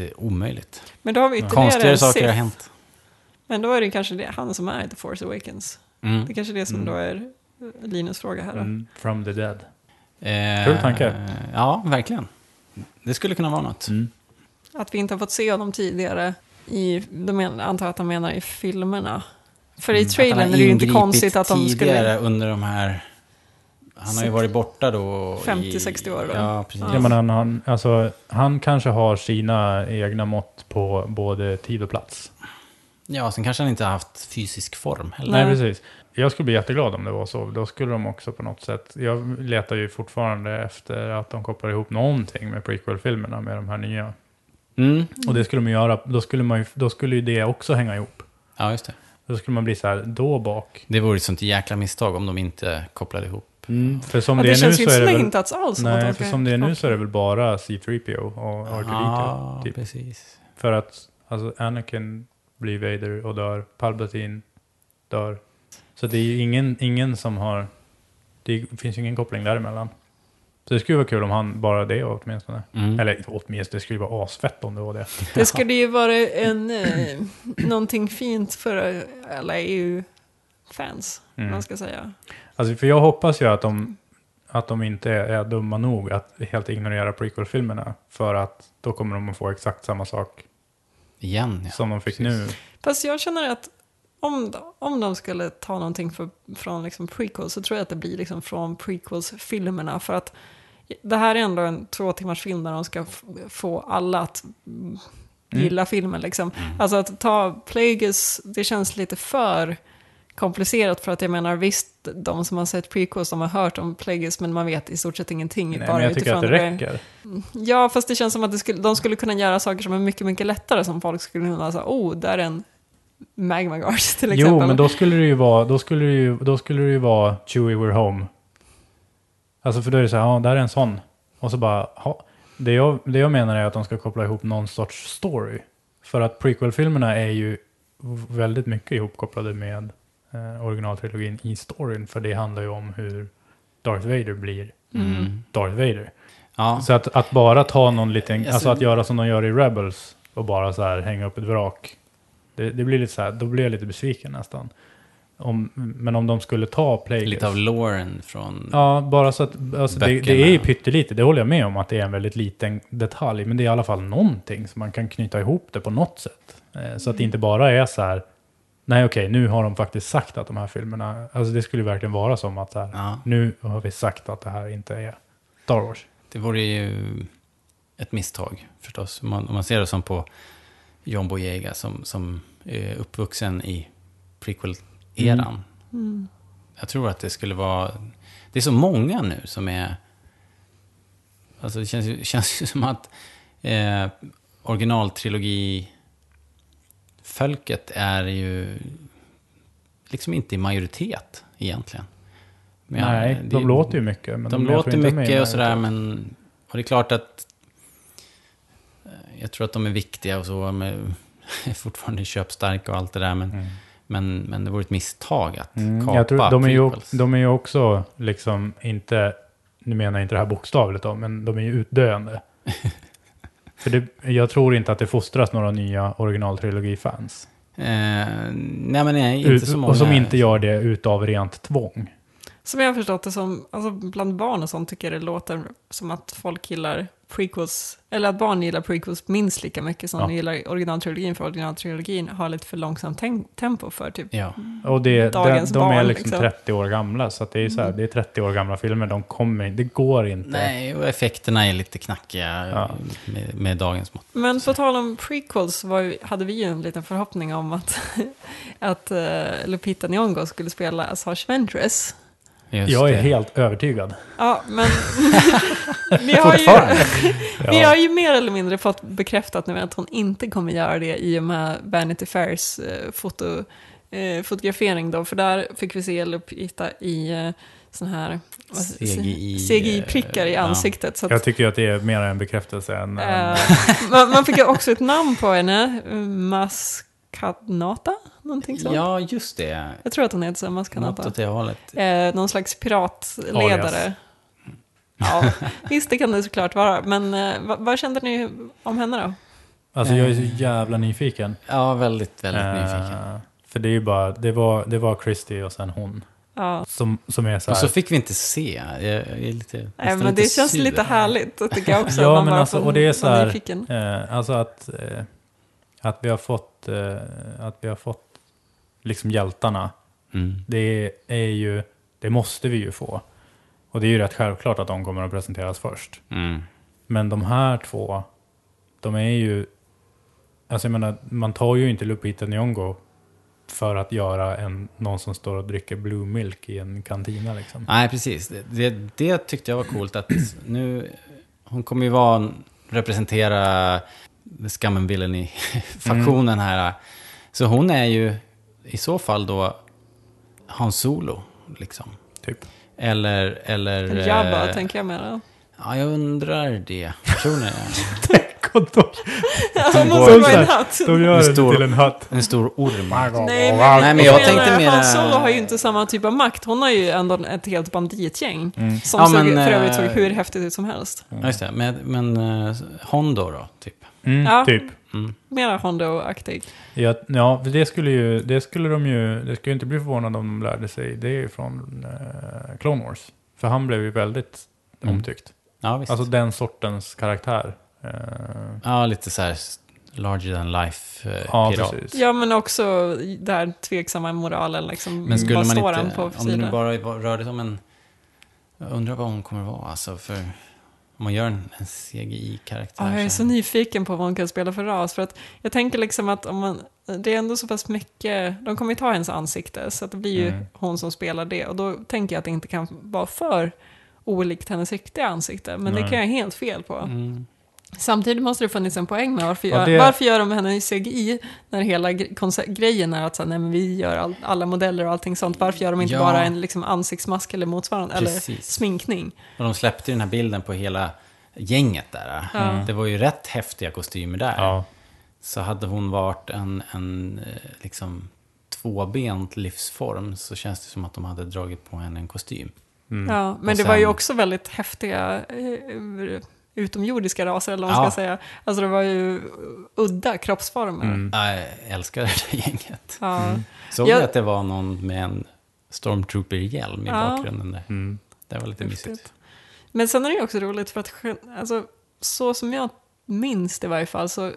A: eh, omöjligt.
B: Men då har vi ytterligare
A: Konstigare
B: en
A: saker
B: Sith.
A: har hänt.
B: Men då är det kanske det, han som är The Force Awakens.
A: Mm.
B: Det är kanske det som då
C: Mm.
B: är Linus fråga här. Då.
C: Mm. From the dead.
A: Eh,
C: Kul tanke.
A: Ja, verkligen. Det skulle kunna vara något.
C: Mm.
B: Att vi inte har fått se honom tidigare. I, de men, antar att han menar i filmerna. För i
A: Mm, att han
B: trailern
A: har
B: är det ju inte
A: ingripit
B: konstigt att de skulle...
A: tidigare under de här... Han har ju
B: 60
A: varit borta då... i-
B: 50-60 år, va?
A: Ja, precis.
B: Ja.
C: Ja, men han, han, alltså, han kanske har sina egna mått på både tid och plats.
A: Ja, sen kanske han inte har haft fysisk form heller.
C: Nej.
B: Nej.
C: precis. Jag skulle bli jätteglad om det var så. Då skulle de också på något sätt... Jag letar ju fortfarande efter att de kopplar ihop någonting med prequel-filmerna med de här nya.
A: Mm.
C: Och det skulle man göra. Då skulle, man ju, då skulle ju det också hänga ihop.
A: Ja, just det.
C: Då skulle man bli så här, då bak.
A: Det vore ett sånt jäkla misstag om de inte kopplade ihop.
C: För som
B: Ja,
C: det,
B: det
C: är nu
B: känns ju
C: så
B: inte
C: är
B: som
C: det
B: det
C: väl...
B: hintats alls om Ah, att
C: Nej,
B: de
C: för
B: ska-
C: som det är nu så är det väl bara C3PO och R2D2.
A: Ja,
C: typ.
A: precis.
C: För att alltså, Anakin blir Vader och dör. Palpatine dör. Så det är ju ingen, ingen som har... Det finns ju ingen koppling däremellan. Så det skulle vara kul om han bara det åtminstone.
A: Mm.
C: Eller åtminstone, det skulle ju vara asfett om det var det.
B: Det skulle ju vara en, eh, någonting fint för eh, alla EU-fans,
C: Mm.
B: man ska säga.
C: Alltså, för jag hoppas ju att de, att de inte är, är dumma nog att helt ignorera prequel-filmerna. För att då kommer de att få exakt samma sak
A: Igen, ja.
C: som de fick
A: precis.
C: nu.
B: Fast jag känner att om, om de skulle ta någonting för, från liksom prequels så tror jag att det blir liksom från prequels-filmerna. För att det här är ändå en två timmars film där de ska f- få alla att mm, gilla filmen. Liksom.
C: Mm.
B: Alltså att ta Plagueis, det känns lite för komplicerat för att jag menar visst, de som har sett prequels, de har hört om Plagueis men man vet i stort sett ingenting.
C: Nej,
B: bara
C: men jag tycker
B: utifrån
C: att det
B: vad-
C: räcker.
B: Ja, fast det känns som att det skulle, de skulle kunna göra saker som är mycket, mycket lättare som folk skulle kunna säga, oh, där är en magma guard till exempel.
C: Jo, men då skulle det ju vara, då skulle det ju, då skulle det ju vara Chewie We're Home. Alltså för då är det så här, ja, där är en sån. Och så bara, ja. Det jag, det jag menar är att de ska koppla ihop någon sorts story. För att prequel-filmerna är ju väldigt mycket ihopkopplade med eh, originaltrilogin i storyn. För det handlar ju om hur Darth Vader blir
A: Mm.
C: Darth Vader.
A: Ja.
C: Så att, att bara ta någon liten,
A: Alltså-
C: alltså att göra som de gör i Rebels och bara så här hänga upp ett vrak. Det, det blir lite så här, då blir jag lite besviken nästan. Om, men om de skulle ta Plagueis.
A: Lite av Lauren från...
C: Ja, bara så att, alltså det,
A: Böckerna.
C: det är ju pyttelite, det håller jag med om att det är en väldigt liten detalj. Men det är i alla fall någonting som man kan knyta ihop det på något sätt. Eh, Så att
A: Mm.
C: det inte bara är så här, nej okej, nu har de faktiskt sagt att de här filmerna, alltså det skulle ju verkligen vara som att så här,
A: Ja.
C: nu har vi sagt att det här inte är Star Wars.
A: Det vore ju ett misstag förstås. Om man, om man ser det som på John Boyega som, som är uppvuxen i prequel-eran.
B: Mm.
A: Jag tror att det skulle vara... Det är så många nu som är... Alltså det känns, ju- känns ju som att eh, originaltrilogi-fölket är ju liksom inte i majoritet egentligen. Men jag-
C: Nej,
A: det-
C: de låter ju mycket. Men
A: de
C: jag tror
A: låter
C: inte de är
A: mycket
C: med
A: och sådär,
C: i-
A: men... Och det är klart att... eh, Jag tror att de är viktiga och så, men är fortfarande köpstarka och allt det där, men...
C: Mm.
A: Men, men det vore ett misstag att
C: Mm,
A: kapa
C: jag tror, de, är ju,
A: prequels.
C: de är ju också liksom inte, nu menar jag inte det här bokstavligt då, men de är ju utdöende. För det, jag tror inte att det fostras några nya originaltrilogifans.
A: Eh, nej, men nej, inte
C: Ut-
A: så många.
C: Och som inte gör det utav rent tvång.
B: Som jag har förstått det som, alltså bland barn och sånt tycker jag det låter som att folk gillar prequels, eller att barn gillar prequels minst lika mycket som
C: Ja.
B: de gillar originaltrilogin, för originaltrilogin har lite för långsamt ten- tempo för typ.
A: Ja,
C: Och det, de,
B: Dagens
C: de är
B: barn,
C: liksom,
B: liksom. Mm.
C: 30 år gamla, så att det, är så här, det är 30 år gamla filmer, de kommer inte, det går inte.
A: nej, och effekterna är lite knackiga
C: Ja.
A: med, med dagens mått.
B: Men på tal om prequels var, ju- hade vi ju en liten förhoppning om att, att eh, Lupita Nyong'o skulle spela Assange Ventress.
A: Just
C: Jag är
A: det.
C: helt övertygad.
B: Ja, men Vi har, ju,
A: Fortfarande.
B: vi har ju mer eller mindre fått bekräftat nu att hon inte kommer göra det i och med Vanity Fairs eh, foto, eh, fotografering då, för där fick vi se eller hitta i eh, sån här vad-
A: CGI,
B: CGI-prickar i
A: eh, ja.
B: ansiktet. Så att,
C: Jag tycker ju att det är mer en bekräftelse än...
B: eh, man, man fick ju också ett namn på henne, eh, Maskanata, någonting sånt.
A: Ja, just det.
B: Jag tror att hon heter så,
A: Något
B: Maskanata.
A: åt det hållet.
B: Eh, någon slags piratledare.
C: Alias.
B: Ja, visst det kan det såklart vara. Men eh, vad, vad kände ni om henne då?
C: alltså jag är så jävla nyfiken.
A: Ja, väldigt, Eh. väldigt
C: Eh,
A: nyfiken.
C: För det är ju bara, det var, det var Christie och sen hon.
B: Ja.
C: Som, som är så
A: Och
C: här.
A: så fick vi inte se. Jag, jag är lite,
B: Nej,
A: nästan
B: men det känns
A: sur.
B: lite härligt, jag tycker jag också.
C: Ja,
B: att man
C: men
B: bara
C: alltså,
B: får
C: och det är så
B: vara
C: här-
B: nyfiken.
C: Eh, alltså att, eh, att vi har fått, eh, att vi har fått liksom hjältarna.
A: Mm.
C: Det är ju, det måste vi ju få. Och det är ju rätt självklart att de kommer att presenteras först.
A: Mm.
C: Men de här två, de är ju... Alltså jag menar, man tar ju inte Lupita Nyong'o för att göra en, någon som står och dricker blue milk i en kantina liksom.
A: Nej, precis. Det, det, det tyckte jag var coolt att nu... Hon kommer ju vara, representera skammen villen i faktionen här. Så hon är ju i så fall då Hans Solo, liksom.
C: Typ.
A: Eller... Eller,
B: Eller Jabba,
A: eh,
B: tänker jag mer.
A: Ja, jag undrar det. Personligen.
C: Och de,
B: Ja,
A: går-
B: måste
A: Så
B: vara en
C: här-
B: hatt.
C: de gör
A: En
C: det
A: stor-
C: till en hatt.
A: En stor
C: Mm.
A: orm.
B: Nej,
A: Nej, men jag
B: menar,
A: tänkte mera-
B: Han Solo har ju inte samma typ av makt. Hon har ju ändå ett helt banditgäng. Som
A: Ja,
B: såg,
A: men,
B: för övrigt såg
A: eh,
B: hur häftigt ut som helst.
A: Ja, just det. Men, men eh, Hondo då, typ.
C: Mm,
B: Ja.
C: Typ.
B: Mera Hondo-aktig.
C: Ja, ja för det skulle ju, det skulle de ju, det skulle ju inte bli förvånande om de lärde sig det från eh, Clone Wars. För han blev ju väldigt
A: Mm.
C: omtyckt.
A: Ja, visst.
C: Alltså den sortens karaktär. Eh,
A: ja, lite så här larger than eh, life-pirat.
C: ja, precis.
B: Ja, men också där tveksamma moralen. Liksom,
A: Men skulle
B: vad
A: man
B: står
A: inte,
B: han på för
A: om det
B: sida?
A: nu bara var- rörde sig om en... Jag undrar vad hon kommer vara alltså, för om man gör en, en CGI-karaktär.
B: Ja, jag är
A: så
B: så nyfiken på vad hon kan spela för ras. För att jag tänker liksom att om man, det är ändå så pass mycket, de kommer ju ta hennes ansikte, så att det blir ju
C: Mm.
B: hon som spelar det. Och då tänker jag att det inte kan vara för olikt hennes riktiga ansikte. Men det
C: Nej.
B: kan jag helt fel på.
A: Mm.
B: Samtidigt måste det funnits en poäng med varför,
C: Ja,
B: gör,
C: det-
B: varför gör de henne i CGI när hela gre- konce- grejen är att så här, nej, men vi gör all, alla modeller och allting sånt. Varför gör de inte
A: Ja.
B: bara en liksom, ansiktsmask eller motsvarande, eller
A: Precis.
B: sminkning?
A: Och de släppte ju den här bilden på hela gänget där.
C: Mm.
A: Mm.
B: Ja.
A: Det var ju rätt häftiga kostymer där.
C: Ja.
A: Så hade hon varit en, en eh, liksom, tvåbent livsform så känns det som att de hade dragit på henne en kostym.
C: Mm.
B: Ja, men
A: Mm. Och
B: det var ju
A: sen-
B: också väldigt häftiga eh, utomjordiska raser, eller vad man
A: Ja.
B: ska säga. Alltså det var ju udda kroppsformer.
A: Jag älskar det där gänget.
B: Ja.
A: Såg
B: Mm. Jag-
A: jag... att det var någon med en stormtrooper-hjälm i
B: Ja.
A: bakgrunden där?
C: Mm.
A: Det var lite
B: Häftigt.
A: mysigt.
B: Men sen är det ju också roligt för att gen- alltså, så som jag minns det i varje fall så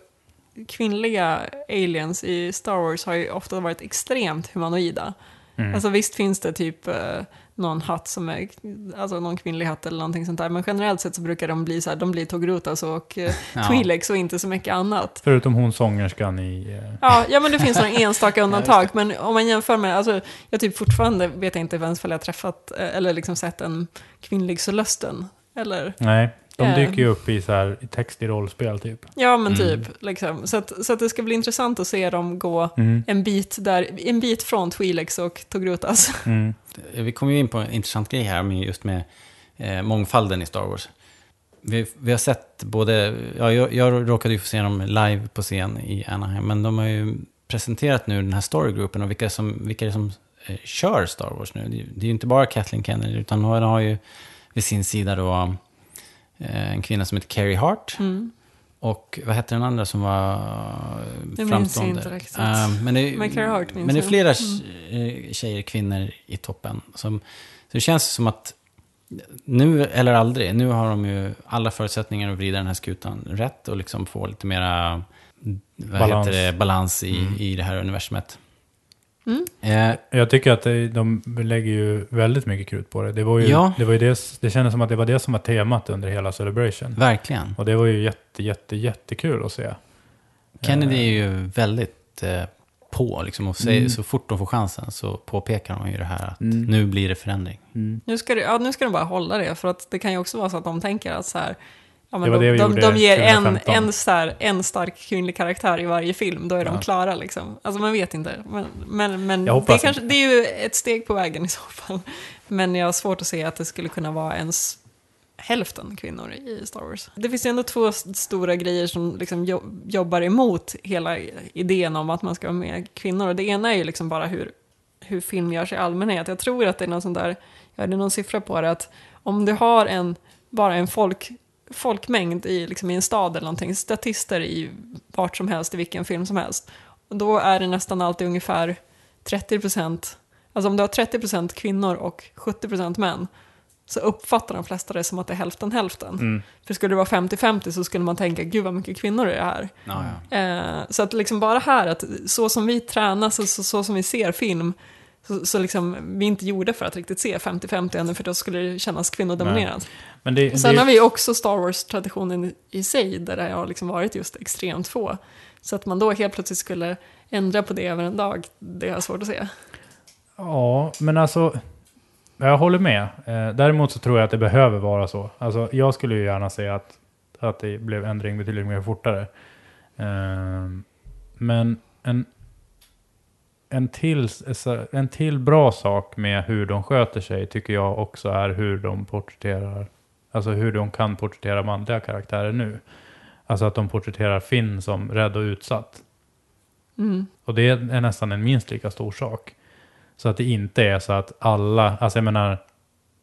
B: kvinnliga aliens i Star Wars har ju ofta varit extremt humanoida.
A: Mm.
C: Mm.
B: Alltså visst finns det typ eh, någon hatt som är, alltså någon kvinnlig hatt eller någonting sånt där, men generellt sett så brukar de bli så här, de blir Togrutas och eh,
A: Ja.
B: Twi'leks och inte så mycket annat.
C: Förutom hon sångerskan i... Eh,
B: Ja, ja, men det finns några enstaka undantag. Men om man jämför med, alltså, jag typ fortfarande vet jag inte ens om jag har träffat eh, eller liksom sett en kvinnlig Solusten. Eller,
C: nej, de
B: Eh.
C: dyker ju upp i så här, i text i rollspel typ.
B: ja men typ. Liksom. Så, att, så att det ska bli intressant att se dem gå
C: Mm.
B: en bit, där, en bit från Twi'leks och Togrutas.
C: Mm.
A: Vi kom ju in på en intressant grej här med just med eh, mångfalden i Star Wars. Vi, vi har sett både, ja, jag, jag råkade ju få se dem live på scen i Anaheim, men de har ju presenterat nu den här storygruppen och vilka, som, vilka det är som eh, kör Star Wars nu. Det är ju- det är ju inte bara Kathleen Kennedy, utan hon har ju vid sin sida då eh, en kvinna som heter Carrie Hart.
B: Mm.
A: Och vad hette den andra som var
B: jag
A: eh, framstående?
B: inte riktigt.
A: Eh, men, det,
B: Men Clara Hart minns
A: men det är
B: jag.
A: flera mm. tjejer, kvinnor i toppen. Som, så det känns som att nu eller aldrig, nu har de ju alla förutsättningar att vrida den här skutan rätt och liksom få lite mera vad
C: Balans.
A: Heter det, balans i, i det här universumet.
B: Mm.
A: Eh,
C: Jag tycker att det- de lägger ju väldigt mycket krut på det. Det, var ju,
A: Ja.
C: det, var ju det, det kändes som att det var det som var temat under hela Celebration.
A: verkligen.
C: Och det var ju jätte, jätte, jättekul att se.
A: Kennedy är ju väldigt eh, på. Liksom, och säger, Så fort de får chansen så påpekar de ju det här att
C: Mm.
A: nu blir det förändring.
B: Nu ska, det, ja, nu ska de bara hålla det, för att det kan ju också vara så att de tänker att så här, ja,
C: Det
B: men
C: var det
B: de,
C: vi
B: de,
C: gjorde
B: de ger en,
C: 2015.
B: en, så här, en stark kvinnlig karaktär i varje film, då är de
A: Ja.
B: klara. Liksom. Alltså man vet inte, men, men, men
C: Jag
B: det,
C: hoppas
B: är kanske, det är ju ett steg på vägen i så fall. Men jag har svårt att se att det skulle kunna vara ens hälften kvinnor i Star Wars. Det finns ju ändå två s- stora grejer som liksom jo- jobbar emot hela idén om att man ska ha med kvinnor. Och det ena är ju liksom bara hur, hur film görs i allmänhet. Jag tror att det är någon sån där, jag hörde någon siffra på det, att om du har en, bara en folk, folkmängd i, liksom i en stad eller någonting, statister i vart som helst, i vilken film som helst, då är det nästan alltid ungefär 30 procent, alltså om du har 30 procent kvinnor och 70 procent män, så uppfattar de flesta det som att det är hälften hälften.
C: Mm.
B: För skulle det vara 50-50 så skulle man tänka, gud vad mycket kvinnor det är här.
A: Ja, ja.
B: Eh, så att liksom bara här, att så som vi tränas och så, så som vi ser film, så, så liksom vi är inte gjorda för att riktigt se 50-50 ännu, för då skulle det kännas kvinnodominerat.
C: Men det,
B: Och Sen
C: det,
B: har vi ju också Star Wars-traditionen i sig, där det har liksom varit just extremt få. Så att man då helt plötsligt skulle ändra på det över en dag, det är svårt att se.
C: Ja, men alltså... Jag håller med. Eh, däremot så tror jag att det behöver vara så. Alltså, jag skulle ju gärna se att, att det blev ändring betydligt mer fortare. Ehm, men en, en, till, en till bra sak med hur de sköter sig tycker jag också är hur de porträtterar, alltså hur de kan porträttera manliga karaktärer nu. Alltså att de porträtterar Finn som rädd och utsatt.
B: Mm.
C: Och det är nästan en minst lika stor sak. Så att det inte är så att alla, alltså jag menar,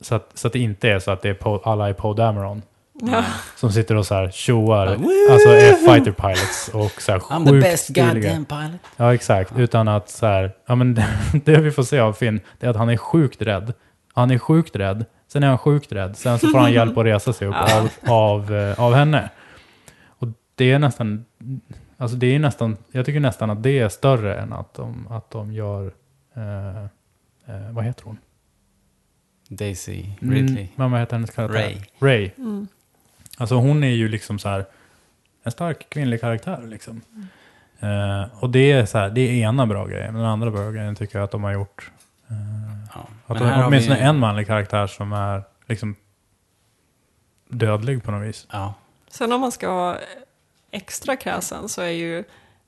C: så att, så att det inte är så att det är Poe- alla är Poe Dameron
B: Ja.
C: som sitter och så här tjoar,
A: Ja, woo!
C: alltså är fighter pilots och så här
A: I'm the
C: sjukt
A: best
C: stiliga.
A: goddamn pilot.
C: Ja, exakt. Utan att så här, ja men det, det vi får se av Finn, det är att han är sjukt rädd. Han är sjukt rädd, sen är han sjukt rädd, sen så får han hjälp att resa sig upp av, av, eh, av henne. Och det är nästan, alltså det är nästan, jag tycker nästan att det är större än att de, att de gör, eh, eh, vad heter hon?
A: Daisy Ridley.
C: Mm, men vad heter hennes karaktär?
A: Ray.
C: Ray.
B: Mm.
C: Alltså hon är ju liksom så här en stark kvinnlig karaktär liksom. Eh, och det är så här, det är ena bra grejen. Men den andra bra grejen tycker jag att de har gjort. eh,
A: Ja.
C: att
A: Men här
C: de,
A: har
C: åtminstone
A: vi-
C: en manlig karaktär som är liksom dödlig på något vis.
A: Ja.
B: Sen om man ska vara extra kräsen så är ju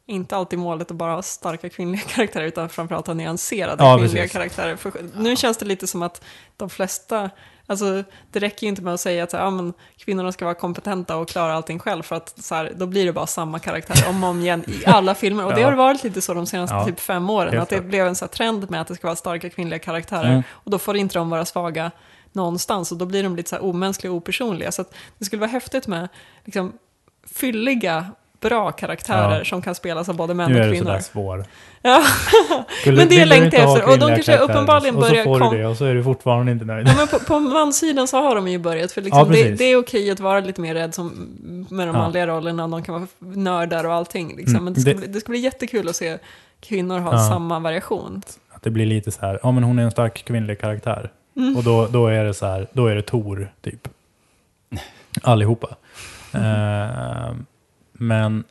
B: inte alltid målet att bara ha starka kvinnliga karaktärer utan framförallt ha nyanserade
C: Ja,
B: kvinnliga
C: precis.
B: karaktärer. För nu känns det lite som att de flesta, alltså det räcker ju inte med att säga att så här, ja, men, kvinnorna ska vara kompetenta och klara allting själv för att så här, då blir det bara samma karaktär om och om igen i alla filmer. Och det
C: Ja.
B: har varit lite så de senaste
C: Ja.
B: typ fem åren,
C: Helt
B: att det
C: klart.
B: blev en så här, trend med att det ska vara starka kvinnliga karaktärer
C: Mm.
B: och då får inte de vara svaga någonstans och då blir de lite så här omänskliga och opersonliga. Så att det skulle vara häftigt med liksom, fylliga, bra karaktärer
C: Ja.
B: som kan spelas av både
C: Nu
B: män
C: är
B: och
C: det sådär
B: kvinnor.
C: svår.
B: Ja.
C: Skulle,
B: Men det
C: vill du
B: längtar
C: inte
B: jag
C: ha
B: efter. Och de
C: kvinnliga
B: kanske uppenbarligen börjar
C: karaktärer? Och så får
B: kom-
C: du det och så är du fortfarande inte nöjd.
B: Ja, men på, på mansidan så har de ju börjat, för liksom
C: Ja,
B: det,
C: precis.
B: det är okej att vara lite mer rädd som, med de
C: Ja.
B: manliga rollerna, de kan vara nördar och allting. Liksom.
C: Mm,
B: Men det ska,
C: det-
B: bli, det ska bli jättekul att se kvinnor ha
C: Ja.
B: samma variation.
C: Att det blir lite så här, ja men hon är en stark kvinnlig karaktär. Och då, då är det så här, då är det Tor typ. Allihopa. Eh, men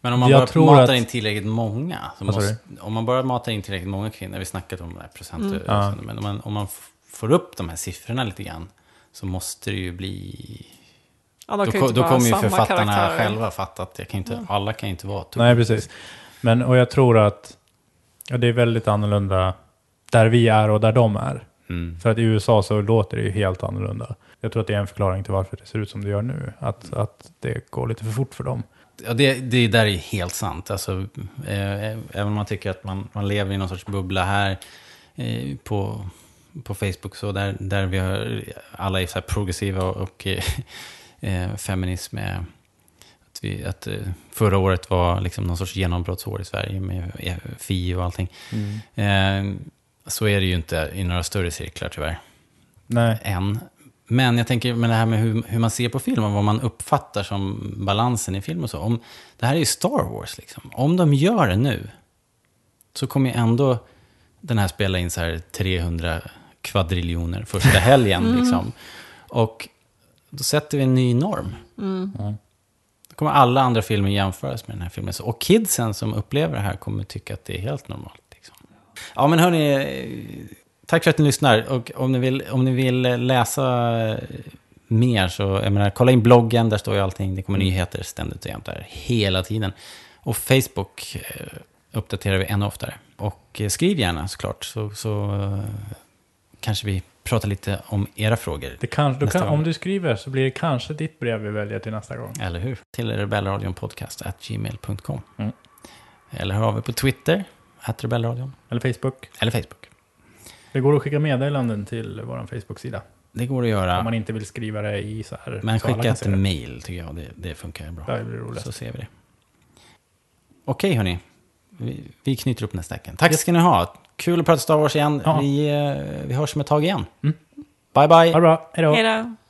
A: Men om man
C: Jag
A: bara
C: tror
A: matar
C: att-
A: in tillräckligt många. Så
C: Vad sa
A: måste, om man bara matar in tillräckligt många kvinnor, vi snackade om det här procent och-
C: Mm. Ja.
A: och så, Men om man, om man f- får upp de här siffrorna lite grann så måste det ju bli...
B: Ja, de
A: Då,
B: kan ju
A: ko-
B: inte
A: då
B: bara ha
A: kommer ju
B: samma
A: författarna
B: karaktärer.
A: själva fatta att jag kan ju inte, alla kan ju inte vara Tor.
C: Mm. Nej, precis. Men, och jag tror att ja, det är väldigt annorlunda där vi är och där de är.
A: Mm.
C: För att i USA så låter det ju helt annorlunda. Jag tror att det är en förklaring till varför det ser ut som det gör nu. Att, att det går lite för fort för dem.
A: Ja, det, det där är ju helt sant. Alltså, eh, även om man tycker att man, man lever i någon sorts bubbla här eh, på, på Facebook, så där, där vi har, alla är så här progressiva och, och eh, eh, feminism är... Att vi, att, eh, förra året var liksom någon sorts genombrottsår i Sverige med eh, FI och allting. Eh, så är det ju inte i några större cirklar tyvärr
C: Nej.
A: eh, än. Men jag tänker med det här med hur, hur man ser på film och vad man uppfattar som balansen i film och så. Om, det här är ju Star Wars liksom. Om de gör det nu så kommer ju ändå den här spela in så här 300 kvadriljoner första helgen liksom. Och då sätter vi en ny norm.
B: Mm.
A: Då kommer alla andra filmer jämföras med den här filmen. Så, och kidsen som upplever det här kommer tycka att det är helt normalt. Liksom. Ja, men hörni, eh, tack för att ni lyssnar. Och om ni vill, om ni vill eh, läsa eh, mer så, jag menar, kolla in bloggen, där står ju allting. Det
C: Mm.
A: kommer nyheter ständigt och jämt där, hela tiden. Och Facebook eh, uppdaterar vi ännu oftare. Och eh, skriv gärna såklart, så, så eh, kanske vi pratar lite om era frågor.
C: Det kanske, du
A: Nästa
C: kan,
A: gång.
C: om du skriver så blir det kanske ditt brev vi väljer till nästa gång.
A: Eller hur? Till rebellradionpodcast.gmail.com
C: Mm.
A: Eller hör av er på Twitter, att rebellradion,
C: Eller Facebook.
A: eller Facebook.
C: Det går att skicka meddelanden till vår Facebook-sida.
A: Det går att
C: Om
A: göra,
C: man inte vill skriva det i så här.
A: men
C: så alla
A: skicka
C: kan
A: ett
C: se det.
A: mail tycker jag, det, det funkar bra.
C: Det blir roligt.
A: Så ser vi det. Okej hörni, vi, vi knyter upp nästa vecka. Tack ska ni ha, kul att prata Star Wars igen.
C: Ja.
A: Vi, eh, vi hörs om ett tag igen.
C: Mm.
A: Bye bye!
C: Ha det bra. Hej då.
B: Hej då.